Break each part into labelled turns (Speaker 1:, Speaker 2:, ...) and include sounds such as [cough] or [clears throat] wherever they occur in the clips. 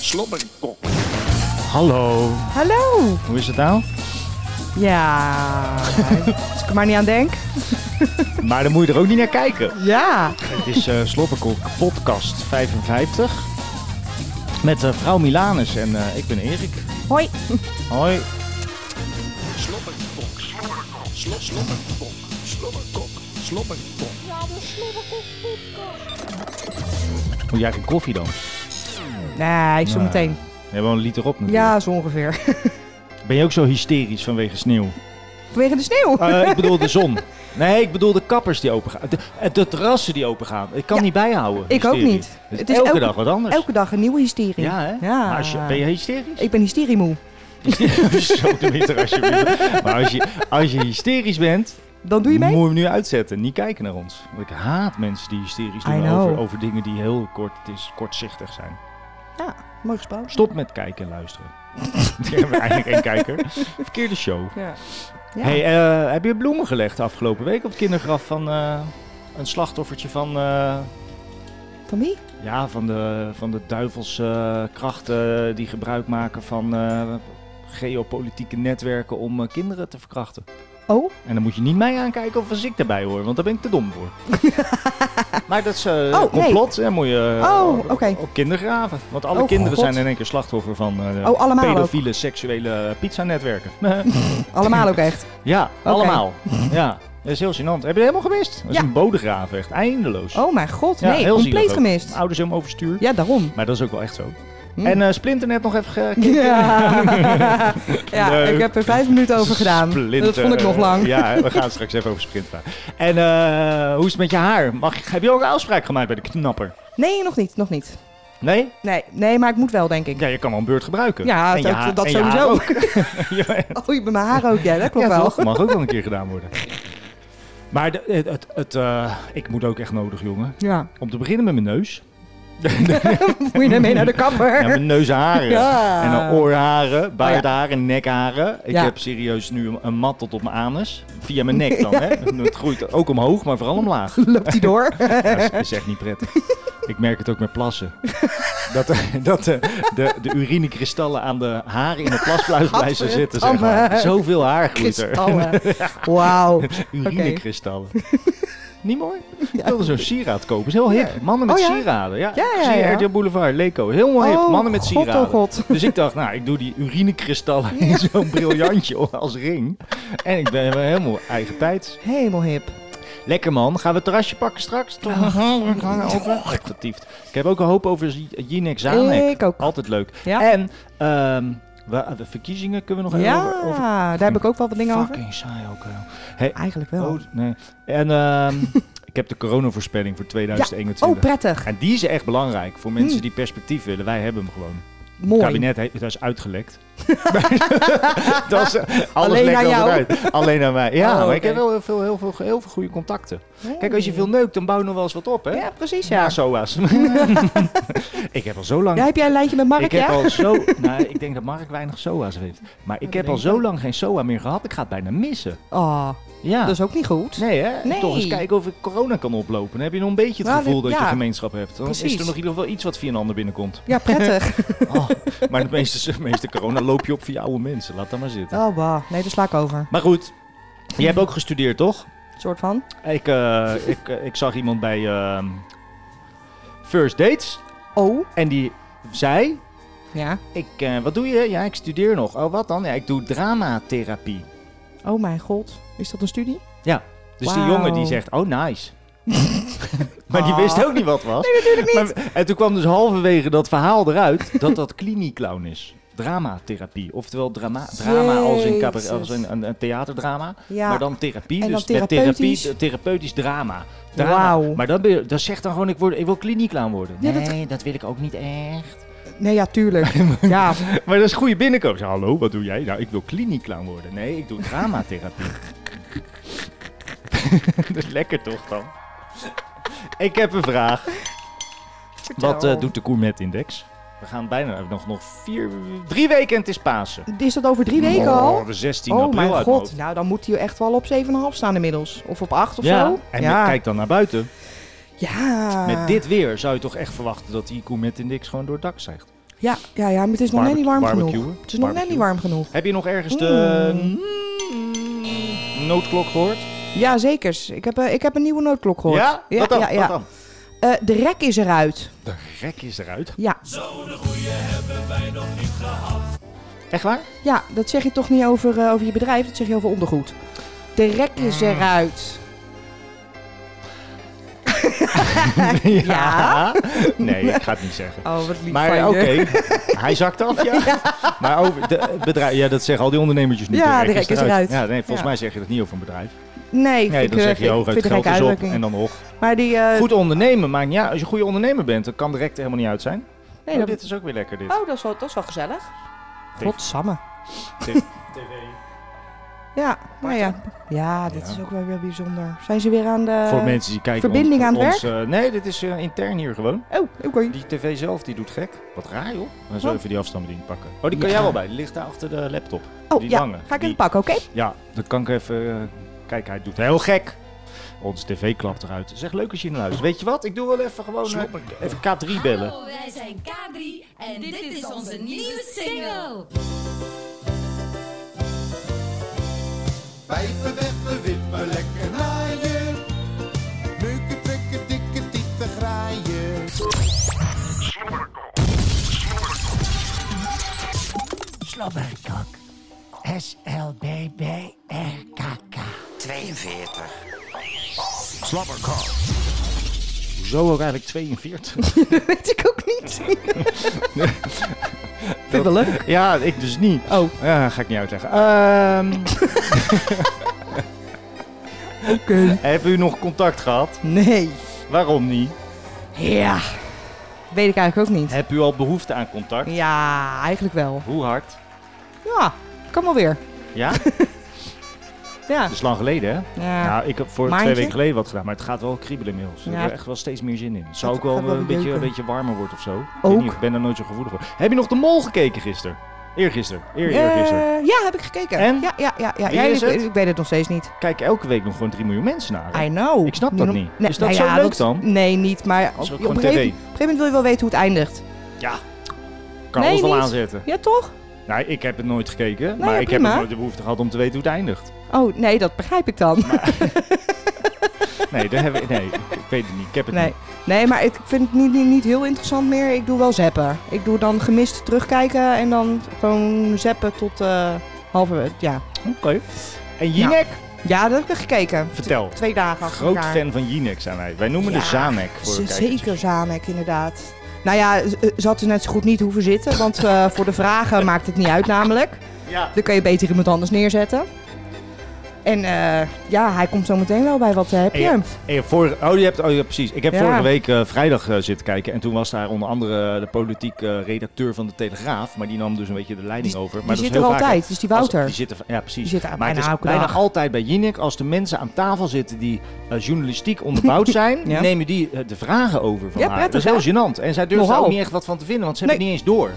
Speaker 1: Slobberkok.
Speaker 2: Hallo,
Speaker 3: Hallo.
Speaker 2: hoe is het nou?
Speaker 3: Ja, als ik er maar niet aan denk.
Speaker 2: Maar dan moet je er ook niet naar kijken.
Speaker 3: Ja.
Speaker 2: Het is eh Slobberkok podcast 55 met eh, vrouw Milanus en eh, ik ben Erik.
Speaker 3: Hoi.
Speaker 2: Hoi.
Speaker 1: Slobberkok. Slobberkok. Slobberkok. Slobberkok. Slobberkok.
Speaker 2: Moet jij geen koffie dan?
Speaker 3: Nee, ik zo
Speaker 2: Nee.
Speaker 3: meteen.
Speaker 2: We hebben wel een liter op natuurlijk.
Speaker 3: Ja, zo ongeveer. [laughs]
Speaker 2: Ben je ook zo hysterisch vanwege sneeuw?
Speaker 3: Vanwege de sneeuw.
Speaker 2: Eh, ik bedoel de zon. Nee, ik bedoel de kappers die open gaan. De, de terrassen die open gaan. Ik kan
Speaker 3: Ja.
Speaker 2: niet bijhouden.
Speaker 3: Ik ook
Speaker 2: hysterie.
Speaker 3: niet.
Speaker 2: Het is
Speaker 3: Het is
Speaker 2: elke,
Speaker 3: elke-
Speaker 2: dag wat anders.
Speaker 3: Elke dag een nieuwe hysterie.
Speaker 2: Ja, hè?
Speaker 3: Ja.
Speaker 2: Maar als je, ben je hysterisch?
Speaker 3: Ik ben hysteriemoe.
Speaker 2: Zo de winter alsjeblieft. Maar als je, als je hysterisch bent,
Speaker 3: Dan doe je mee?
Speaker 2: moet je hem nu uitzetten. Niet kijken naar ons. Want ik haat mensen die hysterisch
Speaker 3: I
Speaker 2: doen
Speaker 3: know.
Speaker 2: over, over dingen die heel kort, het is, kortzichtig zijn.
Speaker 3: Ja, mooi gesproken.
Speaker 2: Stop met kijken en luisteren. [laughs] Die hebben eigenlijk één kijker. Verkeerde show.
Speaker 3: Ja. Ja.
Speaker 2: Hey, eh, heb je bloemen gelegd afgelopen week op het kindergraf van eh, een slachtoffertje van, eh,
Speaker 3: Van wie?
Speaker 2: ja, van de, van de duivelse eh, krachten die gebruik maken van eh, geopolitieke netwerken om eh, kinderen te verkrachten?
Speaker 3: Oh,
Speaker 2: En dan moet je niet mij aankijken of als ik daarbij hoor, want daar ben ik te dom
Speaker 3: [laughs]
Speaker 2: voor. maar dat is eh
Speaker 3: Oh, nee.
Speaker 2: complot, hè, moet je eh,
Speaker 3: Oh,
Speaker 2: op-
Speaker 3: oké.
Speaker 2: op kindergraven. Want alle
Speaker 3: Oh,
Speaker 2: kinderen
Speaker 3: God.
Speaker 2: zijn in één keer slachtoffer van eh
Speaker 3: Oh, allemaal ook?
Speaker 2: pedofiele seksuele pizzanetwerken. [laughs]
Speaker 3: allemaal ook echt.
Speaker 2: ja, allemaal. ja, dat is heel gênant. Heb je helemaal gemist? Dat is
Speaker 3: Ja.
Speaker 2: een bodegraaf, echt eindeloos.
Speaker 3: Oh mijn god,
Speaker 2: Ja,
Speaker 3: nee,
Speaker 2: heel zielig
Speaker 3: compleet
Speaker 2: ook.
Speaker 3: gemist.
Speaker 2: Ouders helemaal overstuur.
Speaker 3: Ja, daarom.
Speaker 2: Maar dat is ook wel echt zo.
Speaker 3: Hm.
Speaker 2: En eh Splinternet nog even [laughs] gekeken.
Speaker 3: Ja, ja
Speaker 2: Leuk.
Speaker 3: ik heb er vijf minuten over gedaan.
Speaker 2: Splinter.
Speaker 3: Dat vond ik nog lang.
Speaker 2: Ja, we gaan het straks even over sprint praten. En eh, hoe is het met je haar? Mag, heb je ook een afspraak gemaakt bij de knapper?
Speaker 3: Nee, nog niet, nog niet.
Speaker 2: Nee?
Speaker 3: Nee, nee, maar ik moet wel, denk ik.
Speaker 2: Ja, je kan wel een beurt gebruiken.
Speaker 3: Ja,
Speaker 2: En je
Speaker 3: dat-
Speaker 2: haar-
Speaker 3: dat
Speaker 2: en je
Speaker 3: sowieso.
Speaker 2: haar ook.
Speaker 3: [laughs]
Speaker 2: [laughs] ja,
Speaker 3: Oh, je bij mijn haar ook, ja, dat klopt
Speaker 2: ja,
Speaker 3: wel.
Speaker 2: toch? Mag ook wel een keer gedaan worden. Maar de- het, het, het, eh, ik moet ook echt nodig, jongen.
Speaker 3: Ja.
Speaker 2: Om te beginnen met mijn neus.
Speaker 3: [laughs] Moet je daarmee naar de kapper?
Speaker 2: Ja, mijn neusharen.
Speaker 3: Ja. Oh
Speaker 2: En dan oorharen, baardharen, nekharen. Ik
Speaker 3: Ja.
Speaker 2: heb serieus nu een- een mat tot op mijn anus. Via mijn nek dan, hè. Het groeit ook omhoog, maar vooral omlaag.
Speaker 3: [laughs] Loopt hij
Speaker 2: [laughs]
Speaker 3: door?
Speaker 2: Ja, dat is- is echt niet prettig. Ik merk het ook met plassen. Dat, de- dat de, de, de urinekristallen aan de haren in de plasbluis blijven zitten. Zeg maar.
Speaker 3: Gadverdamme.
Speaker 2: Zoveel haar groeit er. [laughs]
Speaker 3: Kristallen.
Speaker 2: Oh,
Speaker 3: Wauw.
Speaker 2: Urinekristallen. Niet mooi? Ik wilde zo'n sieraad kopen. Is heel hip. Mannen met
Speaker 3: Oh, ja?
Speaker 2: sieraden. Ja,
Speaker 3: Ja, ja,
Speaker 2: Zie je
Speaker 3: ja.
Speaker 2: RTL Boulevard, Leco. Helemaal hip.
Speaker 3: Oh,
Speaker 2: Mannen met
Speaker 3: God,
Speaker 2: sieraden.
Speaker 3: oh, God.
Speaker 2: Dus ik dacht, nou, ik doe die urinekristallen in zo'n briljantje als ring. En ik ben helemaal eigen tijd.
Speaker 3: Helemaal hip.
Speaker 2: Lekker man, gaan we het terrasje pakken straks? Toch? Oh, echt getiefd. Ik heb ook een hoop over Z- Jinek Zanek.
Speaker 3: Ik ook.
Speaker 2: Altijd leuk.
Speaker 3: Ja.
Speaker 2: En ehm, we- de verkiezingen kunnen we nog even over, over-
Speaker 3: Ja, daar heb ik ook wel wat dingen over.
Speaker 2: Fucking saai ook. joh.
Speaker 3: Eigenlijk wel.
Speaker 2: Oh, nee. En
Speaker 3: [laughs]
Speaker 2: ehm, ik heb de coronavoorspelling voor
Speaker 3: Oh,
Speaker 2: 2021.
Speaker 3: prettig.
Speaker 2: en die is echt belangrijk voor mensen
Speaker 3: Hmm.
Speaker 2: die perspectief willen. Wij hebben hem gewoon.
Speaker 3: Mooi.
Speaker 2: Het kabinet heeft, dat is uitgelekt.
Speaker 3: [laughs]
Speaker 2: dat is, eh, alles
Speaker 3: Alleen
Speaker 2: lekt
Speaker 3: aan
Speaker 2: altijd
Speaker 3: jou?
Speaker 2: uit. Alleen aan mij. Ja,
Speaker 3: Oh,
Speaker 2: maar
Speaker 3: oké.
Speaker 2: ik heb wel heel veel, heel, veel, heel veel goede contacten.
Speaker 3: Hey.
Speaker 2: Kijk, als je veel neukt, dan bouw je nog wel eens wat op, hè?
Speaker 3: Ja, precies, ja. [laughs]
Speaker 2: SOA's. ik heb al zo lang...
Speaker 3: Ja, heb jij een lijntje met Mark,
Speaker 2: ik heb
Speaker 3: ja?
Speaker 2: al zo... nou, ik denk dat Mark weinig SOA's heeft. Maar ik
Speaker 3: Dat
Speaker 2: heb al
Speaker 3: denk
Speaker 2: zo lang geen SOA meer gehad, ik ga het bijna missen.
Speaker 3: Oh,
Speaker 2: Ja.
Speaker 3: dat is ook niet goed.
Speaker 2: Nee, hè?
Speaker 3: Nee.
Speaker 2: Toch eens kijken of ik corona kan oplopen. Dan heb je nog een beetje het
Speaker 3: Nou,
Speaker 2: gevoel
Speaker 3: dit-
Speaker 2: dat je
Speaker 3: ja.
Speaker 2: gemeenschap hebt. Dan is
Speaker 3: Precies.
Speaker 2: er nog in ieder geval iets wat via een ander binnenkomt.
Speaker 3: Ja, prettig.
Speaker 2: Oh, maar de meeste, de meeste corona loop je op via oude mensen. Laat dat maar zitten.
Speaker 3: [laughs] Oh, bah. Nee, daar sla ik over.
Speaker 2: Maar goed, je hebt ook gestudeerd, toch?
Speaker 3: soort van.
Speaker 2: Ik, eh, ik, eh, ik zag iemand bij ehm, First Dates.
Speaker 3: Oh,
Speaker 2: En die zei,
Speaker 3: ja.
Speaker 2: ik, eh, wat doe je? Ja, ik studeer nog. Oh, wat dan? Ja, ik doe dramatherapie.
Speaker 3: Oh, mijn god. Is dat een studie?
Speaker 2: Dus die
Speaker 3: Wauw.
Speaker 2: jongen die zegt, oh nice. maar die wist
Speaker 3: Ah.
Speaker 2: ook niet wat het was.
Speaker 3: Nee, natuurlijk niet.
Speaker 2: Maar- en toen kwam dus halverwege dat verhaal eruit dat dat klinieklaun is. Dramatherapie. Oftewel drama, drama als, in cabaret-
Speaker 3: Jezus.
Speaker 2: als in een, een theaterdrama.
Speaker 3: Ja.
Speaker 2: Maar dan therapie.
Speaker 3: En
Speaker 2: dus
Speaker 3: dan
Speaker 2: met
Speaker 3: therapeutisch.
Speaker 2: therapie, therapeutisch drama. drama.
Speaker 3: Wauw.
Speaker 2: Maar dat, be- dat zegt dan gewoon, ik, word, ik wil klinieklaan worden.
Speaker 3: Ja, dat-
Speaker 2: nee, dat wil ik ook niet echt.
Speaker 3: Nee, ja,
Speaker 2: [laughs]
Speaker 3: tuurlijk. ja,
Speaker 2: Maar dat is goede binnenkomen. Zeg, Hallo, wat doe jij? Nou, ik wil klinieklaan worden. Nee, ik doe dramatherapie. [laughs] dat is lekker toch dan? ik heb een vraag. eh,
Speaker 3: vertel.
Speaker 2: Wat eh, doet de Courmet Index? We gaan bijna nog, nog vier, drie weken en het is Pasen.
Speaker 3: Is dat over drie weken al?
Speaker 2: Oh, we 16
Speaker 3: Oh
Speaker 2: april
Speaker 3: mijn
Speaker 2: uit
Speaker 3: god,
Speaker 2: mijn
Speaker 3: nou dan moet hij echt wel op 7,5 staan inmiddels. Of op 8 of
Speaker 2: hoofd.
Speaker 3: zo.
Speaker 2: en
Speaker 3: ja.
Speaker 2: kijk dan naar buiten.
Speaker 3: ja.
Speaker 2: Met dit weer zou je toch echt verwachten dat die koemet en niks gewoon door het dak zegt.
Speaker 3: Ja, ja, ja, maar het is nog net niet warm genoeg.
Speaker 2: Barbecuen.
Speaker 3: Het is nog net
Speaker 2: Barbecuen.
Speaker 3: niet warm genoeg.
Speaker 2: Heb je nog ergens de
Speaker 3: Mm.
Speaker 2: noodklok gehoord?
Speaker 3: Ja, zekers. Ik heb, eh, ik heb een nieuwe noodklok gehoord.
Speaker 2: Ja?
Speaker 3: ja,
Speaker 2: Wat dan?
Speaker 3: ja, ja.
Speaker 2: Wat dan?
Speaker 3: Eh, de rek is eruit.
Speaker 2: De rek is eruit.
Speaker 3: Ja.
Speaker 2: Echt waar?
Speaker 3: ja, dat zeg je toch niet over, eh, over je bedrijf, dat zeg je over ondergoed. De rek is
Speaker 2: Ah.
Speaker 3: eruit. [laughs] Ja?
Speaker 2: Nee, ik ga het niet zeggen.
Speaker 3: Oh, wat lief
Speaker 2: Maar oké, hij zakt af,
Speaker 3: [laughs]
Speaker 2: ja. Maar over de, het bedrijf, ja, dat zeggen al die ondernemertjes nu.
Speaker 3: Ja, de rek is eruit.
Speaker 2: Ja, nee, volgens
Speaker 3: Ja.
Speaker 2: mij zeg je dat niet over een bedrijf.
Speaker 3: Nee,
Speaker 2: nee,
Speaker 3: ik,
Speaker 2: dan
Speaker 3: eh,
Speaker 2: zeg je
Speaker 3: ik
Speaker 2: hooguit
Speaker 3: vind
Speaker 2: geld
Speaker 3: een
Speaker 2: is
Speaker 3: gekke
Speaker 2: op
Speaker 3: uitdrukking.
Speaker 2: en dan och.
Speaker 3: Maar die... eh,
Speaker 2: Goed ondernemen, maar ja, als je een goede ondernemer bent, dan kan de rek er helemaal niet uit zijn.
Speaker 3: nee,
Speaker 2: Oh,
Speaker 3: dat-
Speaker 2: dit is ook weer lekker, dit.
Speaker 3: oh, dat is wel, dat is wel gezellig. Godsamme.
Speaker 2: TV.
Speaker 3: Ja, nou ja. Ja, dit
Speaker 2: Ja.
Speaker 3: is ook wel weer bijzonder. Zijn ze weer aan de...
Speaker 2: Voor mensen die kijken...
Speaker 3: Eh, verbinding
Speaker 2: on-
Speaker 3: aan het
Speaker 2: ons, eh, nee, dit is eh, intern hier gewoon.
Speaker 3: Oh, oké.
Speaker 2: Die tv zelf, die doet gek. Wat raar, joh. Dan zo
Speaker 3: Wat?
Speaker 2: even die afstandsbediening pakken. Oh, die kan
Speaker 3: Oh. Ja.
Speaker 2: jij wel bij. Die ligt daar achter de laptop.
Speaker 3: Oh,
Speaker 2: die
Speaker 3: ja.
Speaker 2: lange,
Speaker 3: Ga
Speaker 2: die-
Speaker 3: ik even pakken, oké? [laughs]
Speaker 2: Ja, dat kan ik even... eh, kijk, hij doet heel gek. Onze tv klapt eruit. Zeg, leuk als je naar luistert. Weet je wat? Ik doe wel even gewoon... eh, even K3 bellen.
Speaker 4: Hallo, wij zijn K3 en dit is onze nieuwe single.
Speaker 5: Pijpen weg, we wippen lekker naaien. Leuke trekken, dikke tieten graaien.
Speaker 6: Slobberkok. S-L-B-B-R-K-K. 42.
Speaker 2: Hoezo ook eigenlijk 42?
Speaker 3: Weet ik ook niet. Vind ik wel leuk.
Speaker 2: Ja, ik dus niet.
Speaker 3: Oh.
Speaker 2: Ja, ga ik niet uitleggen. Ehm Hebben u nog contact gehad?
Speaker 3: Nee.
Speaker 2: Waarom niet?
Speaker 3: Ja. Weet ik eigenlijk ook niet.
Speaker 2: Heb u al behoefte aan contact?
Speaker 3: Ja, eigenlijk wel.
Speaker 2: Hoe hard?
Speaker 3: Ja, kan wel weer. [laughs]
Speaker 2: Ja,
Speaker 3: Ja.
Speaker 2: dat is lang geleden hè?
Speaker 3: Ja.
Speaker 2: Nou, ik heb voor
Speaker 3: Maandje?
Speaker 2: twee weken geleden wat gedaan, maar het gaat wel kriebelen inmiddels. Ik
Speaker 3: Ja.
Speaker 2: heb er echt wel steeds meer zin in. Het zou
Speaker 3: Het
Speaker 2: ook wel,
Speaker 3: gaat wel
Speaker 2: een, beetje,
Speaker 3: jeuken.
Speaker 2: een beetje warmer worden of zo. Ik weet
Speaker 3: Ook.
Speaker 2: niet, ik ben er nooit zo gevoelig voor. Heb je nog de mol gekeken gisteren? Eergisteren. Eer, eergisteren.
Speaker 3: Eh, ja, heb ik gekeken.
Speaker 2: En?
Speaker 3: Ja, ja, ja. ja.
Speaker 2: Wie
Speaker 3: ja
Speaker 2: is
Speaker 3: ik,
Speaker 2: het?
Speaker 3: ik weet het nog steeds niet.
Speaker 2: Kijk elke week nog gewoon 3 miljoen mensen naar. hè?
Speaker 3: I know.
Speaker 2: Ik snap
Speaker 3: Nu
Speaker 2: dat
Speaker 3: nog- nou
Speaker 2: niet. Is dat zo leuk dan?
Speaker 3: Nee, niet. Maar
Speaker 2: ook
Speaker 3: op, op,
Speaker 2: gewoon TV.
Speaker 3: een gegeven, op een gegeven moment wil je wel weten hoe het eindigt.
Speaker 2: Ja, kan
Speaker 3: Nee,
Speaker 2: alles wel
Speaker 3: niet.
Speaker 2: aanzetten.
Speaker 3: Ja, toch?
Speaker 2: Nou, ik heb het nooit gekeken,
Speaker 3: ja,
Speaker 2: maar ik heb
Speaker 3: prima.
Speaker 2: ook nooit de behoefte gehad om te weten hoe het eindigt.
Speaker 3: Oh, nee, dat begrijp ik dan.
Speaker 2: Nee, daar hebben we, nee ik weet het niet. Ik heb het
Speaker 3: Nee.
Speaker 2: niet.
Speaker 3: nee, maar ik vind het niet, niet, niet heel interessant meer. Ik doe wel zappen. Ik doe dan gemist terugkijken en dan gewoon zappen tot eh halverwege. Ja.
Speaker 2: Oké.
Speaker 3: Nou.
Speaker 2: En Jinek?
Speaker 3: ja, dat heb ik gekeken.
Speaker 2: Vertel.
Speaker 3: Twee dagen achter
Speaker 2: Groot
Speaker 3: elkaar.
Speaker 2: fan van Jinek zijn wij. Wij noemen de
Speaker 3: Ja,
Speaker 2: Zanek voor de
Speaker 3: Z-
Speaker 2: kijkers.
Speaker 3: Zeker Zamek, inderdaad. Nou ja, z- eh, ze had er net zo goed niet hoeven zitten. Want eh, voor de vragen maakt het niet uit namelijk.
Speaker 2: Ja.
Speaker 3: Dan kun je beter iemand anders neerzetten. En eh, ja, hij komt zo meteen wel bij wat eh, heb
Speaker 2: En
Speaker 3: je.
Speaker 2: je, en je vorige- oh, je hebt, oh, ja, precies. Ik heb
Speaker 3: Ja.
Speaker 2: vorige week eh, vrijdag eh, zitten kijken. En toen was daar onder andere de politiek eh, redacteur van de Telegraaf. Maar die nam dus een beetje de leiding over. Maar dat
Speaker 3: die
Speaker 2: is
Speaker 3: zit er
Speaker 2: heel vaak, hè.
Speaker 3: altijd, dus die
Speaker 2: Als-
Speaker 3: Wouter.
Speaker 2: die zitten, ja, precies.
Speaker 3: Die zitten
Speaker 2: maar
Speaker 3: bijna
Speaker 2: het is
Speaker 3: elke
Speaker 2: bijna
Speaker 3: dag.
Speaker 2: altijd bij Jinek. Als de mensen aan tafel zitten die eh, journalistiek
Speaker 3: [laughs]
Speaker 2: onderbouwd zijn,
Speaker 3: Ja.
Speaker 2: nemen die eh, de vragen over van
Speaker 3: Ja,
Speaker 2: haar.
Speaker 3: prettig,
Speaker 2: dat is heel gênant. En zij durven daar
Speaker 3: Nogal.
Speaker 2: ook niet echt wat van te vinden, want ze
Speaker 3: Nee.
Speaker 2: hebben het niet eens door.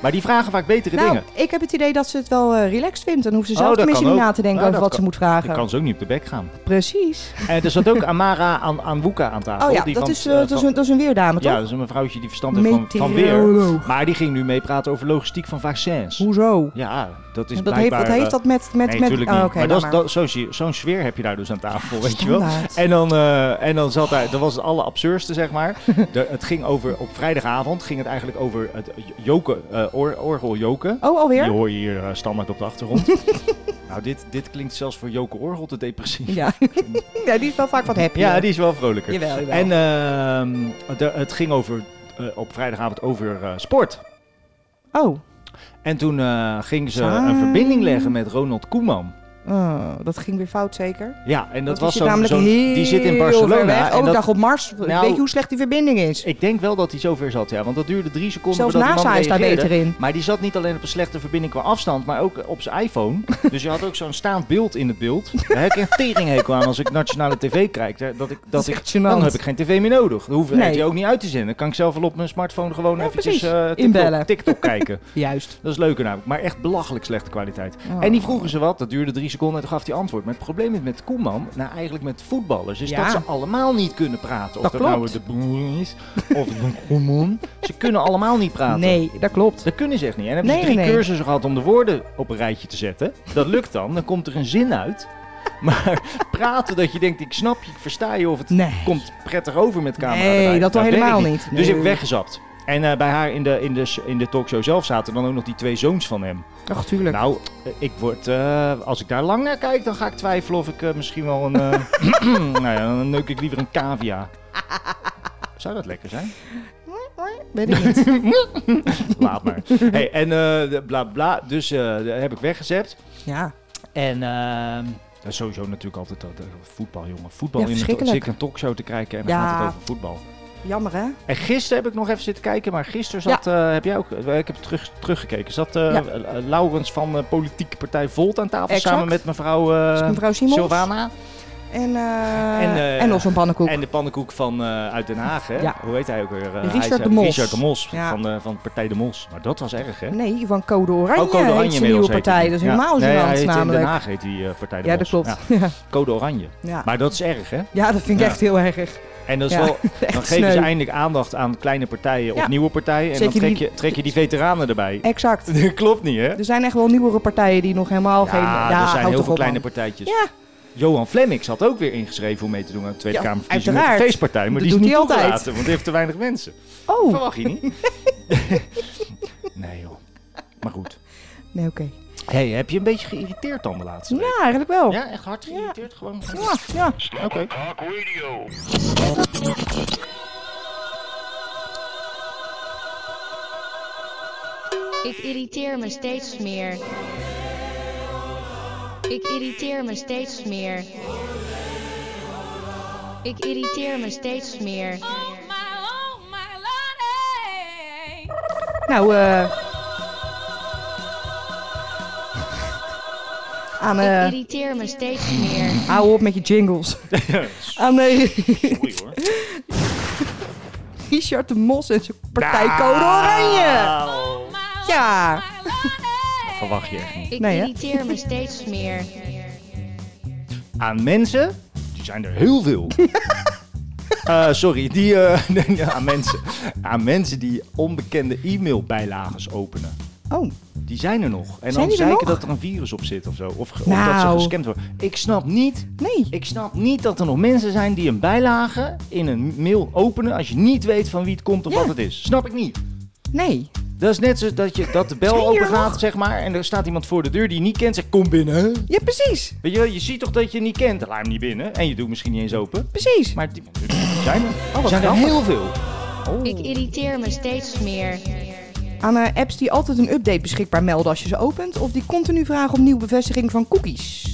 Speaker 2: Maar die vragen vaak betere
Speaker 3: nou,
Speaker 2: dingen.
Speaker 3: ik heb het idee dat ze het wel eh, relaxed vindt. Dan hoeft ze
Speaker 2: Oh,
Speaker 3: zelf
Speaker 2: dat
Speaker 3: tenminste
Speaker 2: kan
Speaker 3: niet
Speaker 2: ook.
Speaker 3: na te denken
Speaker 2: Ja,
Speaker 3: over
Speaker 2: dat
Speaker 3: wat
Speaker 2: kan.
Speaker 3: ze moet vragen.
Speaker 2: Dan kan ze ook niet op de bek gaan.
Speaker 3: Precies.
Speaker 2: En er zat ook Amara aan, aan Woeka aan tafel.
Speaker 3: Oh ja,
Speaker 2: die
Speaker 3: dat
Speaker 2: van-
Speaker 3: is, eh,
Speaker 2: eh,
Speaker 3: dat, is
Speaker 2: van-
Speaker 3: een, dat is een weerdame, toch?
Speaker 2: Ja, dat is een mevrouwtje die verstand heeft van, van weer.
Speaker 3: Meteoroloog.
Speaker 2: Maar die ging nu meepraten over logistiek van vaccins.
Speaker 3: Hoezo?
Speaker 2: Ja, dus dat is
Speaker 3: dat heeft,
Speaker 2: blijkbaar...
Speaker 3: wat heeft
Speaker 2: eh,
Speaker 3: dat met...
Speaker 2: nee,
Speaker 3: met, met
Speaker 2: natuurlijk
Speaker 3: oh,
Speaker 2: niet.
Speaker 3: oké,
Speaker 2: maar
Speaker 3: laat
Speaker 2: dat is- dat- zo'n zie- zo'n sfeer heb je daar dus aan tafel, weet je wel.
Speaker 3: Standaard.
Speaker 2: En dan, eh, en dan zat hij, dat was het alle absurdste, zeg
Speaker 3: [laughs]
Speaker 2: maar. De, het ging over, op vrijdagavond ging het eigenlijk over het joken, eh, or- orgel joken.
Speaker 3: Oh, alweer?
Speaker 2: Die hoor je hier eh, standaard op de
Speaker 3: [laughs]
Speaker 2: achtergrond. [laughs] nou, dit, dit klinkt zelfs voor joken orgel te depressief.
Speaker 3: Ja. [laughs] ja, die is wel vaak wat happy.
Speaker 2: Ja,
Speaker 3: hoor.
Speaker 2: die is wel vrolijker.
Speaker 3: Jawel, jawel.
Speaker 2: En ehm, de- het ging over, eh, op vrijdagavond over eh, sport.
Speaker 3: Oh,
Speaker 2: En toen eh, ging ze
Speaker 3: Saai.
Speaker 2: een verbinding leggen met Ronald Koeman.
Speaker 3: Oh, dat ging weer fout zeker.
Speaker 2: Ja, en dat,
Speaker 3: Want die
Speaker 2: was
Speaker 3: zit
Speaker 2: zo'n...
Speaker 3: namelijk
Speaker 2: zo'n- die
Speaker 3: heel
Speaker 2: zit in
Speaker 3: ver weg.
Speaker 2: Barcelona.
Speaker 3: Oh,
Speaker 2: en dat,
Speaker 3: dag op Mars.
Speaker 2: Nou-
Speaker 3: Weet je hoe slecht die verbinding is?
Speaker 2: ik denk wel dat hij zover zat, ja. Want dat duurde drie seconden
Speaker 3: Zelfs
Speaker 2: voordat
Speaker 3: NASA
Speaker 2: iemand
Speaker 3: is daar
Speaker 2: reageerde.
Speaker 3: beter in.
Speaker 2: Maar die zat niet alleen op een slechte verbinding qua afstand, maar ook op zijn
Speaker 3: [laughs]
Speaker 2: iPhone. Dus je had ook zo'n staand beeld in het beeld. Daar heb ik een teringhekel aan als ik nationale tv kijk. hè, Dat ik, dat
Speaker 3: Dat
Speaker 2: ik,
Speaker 3: is echt
Speaker 2: dan
Speaker 3: gênant.
Speaker 2: heb ik geen tv meer nodig. Dan hoef
Speaker 3: Nee.
Speaker 2: je ook niet uit te zenden. Dan kan ik zelf wel op mijn smartphone gewoon
Speaker 3: Ja,
Speaker 2: eventjes
Speaker 3: precies.
Speaker 2: eh, TikTok,
Speaker 3: Inbellen. [laughs]
Speaker 2: TikTok kijken.
Speaker 3: Juist.
Speaker 2: Dat is leuker namelijk, maar echt belachelijk slechte kwaliteit.
Speaker 3: Oh.
Speaker 2: En die vroegen ze wat, dat duurde drie seconden en toen gaf hij antwoord. Maar het probleem is met Koeman, nou eigenlijk met voetballers, is
Speaker 3: Ja.
Speaker 2: dat ze allemaal niet kunnen praten. Of dat,
Speaker 3: Dat
Speaker 2: nou
Speaker 3: klopt.
Speaker 2: de Boer is, of de Koeman. Ze kunnen allemaal niet praten.
Speaker 3: Nee, dat klopt.
Speaker 2: Dat kunnen ze echt niet. En dan hebben ze
Speaker 3: Nee,
Speaker 2: drie
Speaker 3: nee.
Speaker 2: cursussen gehad om de woorden op een rijtje te zetten. Dat lukt dan, dan komt er een zin uit. [laughs] Maar praten dat je denkt, ik snap je, ik versta je of het
Speaker 3: Nee.
Speaker 2: komt prettig over met camera.
Speaker 3: Nee,
Speaker 2: erbij.
Speaker 3: dat al
Speaker 2: werkt
Speaker 3: helemaal niet.
Speaker 2: Dus ik
Speaker 3: Nee.
Speaker 2: heb weggezapt. En eh, bij haar in de, in, de, in de talkshow zelf zaten dan ook nog die twee zoons van hem.
Speaker 3: Ach, tuurlijk.
Speaker 2: Nou, eh, ik word, eh, als ik daar lang naar kijk, dan ga ik twijfelen of ik eh, misschien wel een. eh, [clears throat] nou ja, dan neuk ik liever een
Speaker 3: [laughs]
Speaker 2: cavia. Zou dat lekker zijn?
Speaker 3: Weet ik
Speaker 2: [laughs]
Speaker 3: niet.
Speaker 2: Laat
Speaker 3: [laughs]
Speaker 2: maar. Hey, en eh, de- bla bla. Dus eh, de- heb ik weggezept.
Speaker 3: Ja.
Speaker 2: En ehm, dat is sowieso natuurlijk altijd dat, eh, voetbal, jongen. Voetbal
Speaker 3: Ja,
Speaker 2: in een, to-
Speaker 3: verschrikkelijk.
Speaker 2: zit ik een talkshow te kijken en dan
Speaker 3: Ja.
Speaker 2: gaat het over voetbal.
Speaker 3: Jammer, hè?
Speaker 2: En gisteren heb ik nog even zitten kijken, maar gisteren zat, eh, heb jij ook, eh, ik heb terug, teruggekeken, zat eh,
Speaker 3: Ja.
Speaker 2: eh, Laurens van eh, Politieke Partij Volt aan tafel
Speaker 3: Exact.
Speaker 2: samen met mevrouw, eh,
Speaker 3: Dus mevrouw Simons.
Speaker 2: Silvana.
Speaker 3: En, eh
Speaker 2: En,
Speaker 3: en,
Speaker 2: eh,
Speaker 3: nog zo'n pannenkoek.
Speaker 2: En de pannenkoek van, eh, uit Den Haag, hè?
Speaker 3: Ja.
Speaker 2: hoe heet hij ook weer? Eh,
Speaker 3: Richard
Speaker 2: hij is, eh,
Speaker 3: de Mos.
Speaker 2: Richard de Mos
Speaker 3: Ja.
Speaker 2: van, eh, van Partij de Mos. Maar dat was erg, hè?
Speaker 3: Nee, van Code Oranje,
Speaker 2: Oh, Code Oranje
Speaker 3: heet zijn nieuwe
Speaker 2: inmiddels heet
Speaker 3: partij.
Speaker 2: hij.
Speaker 3: Dat is
Speaker 2: Ja.
Speaker 3: helemaal
Speaker 2: nee, hij
Speaker 3: gênant
Speaker 2: heet In Den
Speaker 3: namelijk.
Speaker 2: Haag heet die eh, Partij de
Speaker 3: Ja, dat
Speaker 2: Mos.
Speaker 3: klopt.
Speaker 2: Ja.
Speaker 3: Ja.
Speaker 2: Code Oranje.
Speaker 3: Ja.
Speaker 2: Maar dat is erg, hè?
Speaker 3: Ja, dat vind
Speaker 2: Ja.
Speaker 3: ik echt heel erg.
Speaker 2: En dat is
Speaker 3: Ja, [laughs]
Speaker 2: wel, dan
Speaker 3: echt
Speaker 2: geven ze
Speaker 3: sneu.
Speaker 2: eindelijk aandacht aan kleine partijen of
Speaker 3: Ja.
Speaker 2: nieuwe partijen. En
Speaker 3: Zet
Speaker 2: dan
Speaker 3: je
Speaker 2: trek
Speaker 3: die-
Speaker 2: je, trek je die veteranen erbij.
Speaker 3: Exact.
Speaker 2: [laughs] Dat klopt niet, hè?
Speaker 3: Er zijn echt wel nieuwere partijen die nog helemaal geen...
Speaker 2: Ja, er zijn heel
Speaker 3: houd toch
Speaker 2: veel
Speaker 3: op,
Speaker 2: kleine
Speaker 3: man.
Speaker 2: partijtjes.
Speaker 3: Ja,
Speaker 2: Johan Flemmix had ook weer ingeschreven om mee te doen aan de Tweede
Speaker 3: Ja,
Speaker 2: Kamerverkiezingen met de
Speaker 3: uiteraard.
Speaker 2: feestpartij. Maar
Speaker 3: Dat
Speaker 2: die is
Speaker 3: doet
Speaker 2: niet
Speaker 3: hij altijd.
Speaker 2: toegelaten, want die heeft te weinig mensen.
Speaker 3: [laughs] oh.
Speaker 2: Verwacht je niet? [laughs] nee joh. Maar goed.
Speaker 3: Nee, oké.
Speaker 2: Hey, heb je een beetje geïrriteerd dan de laatste week?
Speaker 3: Ja, eigenlijk wel. Ja,
Speaker 2: Ja, echt hard geïrriteerd? Gewoon.
Speaker 3: Nou. ja.
Speaker 2: Oké. [laughs]
Speaker 7: Ik irriteer me steeds meer. Ik irriteer me steeds meer. Ik irriteer me steeds meer.
Speaker 4: Oh my, oh my lordy.
Speaker 3: Nou, eh... Aan,
Speaker 7: Ik
Speaker 3: eh
Speaker 7: irriteer me steeds meer.
Speaker 3: hou op met je jingles. Aan eh, [laughs]
Speaker 2: Oei hoor.
Speaker 3: Richard de Mos en zijn partij Code Oranje.
Speaker 2: Nou,
Speaker 3: Ja.
Speaker 2: [laughs] Verwacht je echt niet.
Speaker 7: Ik
Speaker 3: Nee, hè?
Speaker 7: irriteer me steeds meer.
Speaker 2: Aan mensen, die zijn er heel
Speaker 3: [laughs]
Speaker 2: veel. Eh, sorry, die, eh, [laughs] nee, aan, mensen, aan mensen die onbekende e-mailbijlages openen.
Speaker 3: Oh,
Speaker 2: Die zijn er nog. En
Speaker 3: Zijn
Speaker 2: dan
Speaker 3: die er
Speaker 2: zeiken
Speaker 3: nog?
Speaker 2: dat er een virus op zit of zo. Of, ge- of dat ze
Speaker 3: Nou.
Speaker 2: gescamd worden. Ik snap niet
Speaker 3: nee.
Speaker 2: Ik snap niet dat er nog mensen zijn die een bijlage in een mail openen als je niet weet van wie het komt of
Speaker 3: Ja.
Speaker 2: wat het is. Snap ik niet.
Speaker 3: Nee.
Speaker 2: Dat is net zo dat, je, dat de bel
Speaker 3: Zijn die er
Speaker 2: open gaat,
Speaker 3: nog?
Speaker 2: zeg maar, en er staat iemand voor de deur die je niet kent, zegt kom binnen.
Speaker 3: Ja, precies.
Speaker 2: Weet je wel, je ziet toch dat je niet kent, dan laat hem niet binnen en je doet misschien niet eens open.
Speaker 3: Precies.
Speaker 2: Maar die zijn er. Oh,
Speaker 3: wat
Speaker 2: zijn er
Speaker 3: grappig.
Speaker 2: heel veel.
Speaker 7: Ik irriteer me steeds meer.
Speaker 3: Aan eh, apps die altijd een update beschikbaar melden als je ze opent. Of die continu vragen om nieuwe bevestiging van cookies.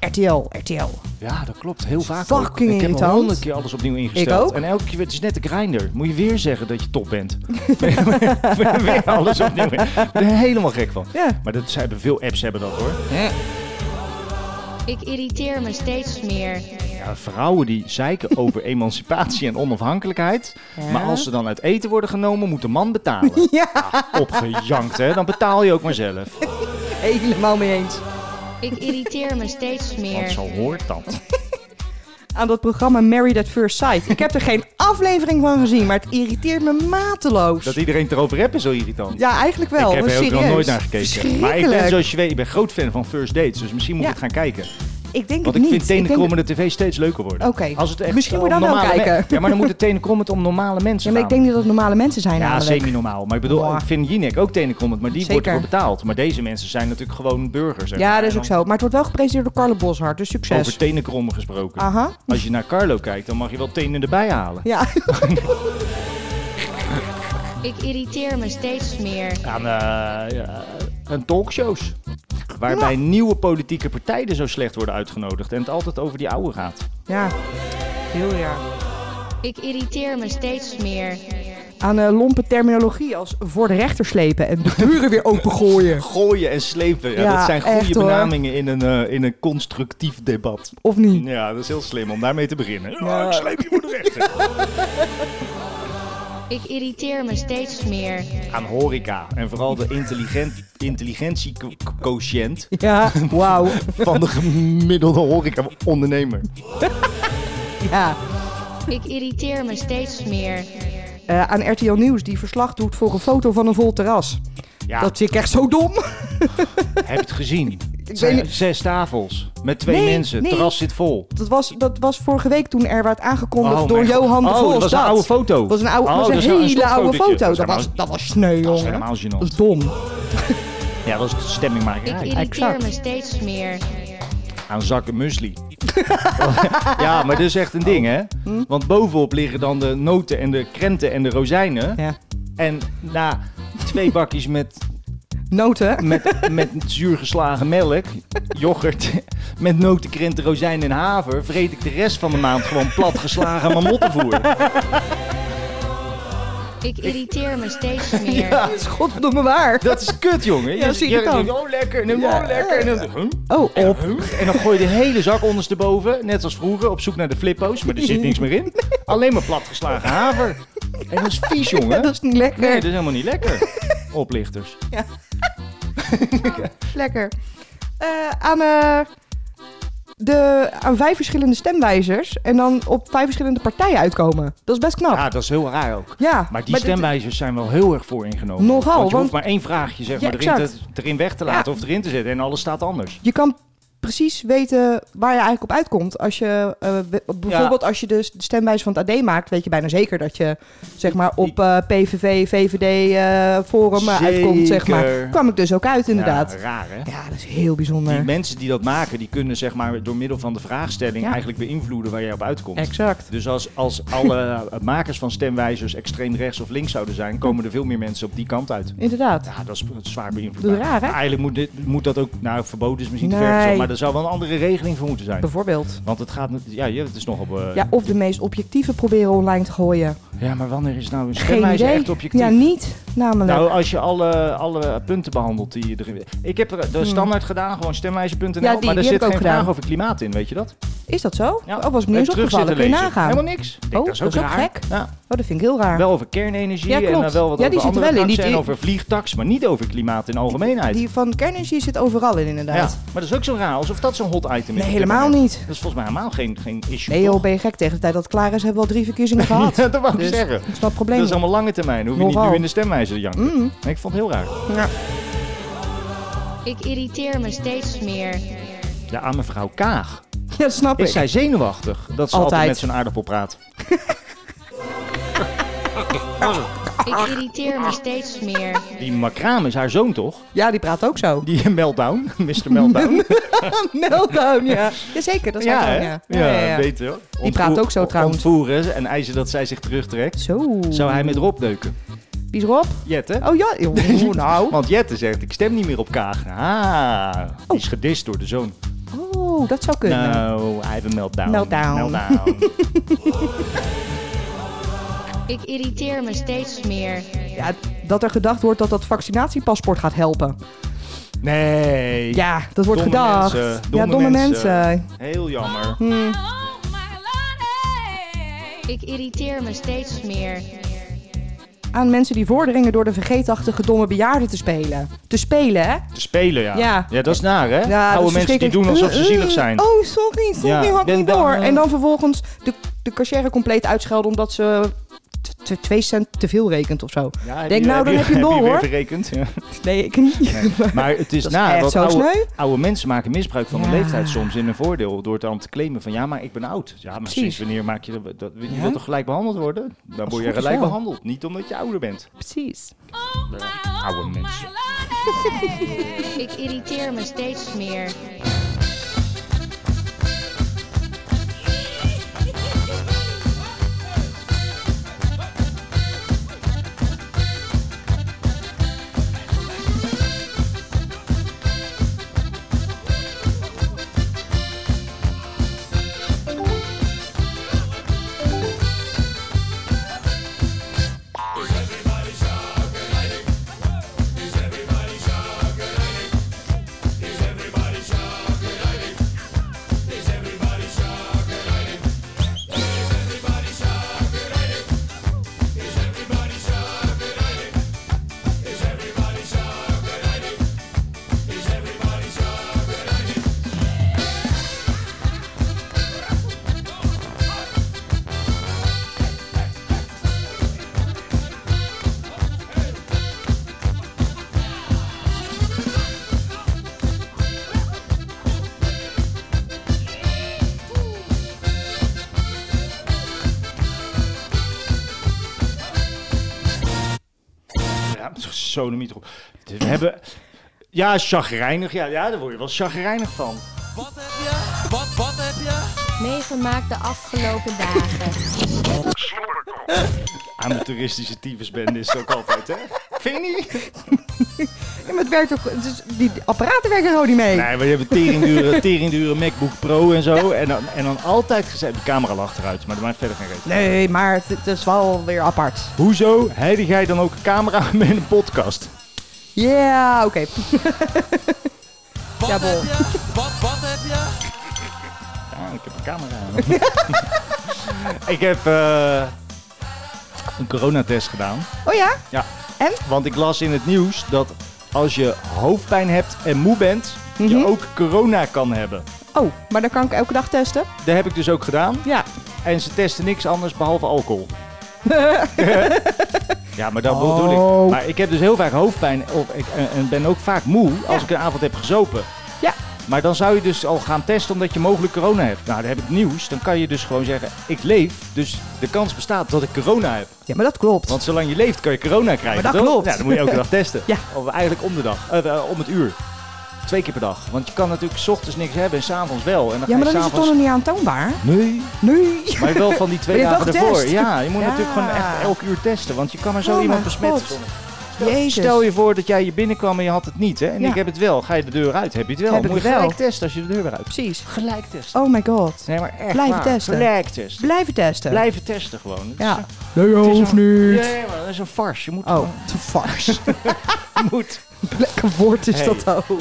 Speaker 3: RTL, RTL.
Speaker 2: Ja, dat klopt. Heel vaak
Speaker 3: Fucking
Speaker 2: ook. Ik heb al
Speaker 3: irritant.
Speaker 2: honderd keer alles opnieuw ingesteld.
Speaker 3: Ik ook.
Speaker 2: En elke keer, het is net een grinder. Moet je weer zeggen dat je top
Speaker 3: [laughs]
Speaker 2: bent. [laughs] weer alles opnieuw. in. Ik ben er helemaal gek van.
Speaker 3: Ja.
Speaker 2: Maar dat ze hebben, veel apps hebben dat hoor.
Speaker 7: Ik irriteer me steeds meer.
Speaker 2: Ja, Eh, vrouwen die zeiken
Speaker 3: [laughs]
Speaker 2: over emancipatie en onafhankelijkheid. Maar als ze dan uit eten worden genomen, moet de man betalen.
Speaker 3: [laughs]
Speaker 2: Ah,
Speaker 3: Ja.
Speaker 2: Opgejankt hè, dan betaal je ook maar zelf.
Speaker 3: Helemaal mee eens.
Speaker 7: Ik irriteer me steeds
Speaker 2: Want
Speaker 7: meer.
Speaker 2: zo hoort dat.
Speaker 3: Aan dat programma Married at First Sight. Ik heb er [laughs] geen aflevering van gezien, maar het irriteert me mateloos.
Speaker 2: Dat iedereen het erover hebt is zo irritant.
Speaker 3: Ja, eigenlijk wel.
Speaker 2: ik heb
Speaker 3: Dat is
Speaker 2: er ook nog
Speaker 3: serieus.
Speaker 2: nooit naar gekeken. Maar ik ben
Speaker 3: Verschrikkelijk.
Speaker 2: zoals je weet, ik ben groot fan van First Dates. Dus misschien moet
Speaker 3: Ja.
Speaker 2: ik het gaan kijken.
Speaker 3: Ik denk
Speaker 2: Want
Speaker 3: het
Speaker 2: ik
Speaker 3: niet.
Speaker 2: vind
Speaker 3: denk...
Speaker 2: tenenkrommende tv steeds leuker worden.
Speaker 3: Oké.
Speaker 2: Als het echt
Speaker 3: Misschien
Speaker 2: eh,
Speaker 3: moet je
Speaker 2: om
Speaker 3: dan wel
Speaker 2: normale men-
Speaker 3: kijken.
Speaker 2: Ja, maar dan moet het tenenkrommend om normale mensen
Speaker 3: Ja, maar ik
Speaker 2: gaan.
Speaker 3: denk dat het normale mensen zijn
Speaker 2: ja,
Speaker 3: namelijk.
Speaker 2: semi-normaal. Maar ik bedoel,
Speaker 3: Mwah.
Speaker 2: ik vind Jinek ook tenenkrommend, maar die wordt
Speaker 3: Zeker.
Speaker 2: ervoor betaald. Maar deze mensen zijn natuurlijk gewoon burgers. zeg
Speaker 3: Ja,
Speaker 2: maar.
Speaker 3: dat is ook
Speaker 2: En
Speaker 3: zo. Maar het wordt wel gepresenteerd door Carlo Boshart, dus
Speaker 2: dan
Speaker 3: succes.
Speaker 2: Over tenenkrommen gesproken.
Speaker 3: Aha.
Speaker 2: Als je naar Carlo kijkt, dan mag je wel tenen erbij halen.
Speaker 3: Ja.
Speaker 2: [laughs]
Speaker 7: Ik irriteer me steeds meer.
Speaker 2: Aan eh, ja, aan talkshows. Waarbij nieuwe politieke partijen zo slecht worden uitgenodigd. En het altijd over die oude gaat.
Speaker 3: Ja, heel ja.
Speaker 7: Ik irriteer me steeds meer.
Speaker 3: Aan eh, lompe terminologie als voor de rechter slepen en de deuren weer opengooien.
Speaker 2: Gooien en slepen. Ja,
Speaker 3: Ja,
Speaker 2: dat zijn goede
Speaker 3: echt, hoor.
Speaker 2: benamingen in een, eh, in een constructief debat.
Speaker 3: Of niet?
Speaker 2: Ja, dat is heel slim om daarmee te beginnen. Ja,
Speaker 3: Ja.
Speaker 2: ik sleep je voor de rechter.
Speaker 7: Ik irriteer me steeds meer.
Speaker 2: Aan horeca. En vooral de intelligent, intelligentiequotient
Speaker 3: Ja, wauw.
Speaker 2: [laughs] van de gemiddelde horeca-ondernemer.
Speaker 3: Ja.
Speaker 7: Ik irriteer me steeds meer.
Speaker 3: Eh, aan RTL Nieuws die verslag doet voor een foto van een vol terras.
Speaker 2: Ja,
Speaker 3: Dat zie ik echt zo dom.
Speaker 2: heb je het gezien? Het
Speaker 3: weet
Speaker 2: zijn
Speaker 3: niet.
Speaker 2: zes tafels met twee
Speaker 3: Nee,
Speaker 2: mensen. Het
Speaker 3: nee.
Speaker 2: terras zit vol.
Speaker 3: Dat was, dat was vorige week toen er werd aangekondigd
Speaker 2: Oh,
Speaker 3: door
Speaker 2: mijn God.
Speaker 3: Johan de
Speaker 2: Oh,
Speaker 3: Vos.
Speaker 2: dat was een oude foto.
Speaker 3: Dat was een, oude,
Speaker 2: Oh,
Speaker 3: dat was
Speaker 2: dat is
Speaker 3: een
Speaker 2: wel een
Speaker 3: hele oude
Speaker 2: stopfotootje.
Speaker 3: foto.
Speaker 2: Dat is
Speaker 3: Dat was,
Speaker 2: helemaal-
Speaker 3: dat was sneu,
Speaker 2: Dat is
Speaker 3: jongen.
Speaker 2: helemaal
Speaker 3: Dat is
Speaker 2: gênant.
Speaker 3: dom.
Speaker 2: Ja, dat is de
Speaker 7: Ik
Speaker 2: stemmingmakerij.
Speaker 7: irriteer
Speaker 3: exact.
Speaker 7: me steeds meer.
Speaker 2: Aan zakken muesli. [laughs] ja, maar dat is echt een ding, hè?
Speaker 3: Hm?
Speaker 2: Want bovenop liggen dan de noten en de krenten en de rozijnen.
Speaker 3: Ja.
Speaker 2: En na twee bakjes met,
Speaker 3: Noten.
Speaker 2: met, met zuur geslagen melk, yoghurt, met noten, krenten, rozijnen en haver... vreet ik de rest van de maand gewoon plat geslagen mamottenvoer.
Speaker 7: Ik irriteer me [laughs] steeds meer.
Speaker 3: Dat is [laughs] godverdomme waar.
Speaker 2: Dat is kut, jongen.
Speaker 3: Ja, zie ik het dan.
Speaker 2: oh, lekker. En dan,
Speaker 3: Ja.
Speaker 2: oh, lekker. En dan, huh?
Speaker 3: Oh,
Speaker 2: En,
Speaker 3: op.
Speaker 2: huh? en dan gooi je de hele zak ondersteboven, net als vroeger, op zoek naar de flippo's. Maar er zit niks meer in. Alleen maar platgeslagen haver. En dat is vies, jongen.
Speaker 3: Dat is niet
Speaker 2: Nee,
Speaker 3: lekker.
Speaker 2: dat is helemaal niet lekker. Oplichters.
Speaker 3: Lekker. Eh, aan, eh, de, aan vijf verschillende stemwijzers en dan op vijf verschillende partijen uitkomen. Dat is best knap.
Speaker 2: Ja, dat is heel raar ook.
Speaker 3: Ja,
Speaker 2: Maar die
Speaker 3: dit-
Speaker 2: stemwijzers zijn wel heel erg vooringenomen.
Speaker 3: Nogal,
Speaker 2: Want je hoeft
Speaker 3: want-
Speaker 2: maar één vraagje zeg
Speaker 3: Ja,
Speaker 2: maar, erin, te,
Speaker 3: exact.
Speaker 2: erin weg te laten
Speaker 3: Ja.
Speaker 2: of erin te zetten. En alles staat anders.
Speaker 3: je kan precies weten waar je eigenlijk op uitkomt. Als je, eh, be- bijvoorbeeld als je dus de stemwijze van het AD maakt, weet je bijna zeker dat je zeg maar, op eh, PVV, VVD, eh, Forum eh, uitkomt. Zeg maar.
Speaker 2: Zeker.
Speaker 3: Kwam ik dus ook uit inderdaad.
Speaker 2: Ja,
Speaker 3: Ja,
Speaker 2: raar, hè?
Speaker 3: dat is heel
Speaker 2: Die
Speaker 3: bijzonder.
Speaker 2: mensen die dat maken, die kunnen zeg maar, door middel van de vraagstelling
Speaker 3: Ja.
Speaker 2: eigenlijk beïnvloeden waar jij op uitkomt.
Speaker 3: Exact.
Speaker 2: Dus als, als alle [laughs] makers van stemwijzers extreem rechts of links zouden zijn, komen er veel meer mensen op die kant uit.
Speaker 3: Inderdaad.
Speaker 2: Ja, dat is dat is zwaar
Speaker 3: Dat
Speaker 2: beïnvloedbaar.
Speaker 3: is raar, hè?
Speaker 2: Eigenlijk moet, dit, moet dat ook, nou verboden is misschien te ver
Speaker 3: Nee.
Speaker 2: gezocht, maar er zou wel een andere regeling voor moeten zijn.
Speaker 3: Bijvoorbeeld.
Speaker 2: Want het gaat, met- ja, je- het is nogal... eh,
Speaker 3: Ja, of de meest objectieve proberen online te gooien.
Speaker 2: ja, maar wanneer is nou een
Speaker 3: Geen
Speaker 2: stemwijzer
Speaker 3: idee.
Speaker 2: echt objectief?
Speaker 3: Ja, niet namelijk.
Speaker 2: Nou, als je alle, alle punten behandelt die je erin... Ik heb er de standaard gedaan, gewoon stemwijzer.nl,
Speaker 3: Hmm. Ja, die-
Speaker 2: maar daar
Speaker 3: die
Speaker 2: zit
Speaker 3: heb ik ook
Speaker 2: geen
Speaker 3: gedaan.
Speaker 2: vraag over klimaat in, weet je dat?
Speaker 3: is dat zo?
Speaker 2: Ja.
Speaker 3: Oh, was me
Speaker 2: Heb
Speaker 3: niet
Speaker 2: ik
Speaker 3: eens
Speaker 2: terug
Speaker 3: opgevallen.
Speaker 2: zitten
Speaker 3: Kun je
Speaker 2: lezen.
Speaker 3: nagaan.
Speaker 2: Helemaal niks. Ik denk,
Speaker 3: Oh,
Speaker 2: dat is ook,
Speaker 3: dat is ook
Speaker 2: raar.
Speaker 3: gek.
Speaker 2: Ja.
Speaker 3: Oh, dat vind ik heel raar.
Speaker 2: Wel over kernenergie
Speaker 3: Ja,
Speaker 2: en
Speaker 3: klopt.
Speaker 2: dan wel wat
Speaker 3: Ja, die
Speaker 2: over
Speaker 3: zit er
Speaker 2: andere
Speaker 3: wel in.
Speaker 2: taxen
Speaker 3: Die-
Speaker 2: en
Speaker 3: die-
Speaker 2: over vliegtaks, maar niet over klimaat in algemeenheid.
Speaker 3: Die van kernenergie zit overal in inderdaad.
Speaker 2: ja, maar dat is ook zo raar, alsof dat zo'n hot item is. op dit
Speaker 3: Nee, helemaal
Speaker 2: moment.
Speaker 3: niet.
Speaker 2: Dat is volgens mij helemaal geen, geen issue.
Speaker 3: Nee joh,
Speaker 2: toch?
Speaker 3: ben je gek. Tegen de tijd dat het klaar is, hebben we al drie verkiezingen
Speaker 2: [laughs]
Speaker 3: gehad.
Speaker 2: Ja, dat wou ik
Speaker 3: Dus,
Speaker 2: zeggen.
Speaker 3: Dat is wel het probleem.
Speaker 2: Dat is allemaal lange termijn, hoef je niet
Speaker 3: Nogal. Mm.
Speaker 2: nu in de stemwijzer te janken. Nee, ik vond het heel raar.
Speaker 3: Ja.
Speaker 7: Ik irriteer me steeds meer.
Speaker 2: Ja, aan mevrouw Kaag
Speaker 3: Ja, dat snap
Speaker 2: is
Speaker 3: ik.
Speaker 2: zij zenuwachtig dat ze altijd,
Speaker 3: Altijd.
Speaker 2: met zo'n aardappel praat.
Speaker 7: Ik irriteer me steeds meer.
Speaker 2: Die Macraam is haar zoon toch?
Speaker 3: Ja, die praat ook zo.
Speaker 2: Die [laughs] meltdown, Mr.
Speaker 3: [laughs]
Speaker 2: Meltdown.
Speaker 3: Meltdown, ja. Jazeker, dat is
Speaker 2: ja,
Speaker 3: ja,
Speaker 2: hè?
Speaker 3: ja.
Speaker 2: ja,
Speaker 3: ja, ja.
Speaker 2: beter. Ontvoer-
Speaker 3: praat ook zo trouwens.
Speaker 2: Ontvoeren en eisen dat zij zich terugtrekt.
Speaker 3: Zo.
Speaker 2: Zou hij met Rob neuken?
Speaker 3: Wie is Rob?
Speaker 2: Jet, hè?
Speaker 3: Oh ja,
Speaker 2: [laughs]
Speaker 3: joh, nou.
Speaker 2: Want Jette zegt, ik stem niet meer op Kaag. Ah, die is gedist door de zoon.
Speaker 3: Oh, dat zou kunnen.
Speaker 2: Nou, hij heeft een meltdown.
Speaker 3: Meltdown.
Speaker 2: Meltdown.
Speaker 7: Ik irriteer me steeds meer.
Speaker 3: Ja, dat er gedacht wordt dat dat vaccinatiepaspoort gaat helpen.
Speaker 2: Nee.
Speaker 3: Ja, dat wordt
Speaker 2: Domme
Speaker 3: gedacht.
Speaker 2: mensen,
Speaker 3: ja,
Speaker 2: domme
Speaker 3: domme
Speaker 2: mensen.
Speaker 3: mensen. Hm.
Speaker 2: Heel jammer.
Speaker 7: Ik irriteer me steeds meer.
Speaker 3: Aan mensen die vorderingen door de vergeetachtige domme bejaarden te spelen. Te spelen, hè?
Speaker 2: Te spelen, ja.
Speaker 3: Ja.
Speaker 2: dat is naar, hè?
Speaker 3: Ja, dat
Speaker 2: Oude
Speaker 3: is
Speaker 2: mensen die
Speaker 3: verschrikkelijk.
Speaker 2: doen alsof ze
Speaker 3: Eh, eh,
Speaker 2: zielig zijn.
Speaker 3: Oh, sorry, sorry,
Speaker 2: Ja,
Speaker 3: had ik
Speaker 2: ben
Speaker 3: niet
Speaker 2: dan,
Speaker 3: door.
Speaker 2: eh,
Speaker 3: En dan vervolgens de, de cashier compleet uitschelden omdat ze t- t- twee cent te veel rekent of zo.
Speaker 2: Ja, eh, heb
Speaker 3: Denk, nou, dan
Speaker 2: [laughs]
Speaker 3: heb je
Speaker 2: Heb
Speaker 3: door,
Speaker 2: je weer
Speaker 3: hoor.
Speaker 2: berekend?
Speaker 3: [laughs]
Speaker 2: Ja.
Speaker 3: Nee, ik niet. [laughs]
Speaker 2: Maar het is
Speaker 3: Dat is
Speaker 2: na,
Speaker 3: echt
Speaker 2: want
Speaker 3: zo
Speaker 2: oude,
Speaker 3: sneu.
Speaker 2: oude mensen maken misbruik van hun
Speaker 3: Ja.
Speaker 2: leeftijd soms in een voordeel. Door het dan te claimen van ja, maar ik ben oud. Ja, maar sinds
Speaker 3: Precies.
Speaker 2: wanneer maak je dat? dat je
Speaker 3: Ja.
Speaker 2: wilt toch gelijk behandeld worden? Dan word je
Speaker 3: goed is
Speaker 2: gelijk
Speaker 3: wel.
Speaker 2: behandeld. Niet omdat je ouder bent.
Speaker 3: Precies.
Speaker 4: oh,
Speaker 2: Oude mensen.
Speaker 4: [laughs]
Speaker 7: Ik irriteer me steeds meer.
Speaker 2: sodemieter op. Dus We hebben... Ja, chagrijnig. Ja, ja, daar word je wel chagrijnig van.
Speaker 7: Meegemaakt de afgelopen dagen.
Speaker 2: Amateuristische tyfusbende is het ook altijd, hè? Vind je niet?
Speaker 3: Ja, maar het werkt ook, dus die apparaten werken gewoon niet mee.
Speaker 2: Nee, we hebben teringdure, teringdure MacBook Pro en zo. En, dan, en dan altijd gezegd... De camera lacht eruit, maar dat maakt verder geen reet.
Speaker 3: Nee, maar het, het is wel weer apart.
Speaker 2: Hoezo heilig jij dan ook een camera [laughs] met een podcast?
Speaker 3: Ja, oké. ja, bol.
Speaker 2: Ja, ik heb een camera [laughs] aan. ik heb eh, een coronatest gedaan.
Speaker 3: Oh ja?
Speaker 2: Ja.
Speaker 3: En?
Speaker 2: Want ik las in het nieuws dat als je hoofdpijn hebt en moe bent, je
Speaker 3: Mhm.
Speaker 2: ook corona kan hebben.
Speaker 3: Oh, maar dan kan ik elke dag testen.
Speaker 2: Dat heb ik dus ook gedaan.
Speaker 3: Ja.
Speaker 2: En ze testen niks anders behalve alcohol. [laughs] ja, maar dat bedoel ik.
Speaker 3: Oh.
Speaker 2: Maar ik heb dus heel vaak hoofdpijn of ik, en- en ben ook vaak moe als
Speaker 3: Ja.
Speaker 2: ik een avond heb gezopen.
Speaker 3: Ja.
Speaker 2: Maar dan zou je dus al gaan testen omdat je mogelijk corona hebt. Nou, dan heb ik nieuws. Dan kan je dus gewoon zeggen, ik leef. Dus de kans bestaat dat ik corona heb.
Speaker 3: Ja, maar dat klopt.
Speaker 2: Want zolang je leeft kan je corona krijgen,
Speaker 3: Maar dat
Speaker 2: toch?
Speaker 3: klopt.
Speaker 2: Ja, dan moet je elke dag testen.
Speaker 3: [laughs] Ja.
Speaker 2: Of eigenlijk om de dag, eh, eh, om het uur. Twee keer per dag. Want je kan natuurlijk 's ochtends niks hebben en s'avonds wel. En dan
Speaker 3: ja,
Speaker 2: ga
Speaker 3: maar
Speaker 2: je
Speaker 3: dan is het toch
Speaker 2: s'avonds...
Speaker 3: nog niet aantoonbaar?
Speaker 2: Nee,
Speaker 3: Nee.
Speaker 2: maar wel van die twee
Speaker 3: Ben je
Speaker 2: dagen
Speaker 3: wel
Speaker 2: ervoor.
Speaker 3: getest?
Speaker 2: Ja, je moet
Speaker 3: Ja.
Speaker 2: natuurlijk gewoon echt elk uur testen. Want je kan maar zo
Speaker 3: Oh
Speaker 2: iemand
Speaker 3: mijn
Speaker 2: besmetten.
Speaker 3: God.
Speaker 2: Stel-
Speaker 3: Jezus.
Speaker 2: Stel je voor dat jij hier binnenkwam en je had het niet. Hè? En
Speaker 3: Ja.
Speaker 2: ik heb het wel. Ga je de deur uit, heb je het wel.
Speaker 3: Heb ik
Speaker 2: moet je
Speaker 3: het wel.
Speaker 2: gelijk testen als je de deur weer uit.
Speaker 3: Precies.
Speaker 2: Gelijk testen.
Speaker 3: Oh my god.
Speaker 2: Nee, maar echt
Speaker 3: Blijven
Speaker 2: waar.
Speaker 3: testen.
Speaker 2: Gelijk testen.
Speaker 3: Blijven testen.
Speaker 2: Blijven testen gewoon. Het is
Speaker 3: Ja.
Speaker 2: een-
Speaker 3: Nee,
Speaker 2: het is een-
Speaker 3: niet.
Speaker 2: Ja, maar dat is een farce. Je moet...
Speaker 3: Oh, te [laughs] farce. Ah,
Speaker 2: Je [laughs] moet.
Speaker 3: Lekker woord is
Speaker 2: Hey.
Speaker 3: dat ook.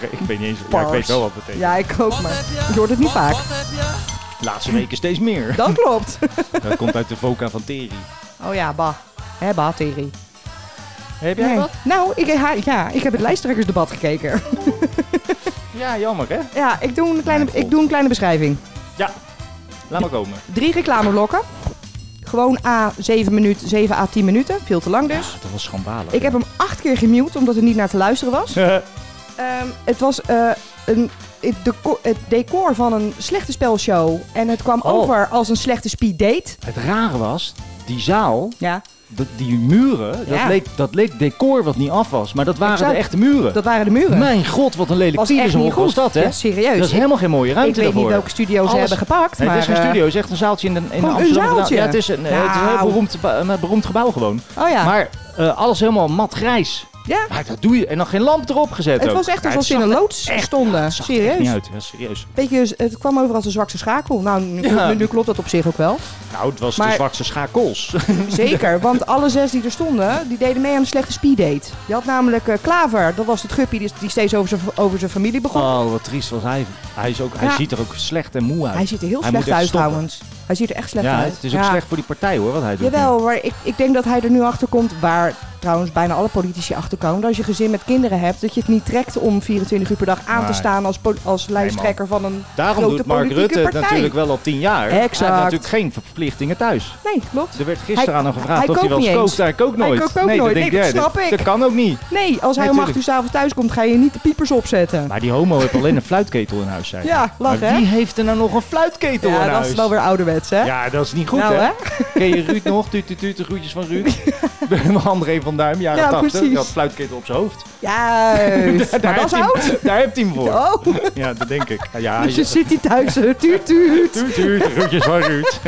Speaker 2: ik weet niet eens... Ja, ik
Speaker 3: Farce.
Speaker 2: weet wel wat het betekent.
Speaker 3: Ja, ik ook, maar je hoort het niet vaak.
Speaker 2: Laatste weken steeds meer.
Speaker 3: [laughs] Dat klopt.
Speaker 2: Dat komt uit de voca van Teri.
Speaker 3: Oh ja, bah. Hè, bah, Thierry.
Speaker 2: Heb jij
Speaker 3: Nee.
Speaker 2: wat?
Speaker 3: Nou, ik, ha- ja, ik heb het lijsttrekkersdebat gekeken.
Speaker 2: Ja, jammer hè?
Speaker 3: Ja, ik doe een kleine,
Speaker 2: Mijn
Speaker 3: ik doe een kleine beschrijving.
Speaker 2: Laat maar komen.
Speaker 3: Drie reclameblokken. Gewoon A 7 minuten, 7 à 10 minuten. Veel te lang dus.
Speaker 2: Ja, dat was schandalig.
Speaker 3: Ik heb [laughs] hem acht keer gemute omdat er niet naar te luisteren was. Ehm, het was eh, een, het, deco- het decor van een slechte spelshow. En het kwam
Speaker 2: Oh.
Speaker 3: over als een slechte speed date.
Speaker 2: Het rare was, die zaal,
Speaker 3: Ja,
Speaker 2: dat- die muren, dat,
Speaker 3: Ja.
Speaker 2: leek, dat leek decor wat niet af was. Maar dat waren
Speaker 3: Exact.
Speaker 2: de echte muren.
Speaker 3: dat waren de muren.
Speaker 2: Mijn god, wat een lelijk
Speaker 3: was echt
Speaker 2: tyfus
Speaker 3: niet goed.
Speaker 2: was dat hè?
Speaker 3: Ja, serieus.
Speaker 2: dat is helemaal geen mooie
Speaker 3: ik
Speaker 2: ruimte
Speaker 3: weet niet
Speaker 2: daarvoor.
Speaker 3: welke studio ze
Speaker 2: Alles-
Speaker 3: hebben gepakt.
Speaker 2: Nee,
Speaker 3: maar,
Speaker 2: het is geen
Speaker 3: eh,
Speaker 2: studio, het is echt een zaaltje in, de, in
Speaker 3: Gewoon een
Speaker 2: Amsterdam.
Speaker 3: zaaltje.
Speaker 2: Ja, het is een, eh, het is een heel
Speaker 3: Nou.
Speaker 2: beroemd, een beroemd gebouw gewoon.
Speaker 3: oh ja.
Speaker 2: Maar eh, alles helemaal mat grijs.
Speaker 3: ja.
Speaker 2: Maar dat doe je. En dan geen lamp erop gezet
Speaker 3: Het
Speaker 2: ook.
Speaker 3: was echt
Speaker 2: Ja,
Speaker 3: alsof ze
Speaker 2: zag
Speaker 3: in een
Speaker 2: er
Speaker 3: loods
Speaker 2: echt- ja,
Speaker 3: stonden.
Speaker 2: het zag er echt niet
Speaker 3: Serieus.
Speaker 2: uit. Ja, serieus.
Speaker 3: Weet je, het kwam over als een zwakste schakel. Nou, nu,
Speaker 2: Ja.
Speaker 3: nu, nu klopt dat op zich ook
Speaker 2: [laughs]
Speaker 3: wel.
Speaker 2: Nou, het was de
Speaker 3: Maar-
Speaker 2: zwakste schakels.
Speaker 3: Zeker, want alle zes die er stonden, die deden mee aan een slechte speeddate. Je had namelijk eh, Klaver, dat was het guppie die, die steeds over zijn, over zijn familie begon.
Speaker 2: Oh, wat triest was hij. Hij, is ook, hij
Speaker 3: Ja.
Speaker 2: ziet er ook slecht en moe uit.
Speaker 3: Hij ziet er heel
Speaker 2: Hij moet
Speaker 3: slecht
Speaker 2: echt
Speaker 3: uit
Speaker 2: stoppen.
Speaker 3: trouwens. Hij ziet er echt slecht
Speaker 2: ja,
Speaker 3: uit.
Speaker 2: het is ook
Speaker 3: Ja.
Speaker 2: slecht voor die partij hoor, wat hij doet.
Speaker 3: Jawel, maar ik, ik denk dat hij er nu achter komt, waar trouwens bijna alle politici achter komen. Dat als je gezin met kinderen hebt, dat je het niet trekt om 24 uur per dag aan
Speaker 2: Nee.
Speaker 3: te staan als, po- als lijsttrekker van een.
Speaker 2: Daarom
Speaker 3: grote
Speaker 2: doet Mark
Speaker 3: politieke
Speaker 2: Rutte het
Speaker 3: partij.
Speaker 2: natuurlijk wel al tien jaar. Hij
Speaker 3: Exact.
Speaker 2: heeft natuurlijk geen verplichtingen thuis.
Speaker 3: Nee, klopt.
Speaker 2: Er werd gisteren aan hem gevraagd
Speaker 3: hij
Speaker 2: of hij wel
Speaker 3: kookt
Speaker 2: eens
Speaker 3: niet
Speaker 2: kookt.
Speaker 3: eens.
Speaker 2: Hij kookt
Speaker 3: Hij
Speaker 2: nooit.
Speaker 3: kookt ook
Speaker 2: nee,
Speaker 3: nooit.
Speaker 2: Dat, denk
Speaker 3: Nee, dat
Speaker 2: ja,
Speaker 3: snap ik.
Speaker 2: dat kan ook niet.
Speaker 3: Nee,
Speaker 2: Nee,
Speaker 3: als hij om
Speaker 2: tuurlijk.
Speaker 3: 8 uur s'avonds thuis komt, ga je niet de piepers opzetten.
Speaker 2: Maar die homo heeft alleen een fluitketel in huis, zei hij.
Speaker 3: Ja, lach,
Speaker 2: Maar
Speaker 3: hè?
Speaker 2: wie heeft er nou nog een fluitketel in
Speaker 3: ja, dat
Speaker 2: huis?
Speaker 3: is wel weer ouderwets, hè?
Speaker 2: Ja, dat is niet goed,
Speaker 3: nou,
Speaker 2: hè?
Speaker 3: [laughs]
Speaker 2: Ken je Ruud nog? Tuut, tuut, tuut, de groetjes van Ruud. [laughs] André van Duim, jaren
Speaker 3: Ja,
Speaker 2: 80. Die
Speaker 3: precies.
Speaker 2: had fluitketel op zijn [laughs] hoofd.
Speaker 3: Juist. maar dat is
Speaker 2: heeft
Speaker 3: oud.
Speaker 2: hij, daar heeft hij hem voor.
Speaker 3: Oh,
Speaker 2: Ja, dat denk ik. Ja,
Speaker 3: dus je
Speaker 2: ja.
Speaker 3: zit hier thuis. eh, Tuut, tuut.
Speaker 2: Tuut, tuut, groetjes van Ruud.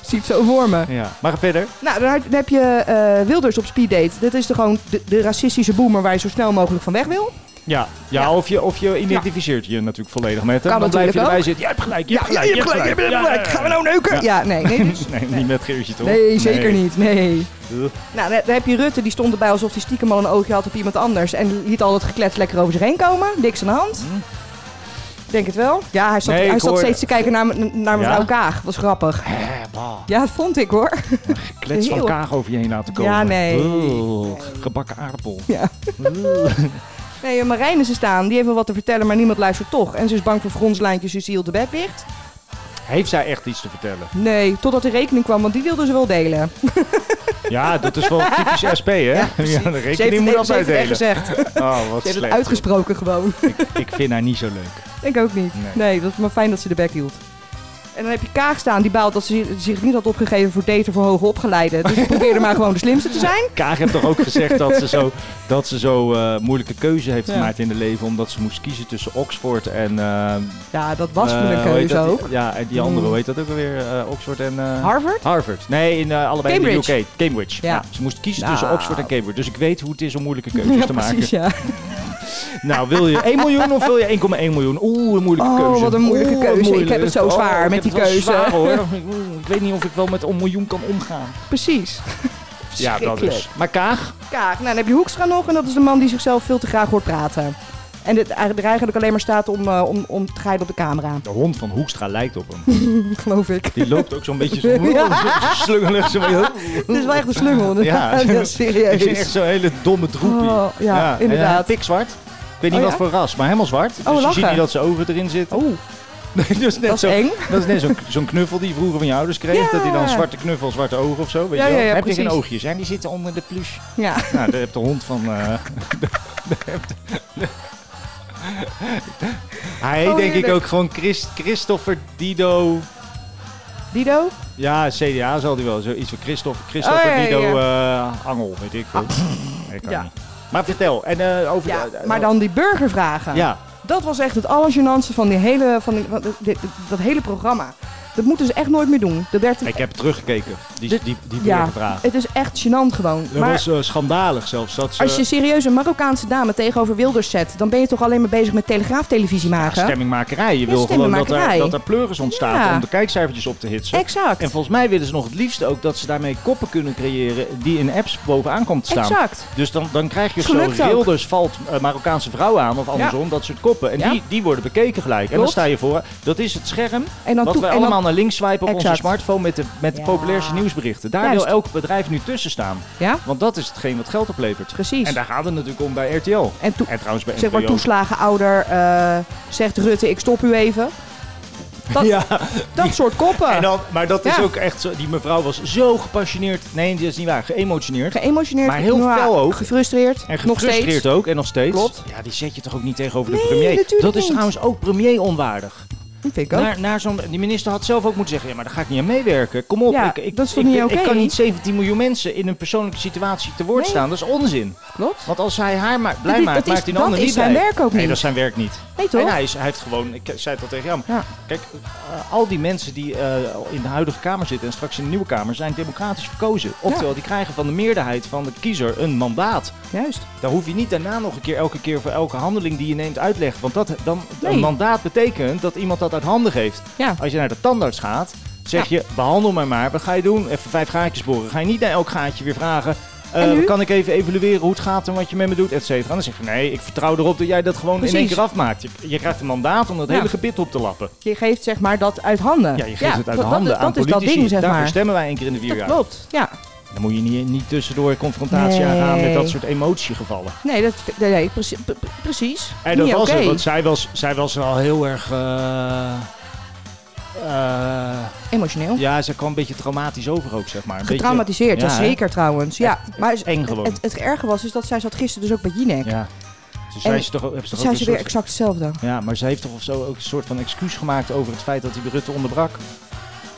Speaker 3: Zie ik zo voor me.
Speaker 2: Ja, maar ga verder.
Speaker 3: Nou, dan heb- dan heb je eh, Wilders op speeddate. Dat is toch gewoon de, de racistische boomer waar je zo snel mogelijk van weg wil.
Speaker 2: Ja, ja, Of, je, of je identificeert je natuurlijk volledig met hem.
Speaker 3: Kan
Speaker 2: Dan blijf je erbij
Speaker 3: natuurlijk ook.
Speaker 2: zitten. Jij hebt gelijk, jij hebt gelijk, jij hebt gelijk.
Speaker 3: je hebt gelijk. Gaan we nou neuken?
Speaker 2: Ja.
Speaker 3: Ja, nee, nee, dus.
Speaker 2: Nee, niet met Geertje toch?
Speaker 3: Nee, zeker niet. Nee.
Speaker 2: Huh?
Speaker 3: Nou, dan dan heb je Rutte, die stond erbij alsof hij stiekem al een oogje had op iemand anders. En liet al het geklets lekker over zich heen komen. Niks aan de hand. Denk het wel. Ja, hij zat,
Speaker 2: Hm. Nee, ik
Speaker 3: hij zat
Speaker 2: hoorde-
Speaker 3: steeds te kijken naar, me- naar mevrouw
Speaker 2: Ja?
Speaker 3: Kaag. Was grappig.
Speaker 2: Eh, bah,
Speaker 3: Ja, dat vond ik hoor.
Speaker 2: klets van
Speaker 3: Heel-
Speaker 2: kaag over je heen laten komen.
Speaker 3: Ja, nee.
Speaker 2: Ugh, gebakken aardappel.
Speaker 3: Ja. Nee, Marijne ze staan. Die heeft wel wat te vertellen, maar niemand luistert toch. En ze is bang voor fronslijntjes, dus die hield de bed dicht.
Speaker 2: Heeft zij echt iets te
Speaker 3: [laughs]
Speaker 2: vertellen?
Speaker 3: Nee, totdat de rekening kwam, want die wilden ze wel delen.
Speaker 2: Ja, dat is wel typisch SP, hè? Ja, de
Speaker 3: Ze heeft
Speaker 2: rekening
Speaker 3: het-
Speaker 2: moet
Speaker 3: ze
Speaker 2: altijd
Speaker 3: heeft het echt
Speaker 2: delen.
Speaker 3: gezegd. [laughs] Ze
Speaker 2: Oh, wat
Speaker 3: heeft het
Speaker 2: slecht.
Speaker 3: uitgesproken gewoon. [laughs]
Speaker 2: Ik vind haar niet zo leuk.
Speaker 3: Ik ook niet.
Speaker 2: Nee.
Speaker 3: Nee, dat was maar fijn dat ze de bek hield. En dan heb je Kaag staan, die baalt dat ze zi- zich niet had opgegeven voor daten voor hoge
Speaker 2: [laughs]
Speaker 3: opgeleiden. Dus ik probeerde maar gewoon de slimste te zijn.
Speaker 2: Kaag heeft toch ook gezegd dat ze zo, dat ze zo eh, moeilijke keuze heeft
Speaker 3: Ja.
Speaker 2: gemaakt in het leven. Omdat ze moest kiezen tussen Oxford en... eh,
Speaker 3: Ja, dat was
Speaker 2: eh,
Speaker 3: mijn
Speaker 2: hoe heet
Speaker 3: keuze
Speaker 2: dat?
Speaker 3: ook.
Speaker 2: Ja, en die andere, hoe heet dat ook alweer? Eh, Oxford en... eh,
Speaker 3: Harvard?
Speaker 2: Harvard. Nee, in eh, allebei in
Speaker 3: Cambridge.
Speaker 2: de UK. Cambridge. Ja.
Speaker 3: Ja.
Speaker 2: ze moest kiezen
Speaker 3: Nou.
Speaker 2: tussen Oxford en Cambridge. Dus ik weet hoe het is om moeilijke keuzes
Speaker 3: [laughs] ja,
Speaker 2: te maken.
Speaker 3: precies,
Speaker 2: [laughs]
Speaker 3: ja.
Speaker 2: Nou, wil je 1 miljoen of wil je 1,1 miljoen? Oeh, een moeilijke
Speaker 3: Oh,
Speaker 2: keuze.
Speaker 3: wat een moeilijke
Speaker 2: Oeh,
Speaker 3: keuze. Ik
Speaker 2: moeilijk.
Speaker 3: heb het zo zwaar
Speaker 2: ik
Speaker 3: met
Speaker 2: heb
Speaker 3: die
Speaker 2: het wel
Speaker 3: keuze.
Speaker 2: zwaar, hoor. [laughs] Oeh, ik weet niet of ik wel met een miljoen kan omgaan.
Speaker 3: Precies.
Speaker 2: Ja, dus. dat is. Maar Kaag?
Speaker 3: Kaag, nou, dan heb je Hoekstra nog en dat is de man die zichzelf veel te graag hoort praten. En dit, eigenlijk- er eigenlijk alleen maar staat om, eh, om, om te grijpen op de camera, [laughs]
Speaker 2: De hond van Hoekstra lijkt op hem.
Speaker 3: geloof ik.
Speaker 2: Die loopt ook zo'n beetje
Speaker 3: [laughs]
Speaker 2: zo [laughs] slungelig. Zo
Speaker 3: Dit is wel echt een
Speaker 2: [laughs]
Speaker 3: slungel. dus [laughs]
Speaker 2: Ja. ik zie echt
Speaker 3: serieus.
Speaker 2: zo'n hele domme droepie.
Speaker 3: Oh, ja,
Speaker 2: en, eh,
Speaker 3: inderdaad.
Speaker 2: Pikzwart. Ik weet niet
Speaker 3: Oh,
Speaker 2: wat
Speaker 3: ja? Oh,
Speaker 2: voor ras, maar helemaal zwart. Dus je ziet
Speaker 3: lachen.
Speaker 2: niet dat zijn ogen erin [laughs] zitten.
Speaker 3: Oeh,
Speaker 2: dus Oh, net
Speaker 3: dat is
Speaker 2: zo,
Speaker 3: eng.
Speaker 2: [laughs] Dat is net zo'n zo'n knuffel die je vroeger van je ouders kreeg.
Speaker 3: Ja.
Speaker 2: Dat hij dan zwarte knuffel, zwarte ogen of zo. Weet
Speaker 3: Ja,
Speaker 2: je wel?
Speaker 3: ja, ja,
Speaker 2: heb je geen
Speaker 3: precies.
Speaker 2: oogjes, hè? Die zitten onder de pluche.
Speaker 3: Ja.
Speaker 2: Nou, daar heb de hond van. eh, [laughs] daar heb de- Hij heet
Speaker 3: Oh,
Speaker 2: denk ik
Speaker 3: heerlijk.
Speaker 2: ook gewoon Christ, Christopher Dido.
Speaker 3: [laughs] Dido?
Speaker 2: Ja, CDA zal hij wel. Zoiets van Christopher, Christopher
Speaker 3: Oh, ja, ja,
Speaker 2: Dido eh, Angel, weet ik veel. Ik kan
Speaker 3: Ja.
Speaker 2: niet. Maar vertel, en eh, over.
Speaker 3: Ja,
Speaker 2: de- eh,
Speaker 3: maar dan die burgervragen.
Speaker 2: Ja,
Speaker 3: Dat was echt het allergenantste van, die hele, van, die, van dit- dit- dat hele programma. Dat moeten ze echt nooit meer doen. Dat werd
Speaker 2: ik heb teruggekeken. Die,
Speaker 3: Dit-
Speaker 2: die, die
Speaker 3: ja,
Speaker 2: vraag.
Speaker 3: het is echt gênant gewoon.
Speaker 2: Dat
Speaker 3: maar
Speaker 2: was eh, schandalig zelfs. Dat ze,
Speaker 3: als je serieus een Marokkaanse dame tegenover Wilders zet, dan ben je toch alleen maar bezig met telegraaftelevisie maken?
Speaker 2: Stemmingmakerij. Je wil gewoon dat er,
Speaker 3: stemmingmakerij.
Speaker 2: dat er pleuris ontstaan
Speaker 3: Ja.
Speaker 2: om de kijkcijfertjes op te hitsen.
Speaker 3: Exact.
Speaker 2: En volgens mij willen ze nog het liefst ook dat ze daarmee koppen kunnen creëren die in apps bovenaan komt te staan.
Speaker 3: Exact.
Speaker 2: Dus dan, dan krijg je
Speaker 3: Het
Speaker 2: zo,
Speaker 3: lukt ook.
Speaker 2: Wilders valt eh, Marokkaanse vrouwen aan of andersom, dat soort koppen. En
Speaker 3: Ja.
Speaker 2: die, die worden bekeken gelijk. En dan
Speaker 3: Klopt.
Speaker 2: sta je voor, dat is het scherm
Speaker 3: En dan
Speaker 2: wat
Speaker 3: toe-
Speaker 2: wij
Speaker 3: en dan-
Speaker 2: allemaal naar links swipen op onze
Speaker 3: Exact.
Speaker 2: smartphone met de, met de
Speaker 3: Ja.
Speaker 2: populairste nieuwsberichten. Daar
Speaker 3: Juist.
Speaker 2: wil elk bedrijf nu tussen staan.
Speaker 3: Ja,
Speaker 2: Want dat is hetgeen wat geld oplevert.
Speaker 3: precies.
Speaker 2: En daar gaat het natuurlijk om bij RTL.
Speaker 3: En toe-
Speaker 2: En trouwens bij
Speaker 3: zeg maar
Speaker 2: NPO.
Speaker 3: toeslagenouder eh, zegt Rutte, ik stop u even. Dat,
Speaker 2: Ja.
Speaker 3: dat soort koppen.
Speaker 2: En dan, maar dat is
Speaker 3: Ja.
Speaker 2: ook echt zo. Die mevrouw was zo gepassioneerd. Nee, dat is niet waar. Geëmotioneerd.
Speaker 3: Geëmotioneerd,
Speaker 2: Maar heel
Speaker 3: nou,
Speaker 2: fel ook.
Speaker 3: gefrustreerd,
Speaker 2: En
Speaker 3: nog
Speaker 2: gefrustreerd
Speaker 3: steeds.
Speaker 2: ook. En nog steeds.
Speaker 3: Klopt.
Speaker 2: Ja, die zet je toch ook niet tegenover de
Speaker 3: Nee,
Speaker 2: premier.
Speaker 3: natuurlijk
Speaker 2: dat is
Speaker 3: niet.
Speaker 2: trouwens ook premier onwaardig.
Speaker 3: Dat vind ik ook.
Speaker 2: Naar, naar zo'n, die minister had zelf ook moeten zeggen: ja, maar daar ga ik niet aan meewerken. Kom op.
Speaker 3: Ja,
Speaker 2: ik, ik,
Speaker 3: dat is toch
Speaker 2: ik,
Speaker 3: niet
Speaker 2: ik- ik
Speaker 3: oké?
Speaker 2: kan niet 17 miljoen mensen in een persoonlijke situatie te woord
Speaker 3: Nee.
Speaker 2: staan. Dat is onzin.
Speaker 3: Klopt.
Speaker 2: Want als hij haar maar blij
Speaker 3: Dat is-
Speaker 2: maakt,
Speaker 3: dat is-
Speaker 2: maakt hij de
Speaker 3: dat
Speaker 2: ander
Speaker 3: is
Speaker 2: niet
Speaker 3: zijn
Speaker 2: blij.
Speaker 3: werk ook
Speaker 2: Nee,
Speaker 3: niet.
Speaker 2: dat is zijn werk niet.
Speaker 3: Nee, toch?
Speaker 2: En hij, is, hij heeft gewoon, ik zei het al tegen jou, maar
Speaker 3: Ja.
Speaker 2: kijk, eh, al die mensen die eh, in de huidige Kamer zitten en straks in de nieuwe Kamer zijn democratisch verkozen. Oftewel, die krijgen van de meerderheid van de kiezer een mandaat.
Speaker 3: Juist.
Speaker 2: Daar hoef je niet daarna nog een keer elke keer voor elke handeling die je neemt uit te leggen. Want dat, dan,
Speaker 3: Nee.
Speaker 2: een mandaat betekent dat iemand dat uit handen geeft.
Speaker 3: Ja.
Speaker 2: Als je naar de tandarts gaat, zeg je, behandel mij maar. Wat ga je doen? Even vijf gaatjes boren. Ga je niet naar elk gaatje weer vragen... eh,
Speaker 3: En nu?
Speaker 2: kan ik even evalueren hoe het gaat en wat je met me doet, et cetera. Dan zeg je, nee, ik vertrouw erop dat jij dat gewoon in één
Speaker 3: Precies.
Speaker 2: keer afmaakt. Je, je krijgt een mandaat om dat
Speaker 3: Ja.
Speaker 2: hele gebit op te lappen.
Speaker 3: Je geeft zeg maar dat uit handen.
Speaker 2: Ja, je geeft het uit de
Speaker 3: dat-
Speaker 2: handen
Speaker 3: dat,
Speaker 2: aan
Speaker 3: dat is
Speaker 2: politici.
Speaker 3: dat ding, zeg
Speaker 2: Daarvoor
Speaker 3: maar.
Speaker 2: stemmen wij één keer in de vier
Speaker 3: Dat
Speaker 2: jaar.
Speaker 3: klopt, ja.
Speaker 2: Dan moet je niet, niet tussendoor confrontatie aangaan met
Speaker 3: Nee.
Speaker 2: dat soort emotiegevallen.
Speaker 3: Nee, dat, nee, nee, precie- pre- pre- precies.
Speaker 2: En dat
Speaker 3: Niet
Speaker 2: was
Speaker 3: oké.
Speaker 2: het, want zij was, zij was al heel erg... eh, eh,
Speaker 3: Emotioneel.
Speaker 2: ja, ze kwam een beetje traumatisch over ook, zeg maar. Een beetje-
Speaker 3: Getraumatiseerd, ja,
Speaker 2: hè?
Speaker 3: zeker trouwens. Ja, maar
Speaker 2: eng gewoon.
Speaker 3: Het, het erge was is dat zij zat gisteren dus ook bij Jinek.
Speaker 2: Ja. Dus zij
Speaker 3: En
Speaker 2: is toch, ook- hebben ze
Speaker 3: Toen
Speaker 2: toch ook
Speaker 3: zei
Speaker 2: een
Speaker 3: ze weer
Speaker 2: soort...
Speaker 3: exact hetzelfde.
Speaker 2: Ja, maar ze heeft toch of zo ook een soort van excuus gemaakt over het feit dat hij Rutte onderbrak.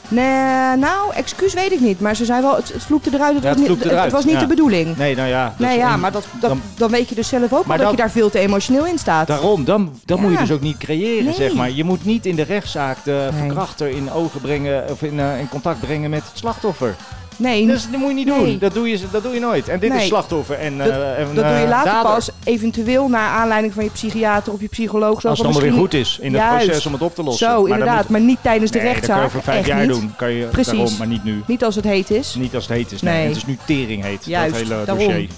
Speaker 3: Nee, nou, excuus weet ik niet. Maar ze zei wel, het, het vloekte eruit. Het
Speaker 2: Ja, het
Speaker 3: was niet,
Speaker 2: vloekte eruit,
Speaker 3: het was niet
Speaker 2: ja.
Speaker 3: de bedoeling.
Speaker 2: Nee, nou ja. dus
Speaker 3: nee, ja,
Speaker 2: een-
Speaker 3: maar dat, dat,
Speaker 2: dan-
Speaker 3: dan, weet je dus zelf ook
Speaker 2: Maar
Speaker 3: maar
Speaker 2: dat-
Speaker 3: dat je daar veel te emotioneel in staat.
Speaker 2: Daarom, dan, dan
Speaker 3: Ja.
Speaker 2: moet je dus ook niet creëren,
Speaker 3: Nee.
Speaker 2: zeg maar. Je moet niet in de rechtszaak de
Speaker 3: Nee.
Speaker 2: verkrachter in ogen brengen of in, eh, in contact brengen met het slachtoffer.
Speaker 3: nee,
Speaker 2: Dus dat moet je niet doen.
Speaker 3: Nee.
Speaker 2: Dat, doe je, dat doe je nooit. En dit
Speaker 3: Nee.
Speaker 2: is slachtoffer en,
Speaker 3: Dat-
Speaker 2: eh, en
Speaker 3: dat doe je
Speaker 2: eh,
Speaker 3: later
Speaker 2: dader.
Speaker 3: pas eventueel naar aanleiding van je psychiater of je psycholoog. Zo
Speaker 2: Als het
Speaker 3: van,
Speaker 2: allemaal weer goed
Speaker 3: misschien-
Speaker 2: is in het
Speaker 3: Juist.
Speaker 2: proces om het op te lossen.
Speaker 3: Zo,
Speaker 2: Maar dan
Speaker 3: inderdaad.
Speaker 2: moet-
Speaker 3: Maar niet tijdens de
Speaker 2: nee, dat
Speaker 3: rechtszaak.
Speaker 2: kan je voor vijf
Speaker 3: Echt
Speaker 2: jaar
Speaker 3: niet.
Speaker 2: doen. Kan je,
Speaker 3: Precies.
Speaker 2: Daarom, maar niet nu.
Speaker 3: Niet als het heet is.
Speaker 2: Niet als het heet is. Nee.
Speaker 3: Nee.
Speaker 2: Het is nu tering heet,
Speaker 3: Juist,
Speaker 2: dat hele
Speaker 3: daarom.
Speaker 2: dossier.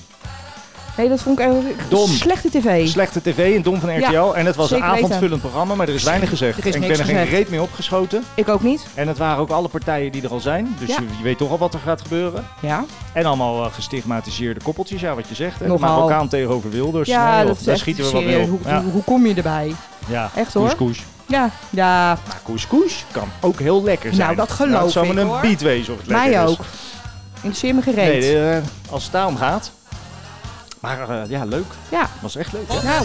Speaker 3: Nee, dat vond ik eigenlijk
Speaker 2: Dom.
Speaker 3: slechte tv.
Speaker 2: Slechte tv en dom van RTL.
Speaker 3: Ja,
Speaker 2: en het was een
Speaker 3: zeker weten.
Speaker 2: avondvullend programma, maar er is weinig gezegd.
Speaker 3: Er is
Speaker 2: en ik
Speaker 3: niks
Speaker 2: ben er geen
Speaker 3: gezegd.
Speaker 2: reet mee opgeschoten.
Speaker 3: ik ook niet.
Speaker 2: En het waren ook alle partijen die er al zijn. Dus
Speaker 3: Ja.
Speaker 2: je, je weet toch al wat er gaat gebeuren.
Speaker 3: Ja.
Speaker 2: En allemaal eh, gestigmatiseerde koppeltjes, ja, wat je zegt. hè.
Speaker 3: Nogal.
Speaker 2: Marokkaan tegenover Wilders.
Speaker 3: Ja,
Speaker 2: Nee, joh,
Speaker 3: dat is
Speaker 2: daar
Speaker 3: echt
Speaker 2: schieten we wat
Speaker 3: serieus.
Speaker 2: mee
Speaker 3: Hoe,
Speaker 2: op. Ja,
Speaker 3: hoe, hoe kom je erbij?
Speaker 2: ja.
Speaker 3: echt, hoor.
Speaker 2: Couscous.
Speaker 3: Ja. Ja.
Speaker 2: Maar couscous kan ook heel lekker zijn.
Speaker 3: Nou, dat
Speaker 2: Nou,
Speaker 3: geloof
Speaker 2: Het zou
Speaker 3: ik,
Speaker 2: maar een
Speaker 3: hoor.
Speaker 2: beat wezen of het lekker
Speaker 3: Mij
Speaker 2: is.
Speaker 3: ook. Interesseer me gereed.
Speaker 2: Nee, eh, als het daarom gaat. Maar eh, ja, leuk.
Speaker 3: Ja.
Speaker 2: Was echt leuk.
Speaker 3: Nou,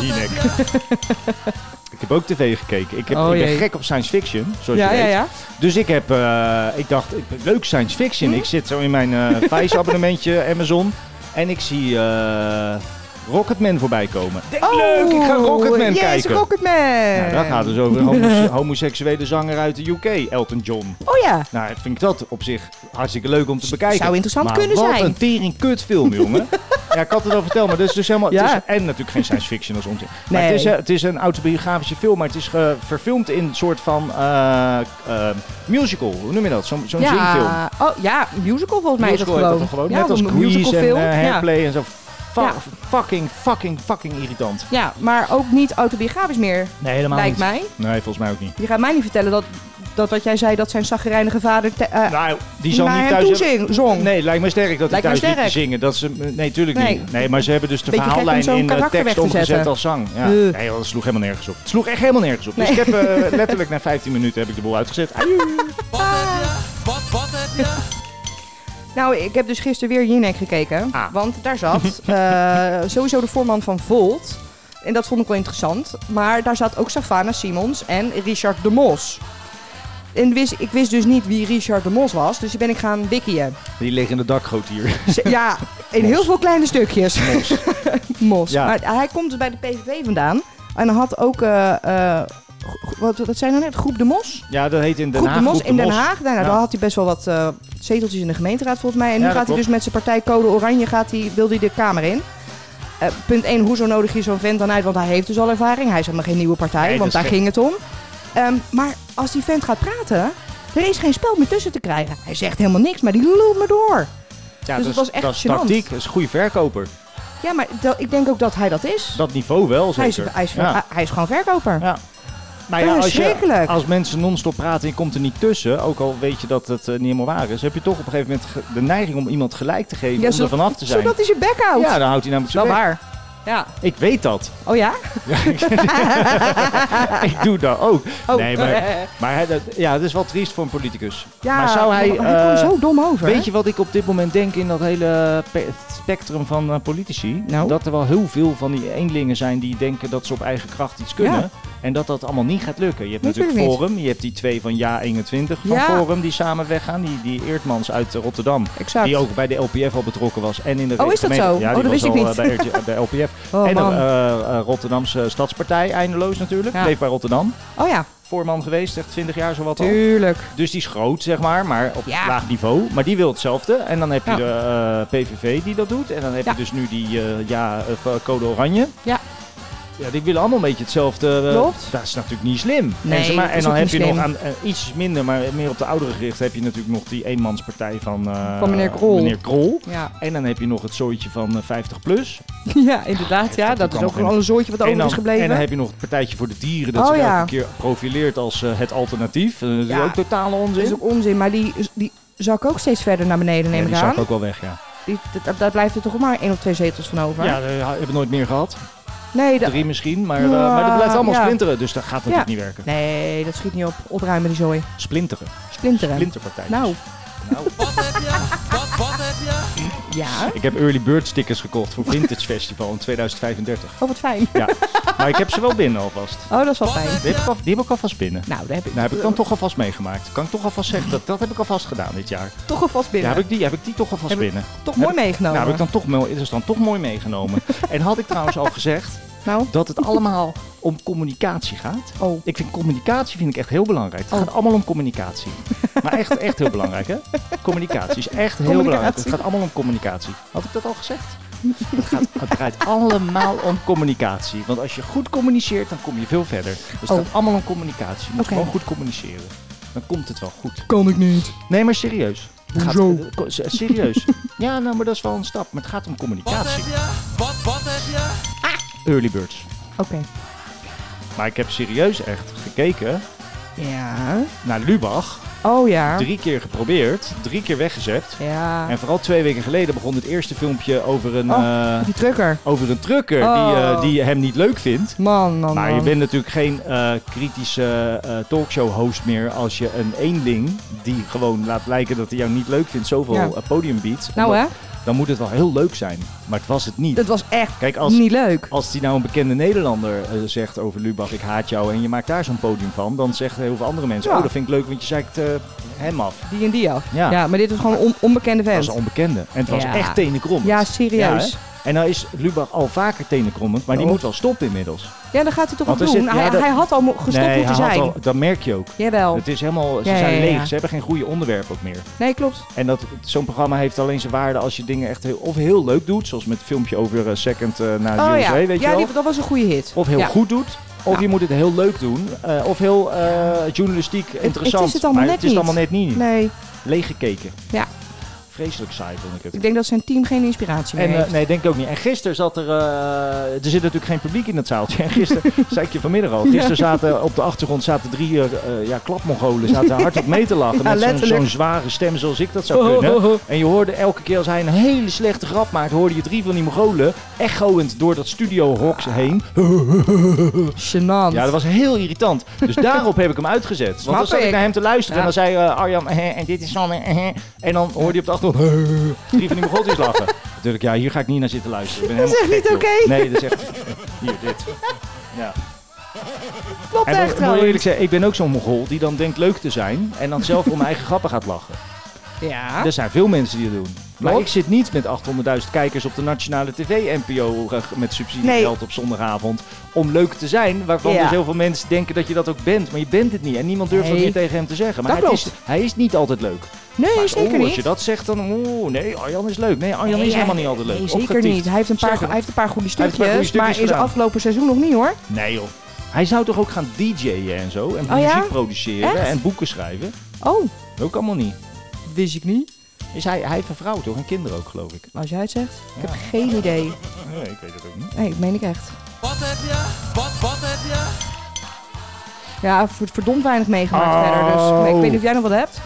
Speaker 2: Die nek. Ik heb ook tv gekeken. Ik, heb,
Speaker 3: Oh,
Speaker 2: ik ben
Speaker 3: jee.
Speaker 2: gek op science fiction, zoals
Speaker 3: Ja,
Speaker 2: je
Speaker 3: ja,
Speaker 2: weet.
Speaker 3: ja.
Speaker 2: Dus ik heb, eh, ik dacht, ik- leuk science fiction. Ik zit zo in mijn
Speaker 3: [laughs]
Speaker 2: eh Vice abonnementje Amazon en ik zie eh, Rocketman voorbij komen. Ik denk, leuk, ik ga Rocketman
Speaker 3: yes,
Speaker 2: kijken.
Speaker 3: Oh, Rocketman.
Speaker 2: nou, daar gaat dus over een homo- [laughs] homoseksuele zanger uit de UK, Elton John.
Speaker 3: Oh ja.
Speaker 2: Nou, ik vind dat op zich hartstikke leuk om te bekijken.
Speaker 3: zou interessant
Speaker 2: maar
Speaker 3: kunnen
Speaker 2: wat
Speaker 3: zijn.
Speaker 2: een tering kut film,
Speaker 3: [laughs]
Speaker 2: jongen. ja, ik had het al verteld, maar dat is dus helemaal... het
Speaker 3: Ja.
Speaker 2: is- en natuurlijk geen science fiction als onzin. Maar
Speaker 3: Nee.
Speaker 2: het, is, eh, het is een autobiografische film, maar het is eh, verfilmd in een soort van eh, eh, musical. Hoe noem je dat? Zo'n zo'n zingfilm.
Speaker 3: ja. Oh ja, musical volgens mij
Speaker 2: musical
Speaker 3: is
Speaker 2: heet
Speaker 3: het
Speaker 2: dat toch
Speaker 3: gewoon.
Speaker 2: gewoon?
Speaker 3: Ja,
Speaker 2: Net als
Speaker 3: een
Speaker 2: Grease en
Speaker 3: musicalfilm,
Speaker 2: eh,
Speaker 3: ja.
Speaker 2: Hairplay en zo. Fa-
Speaker 3: Ja.
Speaker 2: Fucking, fucking, fucking irritant.
Speaker 3: Ja, maar ook niet autobiografisch meer,
Speaker 2: Nee, helemaal
Speaker 3: lijkt
Speaker 2: niet.
Speaker 3: mij.
Speaker 2: Nee, volgens mij ook niet.
Speaker 3: Je gaat mij niet vertellen dat, dat wat jij zei, dat zijn zagrijnige vader te, eh,
Speaker 2: Nou, die zal
Speaker 3: naar
Speaker 2: niet
Speaker 3: hem
Speaker 2: thuis
Speaker 3: toe
Speaker 2: hebben-
Speaker 3: zing, zong.
Speaker 2: Nee, lijkt me sterk dat
Speaker 3: Lijkt
Speaker 2: hij
Speaker 3: me
Speaker 2: thuis niet te
Speaker 3: sterk.
Speaker 2: zingen. Dat ze, nee, tuurlijk
Speaker 3: Nee.
Speaker 2: niet. Nee, maar ze hebben dus de
Speaker 3: Beetje gek om
Speaker 2: verhaallijn
Speaker 3: zo'n
Speaker 2: in eh,
Speaker 3: karakter weg
Speaker 2: tekst
Speaker 3: te
Speaker 2: omgezet
Speaker 3: zetten.
Speaker 2: als zang. Ja.
Speaker 3: Eh.
Speaker 2: Nee, joh, dat sloeg helemaal nergens op. Het sloeg echt helemaal nergens op. Dus
Speaker 3: Nee.
Speaker 2: ik heb eh, letterlijk na 15 minuten heb ik de boel uitgezet. Ai,
Speaker 3: Nou, ik heb dus gisteren weer Jinek gekeken.
Speaker 2: Ah.
Speaker 3: Want daar
Speaker 2: [laughs]
Speaker 3: zat eh, sowieso de voorman van Volt. En dat vond ik wel interessant. Maar daar zat ook Savannah Simons en Richard de Mos. En wist, ik wist dus niet wie Richard de Mos was. Dus die ben ik gaan wikiën.
Speaker 2: die liggen in de dakgoot hier.
Speaker 3: Ze- Ja, in heel veel kleine stukjes.
Speaker 2: Mos.
Speaker 3: [laughs] Mos.
Speaker 2: Ja.
Speaker 3: Maar hij komt dus bij de PVV vandaan. En hij had ook... eh, eh, gro- wat, wat zijn dat net? Groep de Mos?
Speaker 2: Ja, dat heet in Den
Speaker 3: Groep
Speaker 2: Haag.
Speaker 3: de Mos
Speaker 2: Groep de
Speaker 3: in Den
Speaker 2: Mos.
Speaker 3: Haag. Nou,
Speaker 2: Ja.
Speaker 3: Daar had hij best wel wat eh, zeteltjes in de gemeenteraad volgens mij. En nu
Speaker 2: Ja, dat
Speaker 3: gaat hij
Speaker 2: klopt.
Speaker 3: dus met zijn partij Code Oranje gaat hij, wil hij de Kamer in. Eh, punt 1, hoezo nodig je zo'n vent dan uit? Want hij heeft dus al ervaring. Hij is helemaal geen nieuwe partij,
Speaker 2: Nee, dat
Speaker 3: want
Speaker 2: is
Speaker 3: daar
Speaker 2: geen-
Speaker 3: ging het om. Ehm, maar als die vent gaat praten, er is geen spel meer tussen te krijgen. Hij zegt helemaal niks, maar die lult maar door.
Speaker 2: Ja, dat
Speaker 3: Dus het
Speaker 2: is-
Speaker 3: was echt
Speaker 2: Dat is
Speaker 3: gênant.
Speaker 2: tactiek. Dat is een goede verkoper.
Speaker 3: Ja, maar dat- ik denk ook dat hij dat is.
Speaker 2: Dat niveau wel, zeker.
Speaker 3: hij, is hij, is,
Speaker 2: Ja.
Speaker 3: hij is gewoon verkoper.
Speaker 2: Ja. Nou ja, als, je,
Speaker 3: Verschrikkelijk.
Speaker 2: als mensen non-stop praten en je komt er niet tussen, ook al weet je dat het eh, niet helemaal waar is, heb je toch op een gegeven moment ge- de neiging om iemand gelijk te geven
Speaker 3: Ja,
Speaker 2: om er vanaf te zijn.
Speaker 3: Zodat hij zijn bek houdt.
Speaker 2: Ja, dan houdt hij namelijk
Speaker 3: wel
Speaker 2: zijn bek.
Speaker 3: waar. Ja.
Speaker 2: Ik weet dat.
Speaker 3: Oh ja?
Speaker 2: [laughs] Ik doe dat ook.
Speaker 3: Oh.
Speaker 2: Nee, maar, maar hij- dat, ja, dat is wel triest voor een politicus.
Speaker 3: [laughs] Ja,
Speaker 2: maar zou hij...
Speaker 3: maar hij
Speaker 2: eh,
Speaker 3: kwam zo dom over.
Speaker 2: weet je wat ik op dit moment denk in dat hele pe- spectrum van eh, politici?
Speaker 3: Nou?
Speaker 2: Dat er wel heel veel van die eenlingen zijn die denken dat ze op eigen kracht iets kunnen.
Speaker 3: Ja.
Speaker 2: En dat dat allemaal niet gaat lukken. Je hebt
Speaker 3: Natuurlijk
Speaker 2: natuurlijk Forum, je hebt die twee van Ja21 van
Speaker 3: Ja.
Speaker 2: Forum die samen weggaan. Die, die Eertmans uit eh, Rotterdam.
Speaker 3: Exact.
Speaker 2: Die ook bij de LPF al betrokken was. En in de
Speaker 3: Oh, is dat
Speaker 2: gemeente-
Speaker 3: zo?
Speaker 2: Ja,
Speaker 3: Oh,
Speaker 2: die
Speaker 3: dat
Speaker 2: was
Speaker 3: wist ik
Speaker 2: al,
Speaker 3: niet.
Speaker 2: eh, bij RT- bij LPF.
Speaker 3: [laughs] Oh,
Speaker 2: en de
Speaker 3: man.
Speaker 2: eh, eh, Rotterdamse Stadspartij, eindeloos natuurlijk.
Speaker 3: Ja.
Speaker 2: Leef bij Rotterdam.
Speaker 3: Oh ja,
Speaker 2: Voorman geweest, echt 20 jaar zowat al.
Speaker 3: tuurlijk.
Speaker 2: Dus die is groot, zeg maar, maar op
Speaker 3: Ja.
Speaker 2: laag niveau. Maar die wil hetzelfde. En dan heb je
Speaker 3: Ja.
Speaker 2: de eh, PVV die dat doet. En dan heb
Speaker 3: Ja.
Speaker 2: je dus nu die eh, ja, eh, Code Oranje.
Speaker 3: Ja.
Speaker 2: Ja, die willen allemaal een beetje hetzelfde. eh,
Speaker 3: Klopt.
Speaker 2: Dat is natuurlijk niet slim.
Speaker 3: Nee,
Speaker 2: en, zeg maar,
Speaker 3: is
Speaker 2: en dan
Speaker 3: ook
Speaker 2: heb
Speaker 3: niet
Speaker 2: je
Speaker 3: slim.
Speaker 2: nog aan, eh, iets minder, maar meer op de oudere gericht, heb je natuurlijk nog die eenmanspartij van, eh,
Speaker 3: Van meneer Krol.
Speaker 2: meneer Krol.
Speaker 3: Ja,
Speaker 2: En dan heb je nog het zooitje van eh, 50 plus.
Speaker 3: [laughs] ja inderdaad. Ja,
Speaker 2: dat
Speaker 3: dat
Speaker 2: kan
Speaker 3: is ook
Speaker 2: nog
Speaker 3: gewoon
Speaker 2: in.
Speaker 3: een zooitje wat
Speaker 2: en,
Speaker 3: over
Speaker 2: dan,
Speaker 3: is gebleven.
Speaker 2: en dan heb je nog het partijtje voor de dieren dat
Speaker 3: Oh,
Speaker 2: zich
Speaker 3: ja.
Speaker 2: elke keer profileert als eh, het alternatief. Eh, dat is
Speaker 3: Ja.
Speaker 2: ook totale onzin.
Speaker 3: dat is ook onzin, maar die, die zak ook steeds verder naar beneden,
Speaker 2: Ja,
Speaker 3: neem
Speaker 2: die
Speaker 3: ik
Speaker 2: zak
Speaker 3: aan.
Speaker 2: ook wel weg, ja.
Speaker 3: Die, dat- daar blijft er toch maar één of twee zetels van over.
Speaker 2: Ja, dat hebben we nooit meer gehad.
Speaker 3: Nee, dat,
Speaker 2: Drie misschien, maar,
Speaker 3: Ja,
Speaker 2: eh, maar dat blijft allemaal
Speaker 3: ja.
Speaker 2: splinteren. Dus dat gaat natuurlijk niet werken.
Speaker 3: nee, dat schiet niet op. Opruimen die zooi.
Speaker 2: Splinteren.
Speaker 3: Splinteren.
Speaker 2: Splinterpartij.
Speaker 3: Nou,
Speaker 2: Nou.
Speaker 3: ja.
Speaker 2: Ik heb early bird stickers gekocht voor Vintage Festival in 2035.
Speaker 3: Oh, wat fijn.
Speaker 2: Ja, maar ik heb ze wel binnen alvast.
Speaker 3: Oh, dat is wel fijn.
Speaker 2: Die heb ik, al, die heb ik alvast binnen.
Speaker 3: Nou, daar heb ik
Speaker 2: Nou, heb ik dan toch alvast meegemaakt. Kan ik toch alvast zeggen, dat, dat heb ik alvast gedaan dit jaar.
Speaker 3: toch alvast binnen.
Speaker 2: Ja, heb ik die, heb ik die toch alvast
Speaker 3: Heb ik-
Speaker 2: binnen.
Speaker 3: toch mooi
Speaker 2: heb
Speaker 3: meegenomen.
Speaker 2: Nou, heb ik dan toch, mooi- is dan toch mooi
Speaker 3: [laughs]
Speaker 2: meegenomen. en had ik trouwens al gezegd
Speaker 3: Nou,
Speaker 2: dat het allemaal om communicatie gaat.
Speaker 3: oh.
Speaker 2: Ik vind communicatie vind ik echt heel belangrijk. Het gaat allemaal om communicatie. Maar echt, echt heel belangrijk, hè? Communicatie is echt heel belangrijk. Het gaat allemaal om communicatie. Had ik dat al gezegd? Het, gaat, het
Speaker 3: [laughs]
Speaker 2: draait allemaal om communicatie. Want als je goed communiceert, dan kom je veel verder. Dus het
Speaker 3: Oh.
Speaker 2: gaat allemaal om communicatie. Je moet
Speaker 3: Oké.
Speaker 2: gewoon goed communiceren. Dan komt het wel goed.
Speaker 3: Kan ik niet.
Speaker 2: Nee, maar serieus. Het gaat-
Speaker 3: Hoezo?
Speaker 2: eh, ko- se- serieus. [laughs] ja, nou, maar dat is wel een stap. Maar het gaat om communicatie. Early birds.
Speaker 3: Oké.
Speaker 2: Maar ik heb serieus echt gekeken
Speaker 3: Ja.
Speaker 2: naar Lubach.
Speaker 3: Oh ja.
Speaker 2: Drie keer geprobeerd, drie keer weggezet.
Speaker 3: Ja.
Speaker 2: En vooral twee weken geleden begon het eerste filmpje over een,
Speaker 3: Oh.
Speaker 2: eh,
Speaker 3: Die trucker.
Speaker 2: over een trucker
Speaker 3: Oh.
Speaker 2: die, eh, die hem niet leuk vindt.
Speaker 3: Man, man,
Speaker 2: Maar je
Speaker 3: man.
Speaker 2: bent natuurlijk geen eh, kritische eh, talkshow-host meer als je een eenling die gewoon laat lijken dat hij jou niet leuk vindt, zoveel
Speaker 3: Ja.
Speaker 2: eh, podium biedt.
Speaker 3: Nou
Speaker 2: Omdat-
Speaker 3: hè?
Speaker 2: dan moet het wel heel leuk zijn. Maar het was het niet.
Speaker 3: Dat was echt
Speaker 2: Kijk, als-
Speaker 3: niet leuk.
Speaker 2: Als die nou een bekende Nederlander eh, zegt over Lubach, ik haat jou en je maakt daar zo'n podium van, dan zeggen heel veel andere mensen,
Speaker 3: Ja.
Speaker 2: oh dat vind ik leuk, want je zeikt eh, hem af.
Speaker 3: Die en die af.
Speaker 2: Ja.
Speaker 3: Ja, maar dit was gewoon een on- onbekende
Speaker 2: Dat was
Speaker 3: vent.
Speaker 2: een onbekende. En het was
Speaker 3: Ja.
Speaker 2: echt tenenkrommend.
Speaker 3: Ja, serieus.
Speaker 2: Ja,
Speaker 3: Ja,
Speaker 2: hè? en nou is Lubach al vaker tenenkrommend, maar die
Speaker 3: Oh.
Speaker 2: moet wel stoppen inmiddels.
Speaker 3: dan gaat hij toch
Speaker 2: Want
Speaker 3: wat
Speaker 2: er
Speaker 3: doen.
Speaker 2: zit- ja,
Speaker 3: hij,
Speaker 2: dat-
Speaker 3: hij had al mo- gestopt
Speaker 2: nee,
Speaker 3: moeten
Speaker 2: hij had
Speaker 3: zijn.
Speaker 2: al- dat merk je ook.
Speaker 3: Jawel.
Speaker 2: Het is helemaal, ze
Speaker 3: Ja,
Speaker 2: zijn
Speaker 3: ja,
Speaker 2: leeg,
Speaker 3: ja.
Speaker 2: ze hebben geen goede onderwerpen ook meer.
Speaker 3: Nee, klopt.
Speaker 2: En dat, zo'n programma heeft alleen zijn waarde als je dingen echt heel, of heel leuk doet, zoals met het filmpje over eh, Second eh, naar de
Speaker 3: oh
Speaker 2: USA,
Speaker 3: ja,
Speaker 2: weet je
Speaker 3: ja
Speaker 2: wel.
Speaker 3: die, dat was een goede hit.
Speaker 2: Of heel
Speaker 3: Ja.
Speaker 2: goed doet, of
Speaker 3: Ja.
Speaker 2: je moet het heel leuk doen, eh, of heel eh, journalistiek interessant.
Speaker 3: het is het allemaal
Speaker 2: maar
Speaker 3: net
Speaker 2: het is
Speaker 3: niet.
Speaker 2: allemaal net niet.
Speaker 3: Nee,
Speaker 2: Leeggekeken.
Speaker 3: Ja.
Speaker 2: Vreselijk saai vond ik het.
Speaker 3: ik denk dat zijn team geen inspiratie meer
Speaker 2: En, eh,
Speaker 3: heeft.
Speaker 2: nee, denk ik ook niet. En gisteren zat er... eh, er zit natuurlijk geen publiek in dat zaaltje. En
Speaker 3: [laughs]
Speaker 2: gisteren, zei ik je vanmiddag al, gisteren zaten op de achtergrond zaten drie eh, eh, ja, klapmongolen zaten hard op mee te lachen.
Speaker 3: Ja,
Speaker 2: met zo'n-
Speaker 3: letterlijk. Oh,
Speaker 2: zo'n zware stem zoals ik dat zou kunnen. En je hoorde elke keer als hij een hele slechte grap maakt, hoorde je drie van die mongolen echoend door dat studiohok
Speaker 3: Ah.
Speaker 2: heen.
Speaker 3: Gênant.
Speaker 2: Ja, dat was heel irritant.
Speaker 3: [laughs]
Speaker 2: Dus daarop heb ik hem uitgezet. Want dan
Speaker 3: Snap
Speaker 2: zat ik
Speaker 3: ik.
Speaker 2: naar hem te luisteren en
Speaker 3: Ja.
Speaker 2: dan zei eh, Arjan, "Hè, en dit is Sanne, hè." En dan hoorde je op de achtergrond, "Hè." drie van die mogotjes lachen. Natuurlijk, ja, hier ga ik niet naar zitten luisteren. Ik ben
Speaker 3: Dat is
Speaker 2: helemaal
Speaker 3: echt
Speaker 2: gek,
Speaker 3: niet
Speaker 2: joh.
Speaker 3: oké.
Speaker 2: Nee, dat is echt, hier, dit. Ja.
Speaker 3: Klopt
Speaker 2: En
Speaker 3: echt
Speaker 2: ik moet
Speaker 3: trouwens.
Speaker 2: eerlijk zeggen, ik ben ook zo'n mogol die dan denkt leuk te zijn en dan zelf om mijn eigen grappen gaat lachen.
Speaker 3: Ja.
Speaker 2: Er zijn veel mensen die dat doen. Maar
Speaker 3: Ah. Klopt.
Speaker 2: ik zit niet met 800.000 kijkers op de nationale tv-NPO met subsidiegeld op zondagavond. Om leuk te zijn, waarvan
Speaker 3: Ja.
Speaker 2: dus heel veel mensen denken dat je dat ook bent. Maar je bent het niet en niemand durft dat
Speaker 3: Nee.
Speaker 2: meer tegen hem te zeggen. Maar
Speaker 3: Dat
Speaker 2: hij, is,
Speaker 3: klopt.
Speaker 2: hij is niet altijd leuk.
Speaker 3: nee,
Speaker 2: maar
Speaker 3: zeker
Speaker 2: oeh, als
Speaker 3: niet.
Speaker 2: je dat zegt, dan oeh, nee, Arjan is leuk. Nee, Arjan
Speaker 3: Nee,
Speaker 2: Oh, is
Speaker 3: hij-
Speaker 2: helemaal niet altijd leuk.
Speaker 3: Nee, zeker
Speaker 2: Opgetiefd.
Speaker 3: niet. Hij heeft, een paar,
Speaker 2: Zeg
Speaker 3: hij
Speaker 2: het.
Speaker 3: heeft een paar goede
Speaker 2: Hij heeft een
Speaker 3: stukjes,
Speaker 2: paar goede
Speaker 3: maar
Speaker 2: stukjes
Speaker 3: in zijn
Speaker 2: gedaan.
Speaker 3: afgelopen seizoen nog niet hoor.
Speaker 2: Nee joh. Hij zou toch ook gaan DJ'en en zo? En
Speaker 3: Oh ja?
Speaker 2: muziek produceren
Speaker 3: Echt?
Speaker 2: en boeken schrijven?
Speaker 3: Oh,
Speaker 2: Ook allemaal niet.
Speaker 3: wist ik niet.
Speaker 2: Is hij, hij heeft een vrouw toch? En kinderen ook, geloof ik.
Speaker 3: Als jij het zegt. Ik
Speaker 2: Ja.
Speaker 3: heb geen idee.
Speaker 2: Nee, ik weet het ook niet.
Speaker 3: Nee, dat meen ik echt.
Speaker 5: Wat heb je? Wat, wat heb je?
Speaker 3: Ja, verd- verdomd weinig meegemaakt
Speaker 2: Oh.
Speaker 3: verder. Dus maar ik weet niet of jij nog wat hebt.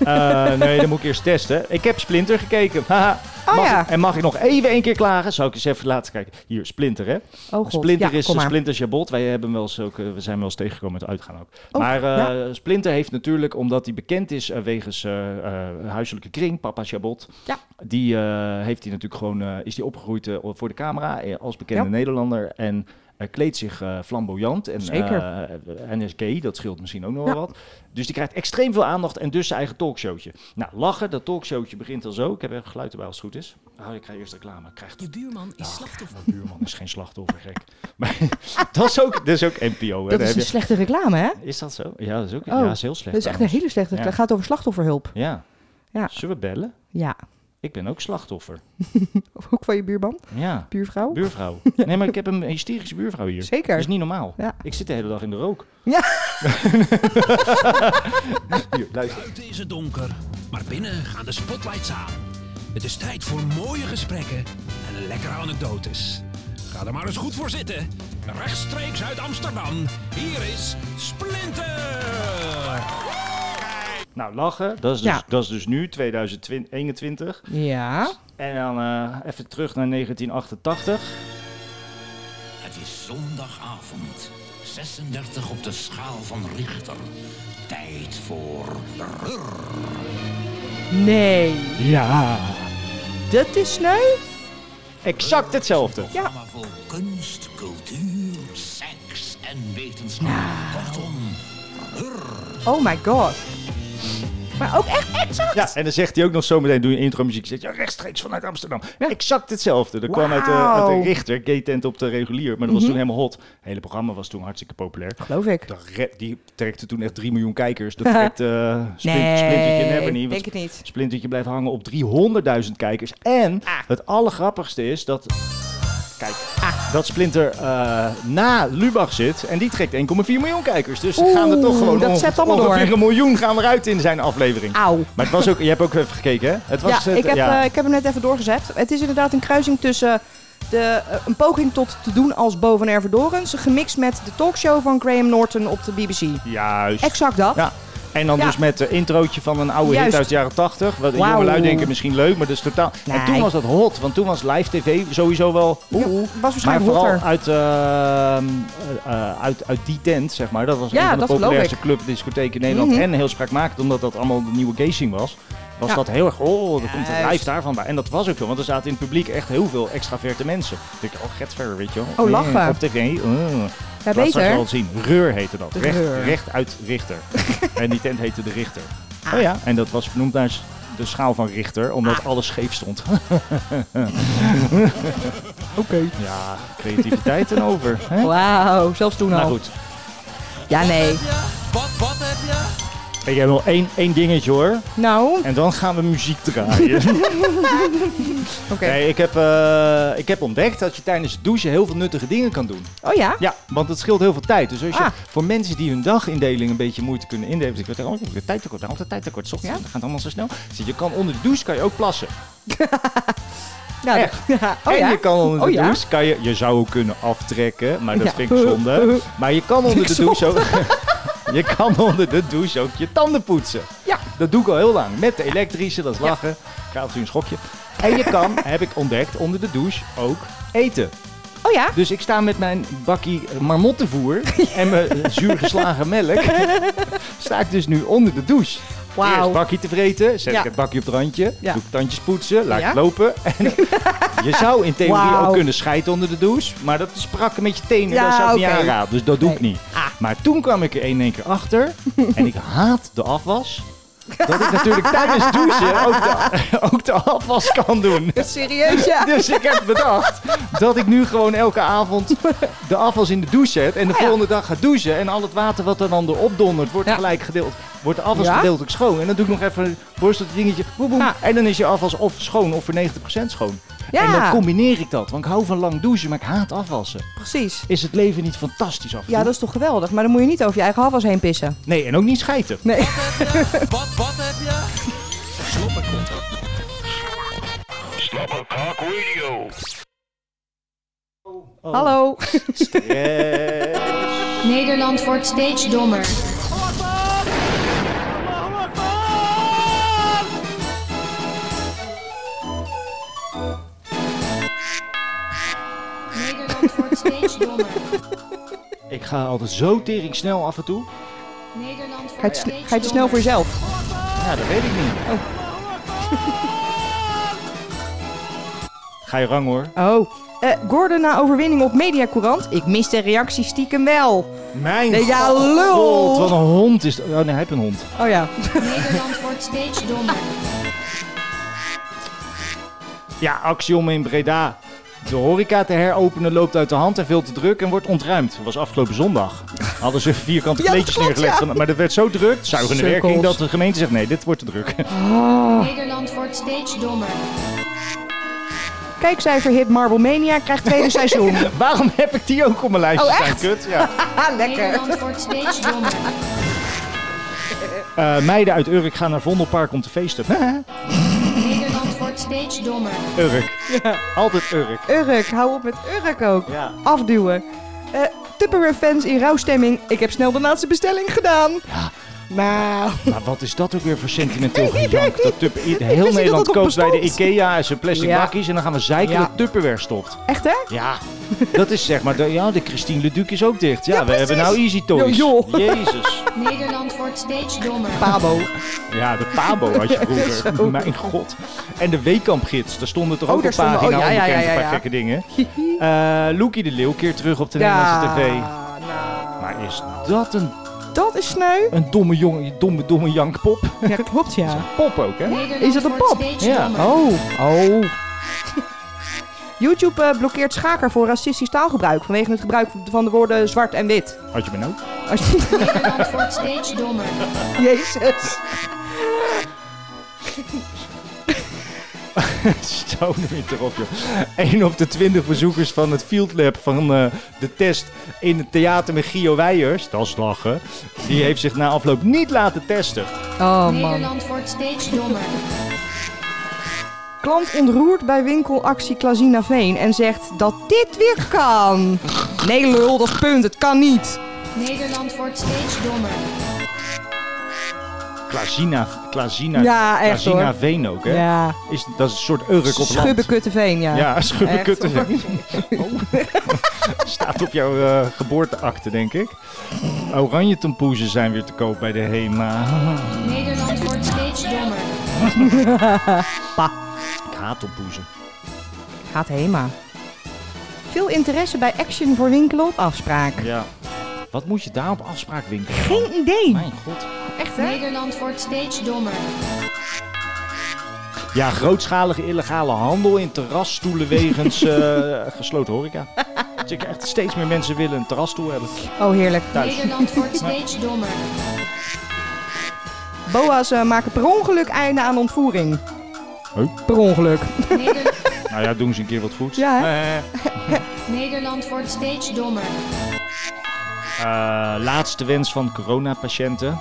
Speaker 3: Oh,
Speaker 2: Eh, nee, dan moet ik eerst testen. Ik heb Splinter gekeken. Haha.
Speaker 3: Oh
Speaker 2: Mag
Speaker 3: ja.
Speaker 2: ik- en mag ik nog even één keer klagen? Zou ik eens even laten kijken. Hier, Splinter, hè?
Speaker 3: Oh god.
Speaker 2: Splinter
Speaker 3: ja,
Speaker 2: is
Speaker 3: kom maar.
Speaker 2: Splinter Jabot. Wij hebben hem wel eens ook, eh, we zijn wel eens tegengekomen met uitgaan ook.
Speaker 3: Oh,
Speaker 2: maar eh, Splinter heeft natuurlijk, omdat hij bekend is eh, wegens eh, eh, huiselijke kring, papa Jabot.
Speaker 3: Ja.
Speaker 2: Die eh, heeft hij natuurlijk gewoon, eh, is die opgegroeid eh, voor de camera eh, als bekende
Speaker 3: Ja.
Speaker 2: Nederlander. En eh, kleedt zich eh, flamboyant en,
Speaker 3: Zeker.
Speaker 2: eh, en is gay, dat scheelt misschien ook nog
Speaker 3: Ja.
Speaker 2: wel wat. Dus die krijgt extreem veel aandacht en dus zijn eigen talkshowtje. Nou, lachen, dat talkshowtje begint al zo. Ik heb even geluid erbij als het goed is. Oh, ik ga eerst reclame. Krijgt
Speaker 4: Je buurman is slachtoffer.
Speaker 2: mijn buurman is geen slachtoffer, gek. [laughs] Maar dat is ook, dat is ook NPO. Hè?
Speaker 3: Dat
Speaker 2: Daar
Speaker 3: is
Speaker 2: heb
Speaker 3: een
Speaker 2: je-
Speaker 3: slechte reclame, hè?
Speaker 2: is dat zo? Ja, dat is ook
Speaker 3: Oh,
Speaker 2: ja, dat is heel slecht.
Speaker 3: Dat is echt een
Speaker 2: trouwens.
Speaker 3: hele slechte
Speaker 2: Ja.
Speaker 3: reclame. Het gaat over slachtofferhulp.
Speaker 2: Ja.
Speaker 3: Ja.
Speaker 2: Zullen we bellen?
Speaker 3: Ja.
Speaker 2: Ik ben ook slachtoffer.
Speaker 3: Ook van je buurman? [laughs]
Speaker 2: Ja.
Speaker 3: Buurvrouw? [laughs]
Speaker 2: Buurvrouw. Nee, maar ik heb een hysterische buurvrouw hier.
Speaker 3: Zeker.
Speaker 2: Dat is niet normaal.
Speaker 3: Ja.
Speaker 2: Ik zit de hele dag in de rook.
Speaker 3: Ja.
Speaker 2: hier, luister.
Speaker 8: Buiten is het donker, maar binnen gaan de spotlights aan. Het is tijd voor mooie gesprekken en lekkere anekdotes. Ga er maar eens goed voor zitten. Rechtstreeks uit Amsterdam, hier is Splinter!
Speaker 2: Nou, lachen. Dat is dus,
Speaker 3: Ja.
Speaker 2: dat is dus nu, 2021.
Speaker 3: Ja.
Speaker 2: En dan eh, even terug naar 1988.
Speaker 6: Het is zondagavond. 36 op de schaal van Richter. Tijd voor
Speaker 3: Nee.
Speaker 2: Ja.
Speaker 3: Dat is sneu?
Speaker 2: Exact hetzelfde.
Speaker 6: programma voor kunst, cultuur, seks en wetenschap. Kortom,
Speaker 3: Oh my god. Maar ook echt exact.
Speaker 2: Ja, en dan zegt hij ook nog zometeen, doe je intro-muziek, zegt ja, rechtstreeks vanuit Amsterdam. Exact hetzelfde. Dat kwam uit, de- uit
Speaker 3: Wauw. Mhm.
Speaker 2: de Richter, gay tent op de regulier, maar dat was toen helemaal hot. Het hele programma was toen hartstikke populair.
Speaker 3: Geloof ik.
Speaker 2: Dat re- die trekte toen echt 3 miljoen kijkers.
Speaker 3: [laughs]
Speaker 2: Dat trekt eh splint,
Speaker 3: Nee,
Speaker 2: Splintertje never niet. want
Speaker 3: denk het niet. Ah.
Speaker 2: Splintertje blijft hangen op 300.000 kijkers. En het allergrappigste is dat... Kijk, dat Splinter eh, na Lubach zit en die trekt 1,4 miljoen kijkers. Dus ze gaan er
Speaker 3: Oeh,
Speaker 2: toch gewoon
Speaker 3: dat
Speaker 2: onge-
Speaker 3: zet allemaal door.
Speaker 2: ongeveer een miljoen gaan eruit in zijn aflevering.
Speaker 3: Auw.
Speaker 2: Maar het was ook, je hebt ook even gekeken, hè? Het was
Speaker 3: ja,
Speaker 2: het,
Speaker 3: ik heb,
Speaker 2: ja.
Speaker 3: eh, ik heb hem net even doorgezet. Het is inderdaad een kruising tussen de, eh, een poging tot te doen als Bo van Ervedorens, gemixt met de talkshow van Graham Norton op de BBC.
Speaker 2: Juist.
Speaker 3: Exact dat.
Speaker 2: Ja. En dan
Speaker 3: Ja.
Speaker 2: dus met het introotje van een oude hit
Speaker 3: Juist.
Speaker 2: uit de jaren 80. Wat de
Speaker 3: Wauw.
Speaker 2: jongelui denken misschien leuk, maar dat is totaal... En
Speaker 3: Nee.
Speaker 2: toen was dat hot, want toen was live tv sowieso wel...
Speaker 3: Ja,
Speaker 2: oeh.
Speaker 3: was
Speaker 2: Maar
Speaker 3: waarschijnlijk
Speaker 2: vooral
Speaker 3: hotter.
Speaker 2: uit, eh, eh, eh, uit, uit die tent, zeg maar. Dat was
Speaker 3: Ja,
Speaker 2: een van
Speaker 3: dat
Speaker 2: de
Speaker 3: geloof
Speaker 2: populairste club, discotheek in Nederland.
Speaker 3: Mhm.
Speaker 2: En heel spraakmakend, omdat dat allemaal de nieuwe gay scene was. was
Speaker 3: Ja.
Speaker 2: dat heel erg, oh, er komt een
Speaker 3: Juist.
Speaker 2: live daarvan bij. En dat was ook zo, want er zaten in het publiek echt heel veel extraverte mensen. Ik dacht, oh, getver, weet je wel.
Speaker 3: Oh,
Speaker 2: Eh,
Speaker 3: lachen.
Speaker 2: Op tv, oh.
Speaker 3: Ja,
Speaker 2: Laat straks wel
Speaker 3: beter.
Speaker 2: eens zien. Reur heette dat.
Speaker 3: De
Speaker 2: Recht,
Speaker 3: Reur.
Speaker 2: recht uit Richter.
Speaker 3: [laughs]
Speaker 2: en die tent heette de Richter.
Speaker 3: Ah.
Speaker 2: Oh ja, en dat was vernoemd naar de schaal van Richter, omdat alles scheef stond.
Speaker 3: [laughs]
Speaker 2: [laughs]
Speaker 3: Oké.
Speaker 2: ja, creativiteit en over. Hè?
Speaker 3: Wauw, zelfs toen
Speaker 2: Nou
Speaker 3: al.
Speaker 2: goed,
Speaker 3: Ja, nee.
Speaker 2: ik heb nog één, één dingetje hoor.
Speaker 3: Nou,
Speaker 2: En dan gaan we muziek draaien.
Speaker 3: oké.
Speaker 2: nee, ik, heb, eh, ik heb ontdekt dat je tijdens het douchen heel veel nuttige dingen kan doen.
Speaker 3: Oh ja?
Speaker 2: Ja, want het scheelt heel veel tijd. Dus als je
Speaker 3: Ah.
Speaker 2: voor mensen die hun dagindeling een beetje moeite kunnen indelen. Dus ik weet, oh, ik heb weer tijd tekort, altijd tijd tekort. 's Ochtends,
Speaker 3: Ja?
Speaker 2: dan gaat het allemaal zo snel. Dus je kan onder de douche kan je ook plassen.
Speaker 3: Ja, dat-
Speaker 2: Echt.
Speaker 3: [laughs] Ja. Oh
Speaker 2: en
Speaker 3: ja?
Speaker 2: je kan onder de
Speaker 3: Oh ja?
Speaker 2: douche, kan je, je zou ook kunnen aftrekken, maar dat
Speaker 3: Ja.
Speaker 2: vind ik
Speaker 3: [laughs]
Speaker 2: zonde. Maar je kan onder de
Speaker 3: Vind ik
Speaker 2: douche ook, [laughs] je kan onder de douche ook je tanden poetsen.
Speaker 3: Ja.
Speaker 2: Dat doe ik al heel lang. Met de elektrische, dat is lachen. Gaat u een schokje. En je kan, [laughs] heb ik ontdekt, onder de douche ook eten.
Speaker 3: Oh ja?
Speaker 2: Dus ik sta met mijn bakkie marmottenvoer en
Speaker 3: [laughs]
Speaker 2: mijn zuurgeslagen melk. Sta ik dus nu onder de douche. Eerst
Speaker 3: Wauw.
Speaker 2: bakkie te vreten, zet
Speaker 3: Ja.
Speaker 2: ik het bakje op het randje,
Speaker 3: Ja.
Speaker 2: doe ik tandjes poetsen, laat ik
Speaker 3: Ja.
Speaker 2: het lopen. En je zou in theorie
Speaker 3: Wauw.
Speaker 2: ook kunnen scheiden onder de douche, maar dat is prakken met je tenen,
Speaker 3: Ja,
Speaker 2: dat zou ik niet
Speaker 3: oké.
Speaker 2: aanraden, dus dat doe ik
Speaker 3: Nee. Ah.
Speaker 2: niet. Maar toen kwam ik er in één keer achter en ik haat de afwas. Dat ik natuurlijk tijdens douchen ook de, [laughs] ook de afwas kan
Speaker 3: [laughs]
Speaker 2: doen.
Speaker 3: Serieus,
Speaker 2: [laughs]
Speaker 3: ja.
Speaker 2: Dus ik heb bedacht dat ik nu gewoon elke avond de afwas in de douche zet. En de
Speaker 3: ja.
Speaker 2: volgende dag ga douchen. En al het water wat er dan erop dondert, wordt
Speaker 3: Ja.
Speaker 2: gelijk gedeeld. Wordt de afwas
Speaker 3: Ja?
Speaker 2: gedeeltelijk schoon. En dan doe ik nog even een borsteltje dingetje. Boem, boem.
Speaker 3: Ja.
Speaker 2: En dan is je afwas of schoon of voor 90% schoon.
Speaker 3: Ja.
Speaker 2: En dan combineer ik dat. Want ik hou van lang douchen, maar ik haat afwassen.
Speaker 3: Precies.
Speaker 2: Is het leven niet fantastisch af en
Speaker 3: Ja,
Speaker 2: toe?
Speaker 3: dat is toch geweldig. Maar dan moet je niet over je eigen halfwas heen pissen.
Speaker 2: Nee, en ook niet schijten.
Speaker 3: Nee.
Speaker 2: Oh.
Speaker 3: [laughs] Hallo.
Speaker 7: Nederland wordt steeds dommer. Nederland wordt steeds dommer.
Speaker 2: Ik ga altijd zo tering snel af en toe.
Speaker 7: Nederland
Speaker 3: Ga je,
Speaker 7: wordt
Speaker 3: te,
Speaker 7: steeds
Speaker 3: sne-
Speaker 7: dommer.
Speaker 3: ga je te snel voor jezelf?
Speaker 2: Ja, dat weet ik niet.
Speaker 3: Oh.
Speaker 2: Ga je rang hoor.
Speaker 3: Oh. Eh, Gordon na overwinning op Mediacourant. Ik mis de reactie stiekem wel.
Speaker 2: Mijn
Speaker 3: Nee, ja, lul.
Speaker 2: god, wat een hond is dat. Oh nee, hij heeft een hond.
Speaker 3: Oh ja.
Speaker 7: Nederland wordt steeds dommer.
Speaker 2: Ja, Axiom in Breda. De horeca te heropenen loopt uit de hand en veel te druk en wordt ontruimd. Dat was afgelopen zondag. Hadden ze vierkante
Speaker 3: [laughs] Ja, dat
Speaker 2: kleedjes
Speaker 3: klopt,
Speaker 2: neergelegd.
Speaker 3: ja.
Speaker 2: Maar dat werd zo druk, zuigende
Speaker 3: Cirkels.
Speaker 2: werking, dat de gemeente zegt nee, dit wordt te druk. [laughs]
Speaker 3: Oh.
Speaker 7: Nederland wordt steeds dommer.
Speaker 3: Kijkcijfer hit Marble Mania krijgt [laughs] tweede seizoen.
Speaker 2: Waarom heb ik die ook op mijn lijstje
Speaker 3: Oh,
Speaker 2: staan,
Speaker 3: echt?
Speaker 2: kut? Ja.
Speaker 3: Ah, lekker.
Speaker 7: Nederland wordt steeds dommer.
Speaker 2: Eh, meiden uit Urk gaan naar Vondelpark om te feesten.
Speaker 7: Nederland wordt steeds dommer.
Speaker 2: [laughs] Urk. Altijd Urk.
Speaker 3: Urk, hou op met Urk ook.
Speaker 2: Ja.
Speaker 3: Afduwen. Eh Tupperware fans in rouwstemming. Ik heb snel de laatste bestelling gedaan. Nou.
Speaker 2: Maar wat is dat ook weer voor sentimenteel gejank? Dat tupper, i- heel
Speaker 3: dat dat
Speaker 2: Nederland
Speaker 3: nog
Speaker 2: koopt bij de
Speaker 3: bestond.
Speaker 2: Ikea en zijn plastic
Speaker 3: Ja.
Speaker 2: bakjes en dan gaan we zeiken
Speaker 3: Ja.
Speaker 2: dat Tupperware stopt.
Speaker 3: Echt hè?
Speaker 2: Ja, dat is zeg maar, de, ja, de Christine Leduc is ook dicht. Ja,
Speaker 3: Ja,
Speaker 2: we hebben nou
Speaker 3: precies.
Speaker 2: Easy Toys.
Speaker 3: Jo, joh.
Speaker 2: Jezus.
Speaker 7: Nederland wordt steeds dommer.
Speaker 3: Pabo.
Speaker 2: Ja, de Pabo had
Speaker 3: [laughs]
Speaker 2: je vroeger. Mijn god. En de Weekampgids, daar stonden toch
Speaker 3: Oh,
Speaker 2: ook een
Speaker 3: daar
Speaker 2: pagina
Speaker 3: stonden-
Speaker 2: onbekend,
Speaker 3: oh, ja, ja, ja,
Speaker 2: een paar
Speaker 3: ja.
Speaker 2: gekke
Speaker 3: [laughs]
Speaker 2: dingen. Eh Loekie de Leeuw keert terug op de Nederlandse tv. Maar is dat een,
Speaker 3: Nou. Dat is sneu.
Speaker 2: een domme, jong, domme, domme jankpop?
Speaker 3: Ja, klopt ja.
Speaker 2: Pop ook, hè?
Speaker 7: Nederland
Speaker 3: Is dat een
Speaker 7: wordt
Speaker 3: pop?
Speaker 7: steeds
Speaker 2: Ja.
Speaker 7: dommer.
Speaker 3: Oh. Oh. YouTube eh, blokkeert Schaker voor racistisch taalgebruik vanwege het gebruik van de woorden zwart en wit.
Speaker 2: Had je me nou?
Speaker 3: Als je- [laughs]
Speaker 7: Nederland wordt steeds dommer.
Speaker 3: Oh, Jezus.
Speaker 2: Zo niet erop, joh. 1 op de 20 bezoekers van het Field Lab van eh, de test in het theater met Gio Weijers, dat is lachen, die heeft zich na afloop niet laten testen.
Speaker 3: Oh man.
Speaker 7: Nederland wordt steeds dommer.
Speaker 3: Klant ontroerd bij winkelactie Klazina Veen en zegt dat dit weer kan. Nee lul, dat is punt. Het kan niet.
Speaker 7: Nederland wordt steeds dommer.
Speaker 2: Klazina, Klazina,
Speaker 3: Ja, echt,
Speaker 2: Klazina
Speaker 3: hoor.
Speaker 2: Veen ook, hè?
Speaker 3: Ja.
Speaker 2: Is, dat is een soort Urk op land.
Speaker 3: Schubbekutteveen, ja.
Speaker 2: Ja, [laughs] schubbekutten.
Speaker 3: Echt,
Speaker 2: Staat op jouw eh, geboorteakte, denk ik. Oranje tampoezen zijn weer te koop bij de HEMA.
Speaker 7: Nederland wordt steeds dommer.
Speaker 2: Ik haat tompoezen.
Speaker 3: [laughs] Gaat HEMA. Veel interesse bij Action voor winkelen op afspraak.
Speaker 2: Ja. Wat moet je daar op afspraak winkelen?
Speaker 3: Geen idee.
Speaker 2: Mijn god.
Speaker 3: Echt hè?
Speaker 7: Nederland wordt steeds dommer.
Speaker 2: Ja, grootschalige illegale handel in terrasstoelen wegens eh, [laughs] gesloten horeca. Dus ik echt steeds meer mensen willen een terrasstoel hebben
Speaker 3: Oh, heerlijk.
Speaker 2: thuis.
Speaker 7: Nederland wordt steeds dommer.
Speaker 3: Boa's eh, maken per ongeluk einde aan ontvoering.
Speaker 2: Huh?
Speaker 3: Per ongeluk.
Speaker 7: Neder-
Speaker 2: Nou ja, doen ze een keer wat goeds.
Speaker 3: Ja, hè?
Speaker 2: Eh,
Speaker 7: Nederland wordt steeds dommer.
Speaker 2: eh, laatste wens van coronapatiënten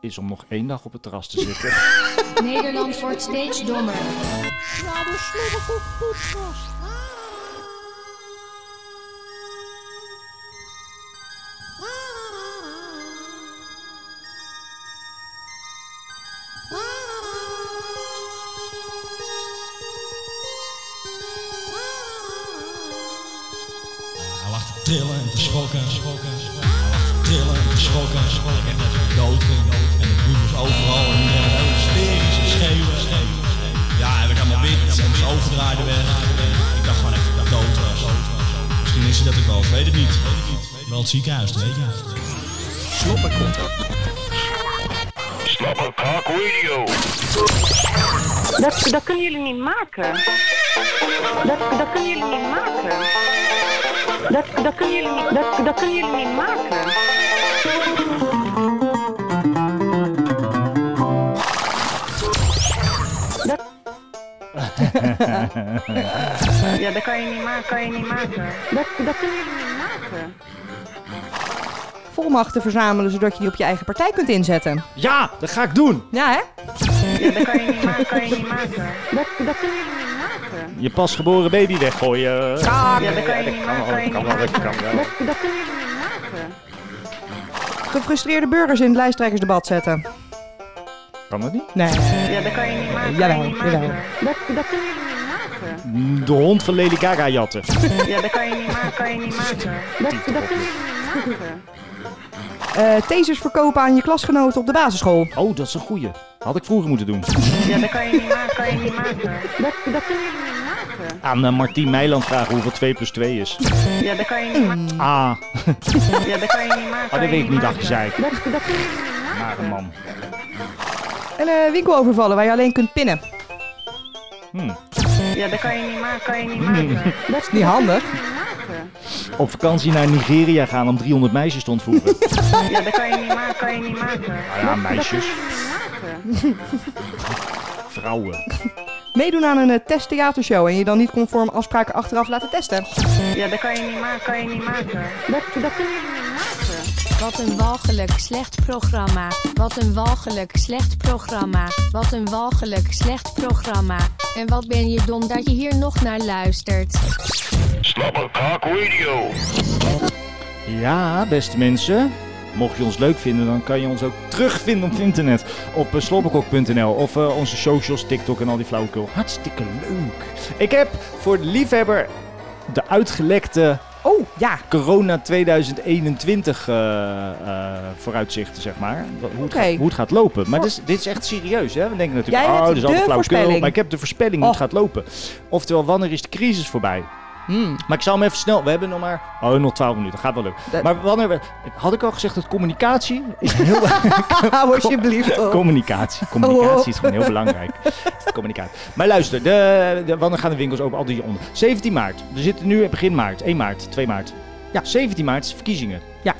Speaker 2: is om nog één dag op het terras te zitten.
Speaker 7: Nederland wordt steeds dommer.
Speaker 9: Hij lag te trillen en te schrokken. Hij lag te trillen en te schrokken. En dat is dood en dood. En de broeders overal. En iedereen had hysterisch en schreeuwen. Ja, hij werd allemaal wit. En was overdraaide weg. Ik dacht gewoon echt dat hij dood was. Misschien is hij dat ook wel. Ik weet het niet. Wel het ziekenhuis, dat weet je.
Speaker 10: Dat, dat kunnen jullie niet maken. Dat, dat kunnen jullie niet maken. Dat, dat, kunnen jullie niet, dat, dat kunnen jullie niet maken. Dat- Ja, dat kan je niet maken, kan je niet maken. Dat, dat kunnen jullie niet maken.
Speaker 3: Volmachten verzamelen zodat je die op je eigen partij kunt inzetten.
Speaker 2: [laughs] Ja, dat ga ik doen.
Speaker 3: Ja, hè?
Speaker 10: Ja, dat kan je niet maken, kan je niet maken. Dat, dat kunnen jullie niet maken.
Speaker 2: Je pasgeboren baby weggooien. Ja,
Speaker 10: Ja, dat kan je
Speaker 2: dat
Speaker 10: niet
Speaker 2: kan wel,
Speaker 10: maken, kan je
Speaker 2: dat kan
Speaker 10: niet
Speaker 2: wel, dat
Speaker 10: maken.
Speaker 2: kan wel.
Speaker 10: Dat, dat kunnen jullie niet maken.
Speaker 3: Gefrustreerde burgers in het lijsttrekkersdebat zetten.
Speaker 2: Kan dat niet?
Speaker 3: Nee.
Speaker 10: Ja, dat kan je niet maken.
Speaker 3: Jawel,
Speaker 10: kan je niet maken.
Speaker 3: jawel.
Speaker 10: Dat, dat kunnen jullie niet maken.
Speaker 2: De hond van Lady Gaga jatten.
Speaker 10: Ja, dat kan je niet maken. Kan je niet maken. Dat, dat kunnen jullie niet maken.
Speaker 3: Eh tasers verkopen aan je klasgenoten op de basisschool.
Speaker 2: Oh, dat is een goeie. Had ik vroeger moeten doen.
Speaker 10: Ja, dat kan je niet maken. Kan je niet maken. Dat, dat kunnen jullie niet maken.
Speaker 2: Aan eh, Martien Meiland vragen hoeveel 2 plus 2 is.
Speaker 10: Ja, dat kan je niet maken.
Speaker 2: Ah,
Speaker 10: Ja, dat kan je niet maken.
Speaker 2: ah dat weet ik niet, dacht je zei. ik.
Speaker 10: Dat, dat kunnen jullie niet maken.
Speaker 2: Nare man.
Speaker 3: En eh winkel overvallen waar je alleen kunt pinnen.
Speaker 10: Ja, dat kan je niet maken. Kan je niet maken. Dat
Speaker 3: Niet handig.
Speaker 10: niet maken.
Speaker 2: Op vakantie naar Nigeria gaan om 300 meisjes te ontvoeren.
Speaker 10: Ja, dat kan je niet maken. Kan je niet maken.
Speaker 2: Nou ja, meisjes,
Speaker 10: Maken.
Speaker 2: [laughs] vrouwen.
Speaker 3: Meedoen aan een eh, testtheatershow en je dan niet conform afspraken achteraf laten testen.
Speaker 2: [laughs]
Speaker 10: Ja, dat kan je niet maken. Kan je niet maken. Dat, dat kunnen jullie niet maken.
Speaker 7: Wat een walgelijk slecht programma. Wat een walgelijk slecht programma. Wat een walgelijk slecht programma. En wat ben je dom dat je hier nog naar luistert.
Speaker 2: Ja, beste mensen. Mocht je ons leuk vinden, dan kan je ons ook terugvinden op internet. Op eh, slobberkok.nl of eh, onze socials, TikTok en al die flauwekul. Hartstikke leuk. Ik heb voor de liefhebber de uitgelekte
Speaker 3: Oh, ja.
Speaker 2: corona 2021 eh, eh, vooruitzichten, zeg maar. Wat- Hoe het,
Speaker 3: Oké.
Speaker 2: gaat, hoe het gaat lopen. Maar dit is, dit is echt serieus, hè? We denken natuurlijk,
Speaker 3: Jij hebt
Speaker 2: oh, dit is
Speaker 3: de
Speaker 2: allemaal flauwekul.
Speaker 3: voorspelling.
Speaker 2: Maar ik heb de voorspelling hoe het
Speaker 3: Oh.
Speaker 2: gaat lopen. Oftewel, wanneer is de crisis voorbij?
Speaker 3: Hmm.
Speaker 2: Maar ik zal hem even snel. We hebben nog maar. Oh, nog 12 minuten. Gaat wel lukken.
Speaker 3: Dat-
Speaker 2: Maar wanneer. we- Had ik al gezegd dat communicatie. Is heel,
Speaker 3: Hou alsjeblieft op.
Speaker 2: communicatie. Communicatie is
Speaker 3: Oh.
Speaker 2: gewoon heel belangrijk. communicatie. Maar luister, de, de, wanneer gaan de winkels open? Al die onder. 17 maart. We zitten nu begin maart. 1 maart, 2 maart.
Speaker 3: Ja.
Speaker 2: 17 maart is verkiezingen.
Speaker 3: Ja.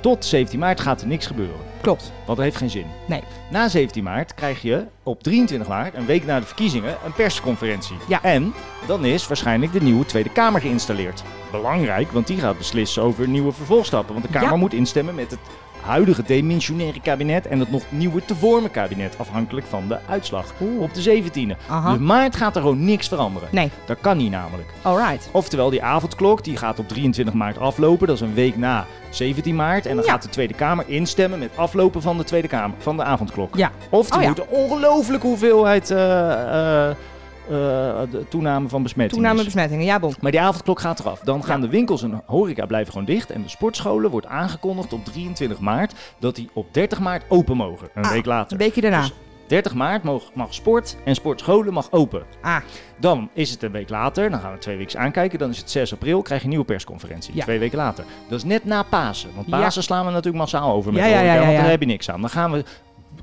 Speaker 2: Tot 17 maart gaat er niks gebeuren.
Speaker 3: Klopt.
Speaker 2: Want dat heeft geen zin.
Speaker 3: Nee.
Speaker 2: Na 17 maart krijg je op 23 maart, een week na de verkiezingen, een persconferentie.
Speaker 3: Ja.
Speaker 2: En dan is waarschijnlijk de nieuwe Tweede Kamer geïnstalleerd. Belangrijk, want die gaat beslissen over nieuwe vervolgstappen. Want de Kamer
Speaker 3: Ja.
Speaker 2: moet instemmen met het huidige demissionaire kabinet en het nog nieuwe te vormen kabinet, afhankelijk van de uitslag op de 17e.
Speaker 3: Aha.
Speaker 2: Dus maart gaat er gewoon niks veranderen.
Speaker 3: Nee.
Speaker 2: Dat kan niet namelijk.
Speaker 3: Alright.
Speaker 2: Oftewel, die avondklok die gaat op 23 maart aflopen. Dat is een week na 17 maart. En dan
Speaker 3: Ja.
Speaker 2: gaat de Tweede Kamer instemmen met aflopen van de Tweede Kamer, van de avondklok.
Speaker 3: Ja.
Speaker 2: Of er
Speaker 3: Oh ja.
Speaker 2: moet een ongelooflijke hoeveelheid eh, eh, eh, de toename van besmettingen. dus.
Speaker 3: Toename besmettingen. Ja, bon.
Speaker 2: maar die avondklok gaat eraf. Dan gaan de winkels en horeca blijven gewoon dicht. En de sportscholen wordt aangekondigd op 23 maart dat die op 30 maart open mogen. Een week later.
Speaker 3: Een beetje daarna.
Speaker 2: Dus 30 maart mag, mag sport en sportscholen mag open.
Speaker 3: Ah.
Speaker 2: Dan is het een week later, dan gaan we twee weken aankijken. Dan is het 6 april, krijg je een nieuwe persconferentie.
Speaker 3: Ja.
Speaker 2: Twee weken later. Dat is net na Pasen. Want
Speaker 3: Ja.
Speaker 2: Pasen slaan we natuurlijk massaal over met
Speaker 3: Ja,
Speaker 2: de
Speaker 3: ja,
Speaker 2: horeca,
Speaker 3: ja, ja,
Speaker 2: want
Speaker 3: ja.
Speaker 2: daar heb je niks aan. Dan gaan we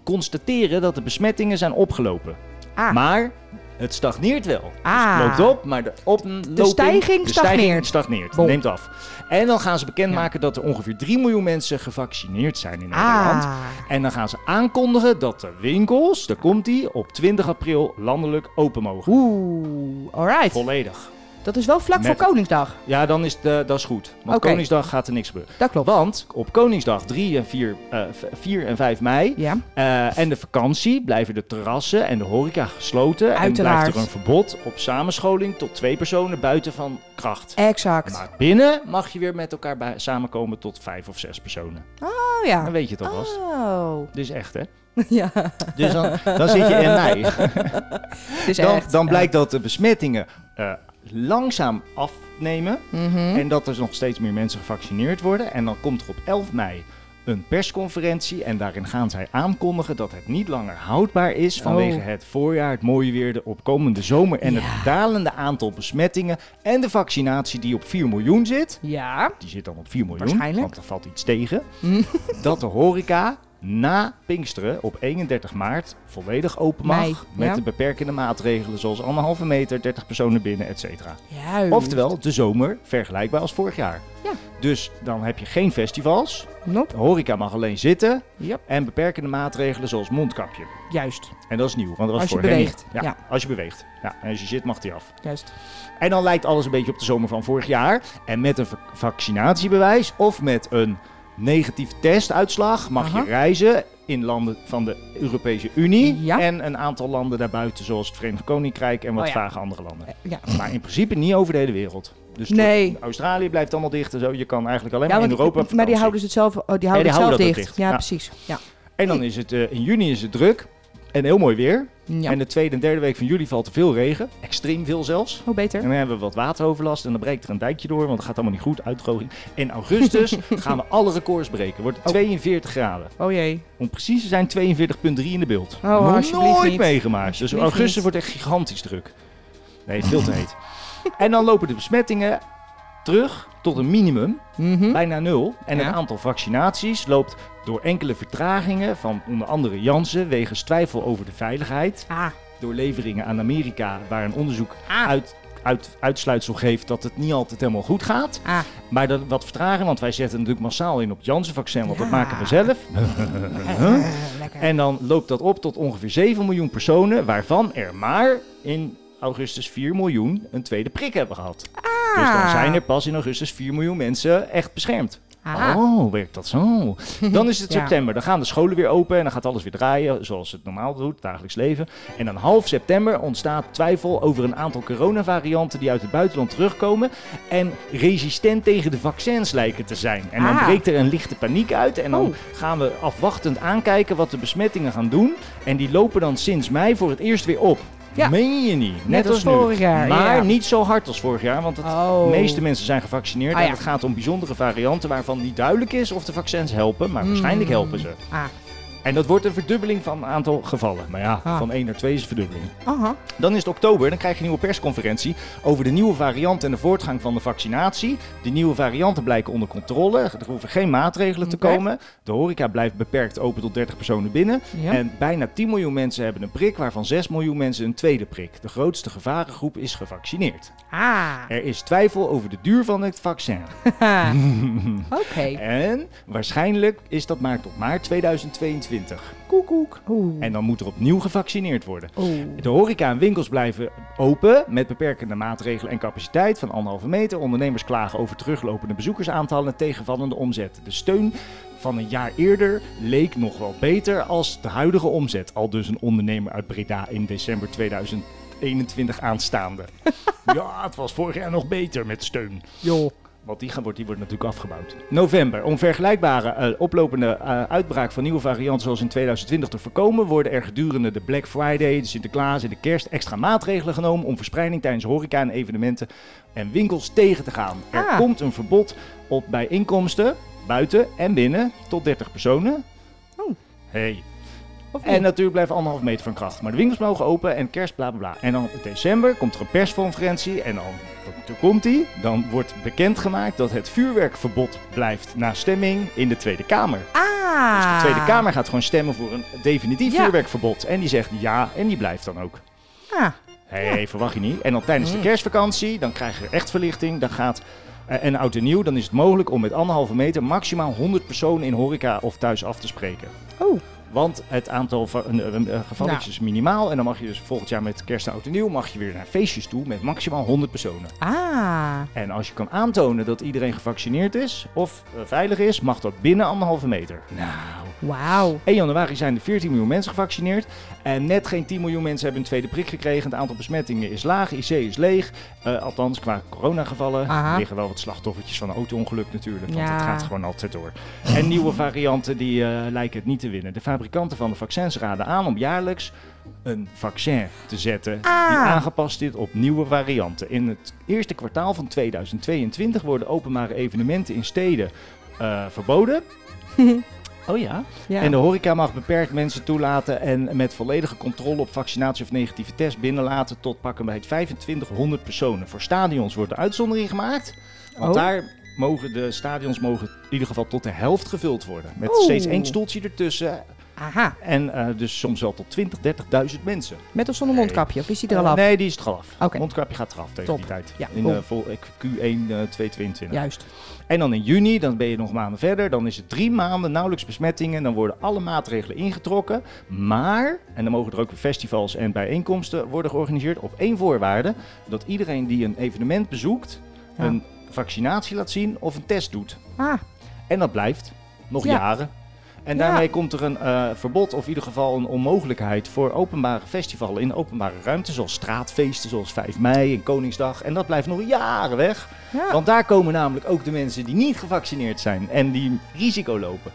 Speaker 2: constateren dat de besmettingen zijn opgelopen.
Speaker 3: Ah.
Speaker 2: Maar het stagneert wel.
Speaker 3: Ah.
Speaker 2: Dus het loopt op, maar de oploping...
Speaker 3: stijging
Speaker 2: de
Speaker 3: stagneert.
Speaker 2: stagneert,
Speaker 3: Bom.
Speaker 2: neemt af. En dan gaan ze bekendmaken dat er ongeveer 3 miljoen mensen gevaccineerd zijn in Nederland.
Speaker 3: Ah.
Speaker 2: En dan gaan ze aankondigen dat de winkels, daar komt die, op 20 april landelijk open mogen.
Speaker 3: Oeh, alright.
Speaker 2: Volledig.
Speaker 3: Dat is wel vlak
Speaker 2: Net-
Speaker 3: voor Koningsdag.
Speaker 2: Ja, dan is de, dat is goed. Want
Speaker 3: Oké.
Speaker 2: Koningsdag gaat er niks gebeuren.
Speaker 3: Dat klopt.
Speaker 2: Want op Koningsdag 3 en 4, eh, v- 4 en 5 mei
Speaker 3: Ja.
Speaker 2: eh, en de vakantie blijven de terrassen en de horeca gesloten. En
Speaker 3: Uiteraard.
Speaker 2: blijft er een verbod op samenscholing tot twee personen buiten van kracht.
Speaker 3: Exact.
Speaker 2: Maar binnen mag je weer met elkaar bij- samenkomen tot vijf of zes personen.
Speaker 3: Oh
Speaker 2: Dan
Speaker 3: ja.
Speaker 2: weet je het alvast.
Speaker 3: Oh.
Speaker 2: Dit is echt, hè?
Speaker 3: [laughs] Ja.
Speaker 2: Dus dan, dan zit je in mei.
Speaker 3: Het is
Speaker 2: Dan,
Speaker 3: echt.
Speaker 2: dan blijkt dat de besmettingen eh, langzaam afnemen.
Speaker 3: Mhm.
Speaker 2: En dat er nog steeds meer mensen gevaccineerd worden. En dan komt er op 11 mei een persconferentie. En daarin gaan zij aankondigen dat het niet langer houdbaar is. Vanwege
Speaker 3: Oh.
Speaker 2: het voorjaar, het mooie weer, de opkomende zomer. En het dalende aantal besmettingen. En de vaccinatie die op 4 miljoen zit.
Speaker 3: Ja.
Speaker 2: Die zit dan op 4 miljoen.
Speaker 3: Waarschijnlijk. Hmm.
Speaker 2: Want er valt iets tegen. [laughs] dat de horeca na Pinksteren op 31 maart volledig open mag.
Speaker 3: Mei,
Speaker 2: met
Speaker 3: ja.
Speaker 2: de beperkende maatregelen zoals anderhalve meter, 30 personen binnen, et cetera.
Speaker 3: Juist.
Speaker 2: Oftewel, de zomer vergelijkbaar als vorig jaar.
Speaker 3: Ja.
Speaker 2: Dus dan heb je geen festivals.
Speaker 3: Nope.
Speaker 2: De horeca mag alleen zitten.
Speaker 3: Yep.
Speaker 2: En beperkende maatregelen zoals mondkapje.
Speaker 3: Juist.
Speaker 2: En dat is nieuw, want dat was
Speaker 3: Als je
Speaker 2: vorig jaar niet.
Speaker 3: beweegt, ja.
Speaker 2: Als je beweegt. Ja, en als je zit mag die af.
Speaker 3: Juist.
Speaker 2: En dan lijkt alles een beetje op de zomer van vorig jaar. En met een vac- vaccinatiebewijs of met een negatief testuitslag mag
Speaker 3: Aha.
Speaker 2: je reizen in landen van de Europese Unie.
Speaker 3: Ja.
Speaker 2: En een aantal landen daarbuiten, zoals het Verenigd Koninkrijk en wat
Speaker 3: Oh ja.
Speaker 2: vage andere landen.
Speaker 3: Ja.
Speaker 2: Maar in principe niet over de hele wereld. Dus terug-
Speaker 3: Nee.
Speaker 2: Australië blijft allemaal dicht en zo. Je kan eigenlijk alleen
Speaker 3: Ja,
Speaker 2: maar in
Speaker 3: want
Speaker 2: Europa. op
Speaker 3: maar die
Speaker 2: vakantie.
Speaker 3: houden ze het zelf, oh, die
Speaker 2: die
Speaker 3: houden het zelf
Speaker 2: houden dat ook
Speaker 3: dicht.
Speaker 2: dicht.
Speaker 3: Ja,
Speaker 2: Ja.
Speaker 3: precies. Ja.
Speaker 2: En dan is het eh, in juni is het druk en heel mooi weer.
Speaker 3: ja.
Speaker 2: En de tweede en derde week van juli valt er veel regen. Extreem veel zelfs.
Speaker 3: Hoe Oh, beter?
Speaker 2: En dan hebben we wat wateroverlast en dan breekt er een dijkje door, want het gaat allemaal niet goed, uitdroging. In
Speaker 3: [laughs]
Speaker 2: augustus gaan we alle records breken. Wordt het 42 graden.
Speaker 3: Oh jee.
Speaker 2: Om precies te zijn 42,3 in de beeld.
Speaker 3: Oh,
Speaker 2: Nog
Speaker 3: alsjeblieft
Speaker 2: nooit
Speaker 3: niet.
Speaker 2: meegemaakt. Dus
Speaker 3: Alsjeblieft
Speaker 2: augustus
Speaker 3: niet.
Speaker 2: wordt echt gigantisch druk. Nee, veel te heet. en dan lopen de besmettingen terug tot een minimum,
Speaker 3: Mhm.
Speaker 2: bijna nul. En
Speaker 3: Ja.
Speaker 2: het aantal vaccinaties loopt door enkele vertragingen van onder andere Janssen wegens twijfel over de veiligheid
Speaker 3: Ah.
Speaker 2: door leveringen aan Amerika, waar een onderzoek uit, uit, uitsluitsel geeft dat het niet altijd helemaal goed gaat.
Speaker 3: Ah.
Speaker 2: Maar dat wat vertragen, want wij zetten natuurlijk massaal in op het Janssen-vaccin, want
Speaker 3: Ja.
Speaker 2: dat maken we
Speaker 3: [laughs]
Speaker 2: zelf.
Speaker 3: Eh, lekker.
Speaker 2: En dan loopt dat op tot ongeveer 7 miljoen personen, waarvan er maar in augustus 4 miljoen een tweede prik hebben gehad. Dus dan zijn er pas in augustus 4 miljoen mensen echt beschermd.
Speaker 3: Ah.
Speaker 2: Oh, werkt dat zo? Dan is het
Speaker 3: [laughs] Ja.
Speaker 2: september. Dan gaan de scholen weer open en dan gaat alles weer draaien zoals het normaal doet, dagelijks leven. En dan half september ontstaat twijfel over een aantal coronavarianten die uit het buitenland terugkomen en resistent tegen de vaccins lijken te zijn. En dan
Speaker 3: Ah.
Speaker 2: breekt er een lichte paniek uit en dan
Speaker 3: Oh.
Speaker 2: gaan we afwachtend aankijken wat de besmettingen gaan doen. En die lopen dan sinds mei voor het eerst weer op.
Speaker 3: Ja.
Speaker 2: Meen je niet? Net,
Speaker 3: als
Speaker 2: nu.
Speaker 3: vorig jaar,
Speaker 2: Maar
Speaker 3: ja.
Speaker 2: niet zo hard als vorig jaar, want het
Speaker 3: Oh.
Speaker 2: de meeste mensen zijn gevaccineerd.
Speaker 3: Ah,
Speaker 2: en
Speaker 3: ja.
Speaker 2: het gaat om bijzondere varianten waarvan niet duidelijk is of de vaccins helpen, maar waarschijnlijk helpen ze.
Speaker 3: Ah.
Speaker 2: En dat wordt een verdubbeling van een aantal gevallen. Maar ja,
Speaker 3: Ah.
Speaker 2: van 1 naar 2 is een verdubbeling.
Speaker 3: Aha.
Speaker 2: Dan is het oktober, dan krijg je een nieuwe persconferentie over de nieuwe variant en de voortgang van de vaccinatie. De nieuwe varianten blijken onder controle, er hoeven geen maatregelen te
Speaker 3: Oké.
Speaker 2: komen. De horeca blijft beperkt open tot 30 personen binnen.
Speaker 3: Ja.
Speaker 2: En bijna 10 miljoen mensen hebben een prik, waarvan 6 miljoen mensen een tweede prik. De grootste gevarengroep is gevaccineerd. [laughs]
Speaker 3: Ah.
Speaker 2: Er is twijfel over de duur van het
Speaker 3: [laughs]
Speaker 2: vaccin.
Speaker 3: Oké.
Speaker 2: En waarschijnlijk is dat maar tot maart 2022.
Speaker 3: Koekoek. Oeh.
Speaker 2: En dan moet er opnieuw gevaccineerd worden.
Speaker 3: Oeh.
Speaker 2: De horeca en winkels blijven open met beperkende maatregelen en capaciteit van anderhalve meter. Ondernemers klagen over teruglopende bezoekersaantallen en tegenvallende omzet. De steun van een jaar eerder leek nog wel beter als de huidige omzet. Al dus een ondernemer uit Breda in december 2021 aanstaande. ja, het was vorig jaar nog beter met steun.
Speaker 3: Joh.
Speaker 2: Want die, gaan, wordt- die wordt natuurlijk afgebouwd. November. Om vergelijkbare eh, oplopende eh, uitbraak van nieuwe varianten zoals in 2020 te voorkomen, worden er gedurende de Black Friday, de Sinterklaas en de kerst extra maatregelen genomen om verspreiding tijdens horeca en evenementen en winkels tegen te gaan. Er
Speaker 3: Ah.
Speaker 2: komt een verbod op bijeenkomsten buiten en binnen tot 30 personen.
Speaker 3: Oh.
Speaker 2: Hey. En natuurlijk blijft anderhalf meter van kracht. Maar de winkels mogen open en kerst, bla bla bla. En dan in december komt er een persconferentie. En dan, toen komt die, dan wordt bekendgemaakt dat het vuurwerkverbod blijft na stemming in de Tweede Kamer.
Speaker 3: Ah.
Speaker 2: Dus de Tweede Kamer gaat gewoon stemmen voor een definitief
Speaker 3: Ja.
Speaker 2: vuurwerkverbod. En die zegt ja, en die blijft dan ook.
Speaker 3: Ah.
Speaker 2: Hé, hey, verwacht je niet. En dan tijdens de
Speaker 3: Mm.
Speaker 2: kerstvakantie, dan krijg je echt verlichting. Dan gaat eh, en oud en nieuw, dan is het mogelijk om met anderhalve meter maximaal 100 personen in horeca of thuis af te spreken.
Speaker 3: Oh.
Speaker 2: Want het aantal va- eh, eh, gevalletjes is minimaal. En dan mag je dus volgend jaar met kerst en oud en nieuw mag je weer naar feestjes toe met maximaal 100 personen.
Speaker 3: Ah.
Speaker 2: En als je kan aantonen dat iedereen gevaccineerd is of eh, veilig is, mag dat binnen anderhalve meter. Nou.
Speaker 3: Wauw.
Speaker 2: 1 januari zijn er 14 miljoen mensen gevaccineerd. En net geen 10 miljoen mensen hebben een tweede prik gekregen. Het aantal besmettingen is laag, IC is leeg. Eh, althans, qua coronagevallen
Speaker 3: Aha.
Speaker 2: Er liggen wel wat slachtoffertjes van een auto-ongeluk natuurlijk. Want
Speaker 3: Ja.
Speaker 2: het gaat gewoon altijd door. En nieuwe varianten die eh, lijken het niet te winnen. De fabrikanten van de vaccins raden aan om jaarlijks een vaccin te zetten die
Speaker 3: Ah.
Speaker 2: aangepast is op nieuwe varianten. In het eerste kwartaal van 2022 worden openbare evenementen in steden eh, verboden. oh ja.
Speaker 3: Ja.
Speaker 2: En de horeca mag beperkt mensen toelaten en met volledige controle op vaccinatie of negatieve test binnenlaten tot pakken bij het 2500 personen. Voor stadions wordt een uitzondering gemaakt, want
Speaker 3: Oh.
Speaker 2: daar mogen de stadions mogen in ieder geval tot de helft gevuld worden. Met
Speaker 3: Oeh.
Speaker 2: steeds één stoeltje ertussen
Speaker 3: Aha.
Speaker 2: en eh, dus soms wel tot 20, 30.000 mensen.
Speaker 3: Met of zonder mondkapje? Of is die er al
Speaker 2: Eh,
Speaker 3: af?
Speaker 2: Nee, die is het af.
Speaker 3: Oké.
Speaker 2: Mondkapje gaat eraf tegen
Speaker 3: Top.
Speaker 2: die tijd.
Speaker 3: Ja,
Speaker 2: In
Speaker 3: cool.
Speaker 2: eh, vol, eh, Q1 eh, 2022.
Speaker 3: Juist.
Speaker 2: En dan in juni, dan ben je nog maanden verder. Dan is het drie maanden nauwelijks besmettingen. Dan worden alle maatregelen ingetrokken. Maar, en dan mogen er ook weer festivals en bijeenkomsten worden georganiseerd. Op één voorwaarde: dat iedereen die een evenement bezoekt,
Speaker 3: Ja.
Speaker 2: een vaccinatie laat zien of een test doet.
Speaker 3: Ah.
Speaker 2: En dat blijft. Nog
Speaker 3: Ja.
Speaker 2: jaren. En
Speaker 3: Ja.
Speaker 2: daarmee komt er een eh, verbod of in ieder geval een onmogelijkheid voor openbare festivalen in openbare ruimten. Zoals straatfeesten, zoals 5 mei en Koningsdag. En dat blijft nog jaren weg.
Speaker 3: Ja.
Speaker 2: Want daar komen namelijk ook de mensen die niet gevaccineerd zijn en die risico lopen.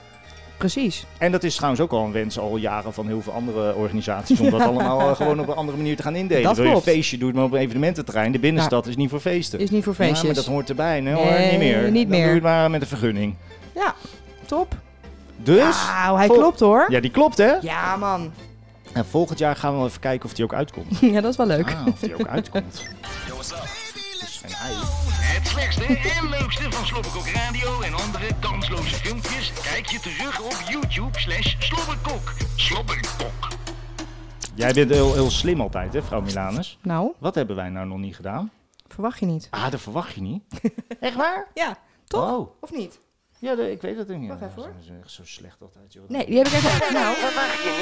Speaker 3: Precies.
Speaker 2: En dat is trouwens ook al een wens al jaren van heel veel andere organisaties om dat allemaal eh, gewoon op een andere manier te gaan indelen.
Speaker 3: Dat
Speaker 2: Wil je een
Speaker 3: klopt.
Speaker 2: feestje doen, maar op een evenemententerrein. De binnenstad is niet voor feesten.
Speaker 3: Is niet voor
Speaker 2: Ja,
Speaker 3: feestjes.
Speaker 2: maar dat hoort erbij. Nee, hoor,
Speaker 3: Nee,
Speaker 2: niet meer.
Speaker 3: niet
Speaker 2: Dan
Speaker 3: meer.
Speaker 2: doe je het maar met een vergunning.
Speaker 3: Ja. Top.
Speaker 2: Dus?
Speaker 3: Wauw, hij
Speaker 2: vol-
Speaker 3: klopt hoor.
Speaker 2: Ja, die klopt hè?
Speaker 3: Ja, man. [laughs]
Speaker 2: En volgend jaar gaan we even kijken of die ook uitkomt.
Speaker 3: Ja, dat is wel leuk.
Speaker 2: Ah, of die ook uitkomt. En hij.
Speaker 6: Het slechtste en leukste van Slobberkok Radio en andere kansloze filmpjes kijk je terug op YouTube slash Slobberkok. Slobberkok.
Speaker 2: Jij bent heel, heel slim altijd hè, vrouw Milanus.
Speaker 3: Nou,
Speaker 2: Wat hebben wij nou nog niet gedaan?
Speaker 3: verwacht je niet.
Speaker 2: Ah, dat verwacht je
Speaker 3: [laughs]
Speaker 2: niet. Echt waar?
Speaker 3: Ja, toch?
Speaker 2: Oh.
Speaker 3: Of niet?
Speaker 2: Ja, de- ik weet dat niet.
Speaker 3: Wacht
Speaker 2: Ja,
Speaker 3: even, hoor.
Speaker 2: Dat is echt zo slecht altijd, joh.
Speaker 3: Nee, die heb ik even... Nou,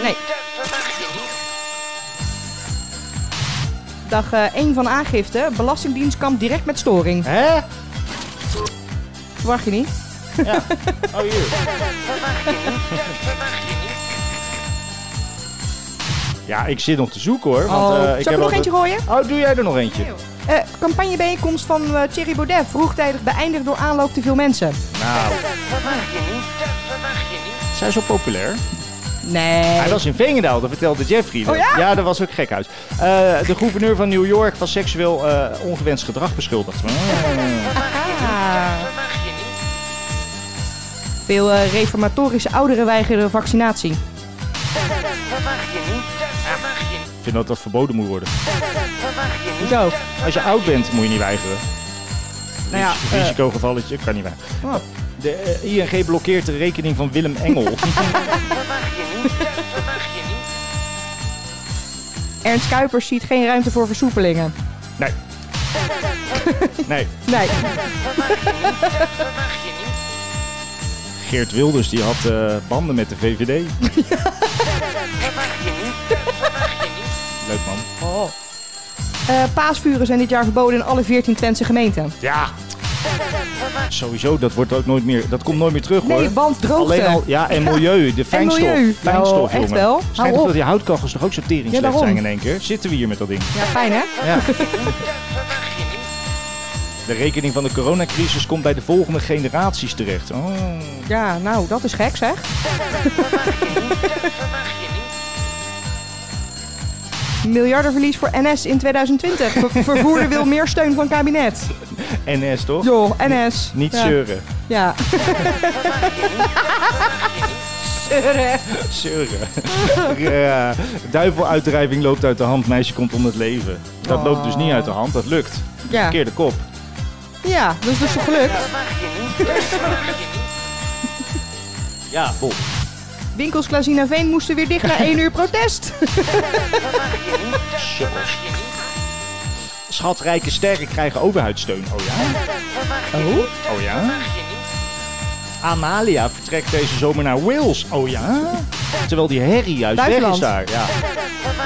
Speaker 3: nee. Dag 1 van aangifte. Belastingdienst kampt direct met storing.
Speaker 2: Hè?
Speaker 3: Verwacht je niet?
Speaker 2: Oh, hier. Ja, ik zit nog te zoeken hoor. Want,
Speaker 3: oh.
Speaker 2: eh,
Speaker 3: Zal
Speaker 2: ik
Speaker 3: ik
Speaker 2: heb
Speaker 3: er nog
Speaker 2: altijd-
Speaker 3: eentje gooien?
Speaker 2: Oh, doe jij er nog eentje?
Speaker 3: Eh, campagnebijeenkomst van eh, Thierry Baudet. Vroegtijdig beëindigd door aanloop te veel mensen.
Speaker 2: Nou. Zijn zo populair?
Speaker 3: Nee.
Speaker 2: Hij was in Venendaal, dat vertelde Jeffrey.
Speaker 3: Oh ja?
Speaker 2: dat was ook gekhuis. Eh, de gouverneur van New York van seksueel eh, ongewenst gedrag beschuldigd.
Speaker 3: Ah. Veel eh, reformatorische ouderen weigeren vaccinatie.
Speaker 2: Ik vind dat dat verboden moet worden.
Speaker 3: Hoezo?
Speaker 2: Als je oud bent, moet je niet weigeren.
Speaker 3: Nou ja,
Speaker 2: Ris-
Speaker 3: eh.
Speaker 2: risicogevalletje kan niet weigeren.
Speaker 3: Oh.
Speaker 2: De eh, ING blokkeert de rekening van Willem Engel.
Speaker 3: Ernst Kuipers ziet geen ruimte voor versoepelingen.
Speaker 2: nee. [laughs] Nee,
Speaker 3: Nee.
Speaker 2: Geert Wilders die had eh, banden met de VVD. Leuk man.
Speaker 3: Oh. Eh, paasvuren zijn dit jaar verboden in alle 14 Twentse gemeenten.
Speaker 2: Ja. Sowieso, dat wordt ook nooit meer. Dat komt nooit meer terug hoor.
Speaker 3: Nee, want droogte.
Speaker 2: Alleen al, ja, en milieu, de fijnstof.
Speaker 3: milieu.
Speaker 2: Fijnstof,
Speaker 3: Nou, echt
Speaker 2: jongen.
Speaker 3: wel. Hou
Speaker 2: Schijnt
Speaker 3: op.
Speaker 2: dat die houtkachels toch ook zo tering
Speaker 3: Ja,
Speaker 2: slecht
Speaker 3: daarom.
Speaker 2: zijn in één keer. Zitten we hier met dat ding.
Speaker 3: Ja, fijn hè?
Speaker 2: Ja. De rekening van de coronacrisis komt bij de volgende generaties terecht. Oh.
Speaker 3: [laughs] Ja, nou, dat is gek zeg. Miljardenverlies voor NS in 2020. Ver- vervoerder wil meer steun van kabinet.
Speaker 2: NS toch?
Speaker 3: Joh, NS.
Speaker 2: Niet
Speaker 3: ja.
Speaker 2: zeuren.
Speaker 3: Ja. Zeuren.
Speaker 2: Zeuren. [laughs] Ja. Duiveluitdrijving loopt uit de hand, meisje komt om het leven. Dat loopt dus niet uit de hand, dat lukt.
Speaker 3: Ja.
Speaker 2: Verkeerde kop.
Speaker 3: Ja, dus dat is gelukt.
Speaker 2: Ja, Bob.
Speaker 3: Winkels Klazina Veen moesten weer dicht na één uur protest.
Speaker 2: Shuttles. Schatrijke sterren krijgen overheidssteun. Oh ja? Oh? Oh ja? Amalia vertrekt deze zomer naar Wales. Oh ja? Terwijl die herrie juist weg is
Speaker 3: Duitsland.
Speaker 2: daar. Ja.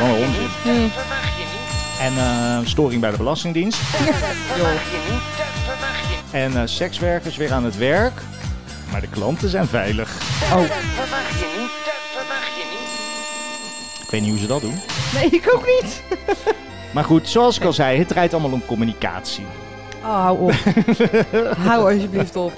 Speaker 2: Wat een onzin. En eh, storing bij de Belastingdienst. En eh, sekswerkers weer aan het werk. Maar de klanten zijn veilig.
Speaker 3: Oh.
Speaker 2: Ik weet niet hoe ze dat doen.
Speaker 3: Nee, ik ook niet.
Speaker 2: Maar goed, zoals ik al zei, het draait allemaal om communicatie.
Speaker 3: Oh, hou [laughs] op. hou alsjeblieft op.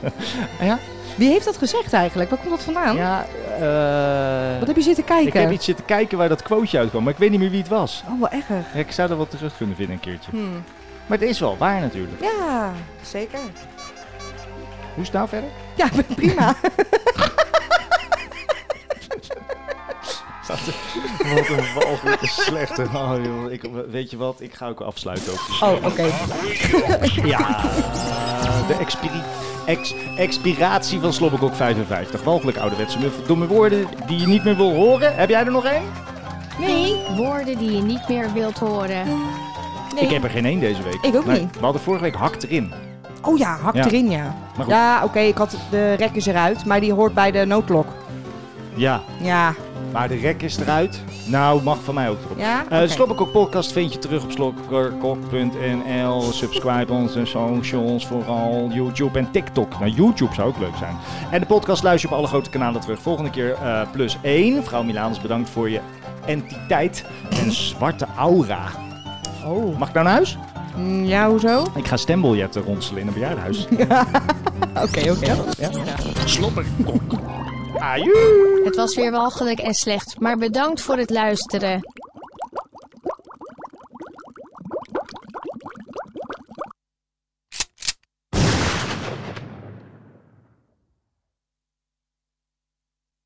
Speaker 2: Ja?
Speaker 3: Wie heeft dat gezegd eigenlijk? Waar komt dat vandaan?
Speaker 2: Ja, eh,
Speaker 3: Wat heb je zitten kijken?
Speaker 2: Ik heb iets zitten kijken waar dat quoteje uitkwam, maar ik weet niet meer wie het was.
Speaker 3: Oh, wel erg.
Speaker 2: Ja, ik zou dat wel terug kunnen vinden een keertje.
Speaker 3: Hmm.
Speaker 2: Maar het is wel waar natuurlijk.
Speaker 3: Ja, zeker.
Speaker 2: Hoe is het nou verder?
Speaker 3: Ja, ik ben prima.
Speaker 2: Wat een walgelijke slechte. Oh, joh. Ik, weet je wat? Ik ga ook afsluiten. Ook.
Speaker 3: [laughs] Oh, oké.
Speaker 2: Ja, de expiri- ex- expiratie van Slobberkok 55. Walgelijk ouderwetse muff. Domme woorden die je niet meer wil horen. Heb jij er nog één?
Speaker 3: Nee.
Speaker 7: Woorden die je niet meer wilt horen.
Speaker 3: nee.
Speaker 2: Ik heb er geen één deze week.
Speaker 3: Ik ook
Speaker 2: Maar
Speaker 3: niet.
Speaker 2: We hadden vorige week hakt erin.
Speaker 3: Oh ja, hak
Speaker 2: Ja.
Speaker 3: erin, ja.
Speaker 2: Maar goed.
Speaker 3: Ja, oké, ik had de rek is eruit, maar die hoort bij de noodklok.
Speaker 2: Ja,
Speaker 3: Ja.
Speaker 2: maar de rek is eruit. Nou, mag van mij ook erop.
Speaker 3: Ja?
Speaker 2: Eh,
Speaker 3: Oké.
Speaker 2: De Slobberkok podcast vind je terug op slobberkok.nl. Subscribe onze socials, vooral YouTube en TikTok. Nou, YouTube zou ook leuk zijn. En de podcast luister je op alle grote kanalen terug. Volgende keer eh, plus één. Vrouw Milanus, bedankt voor je entiteit en zwarte aura.
Speaker 3: Oh.
Speaker 2: Mag ik nou naar huis?
Speaker 3: Ja, hoezo?
Speaker 2: Ik ga stembiljetten ronselen in een
Speaker 3: [laughs]
Speaker 2: bejaardenhuis.
Speaker 3: Oké, oké.
Speaker 2: Ajoe!
Speaker 7: Het was weer walgelijk en slecht, maar bedankt voor het luisteren.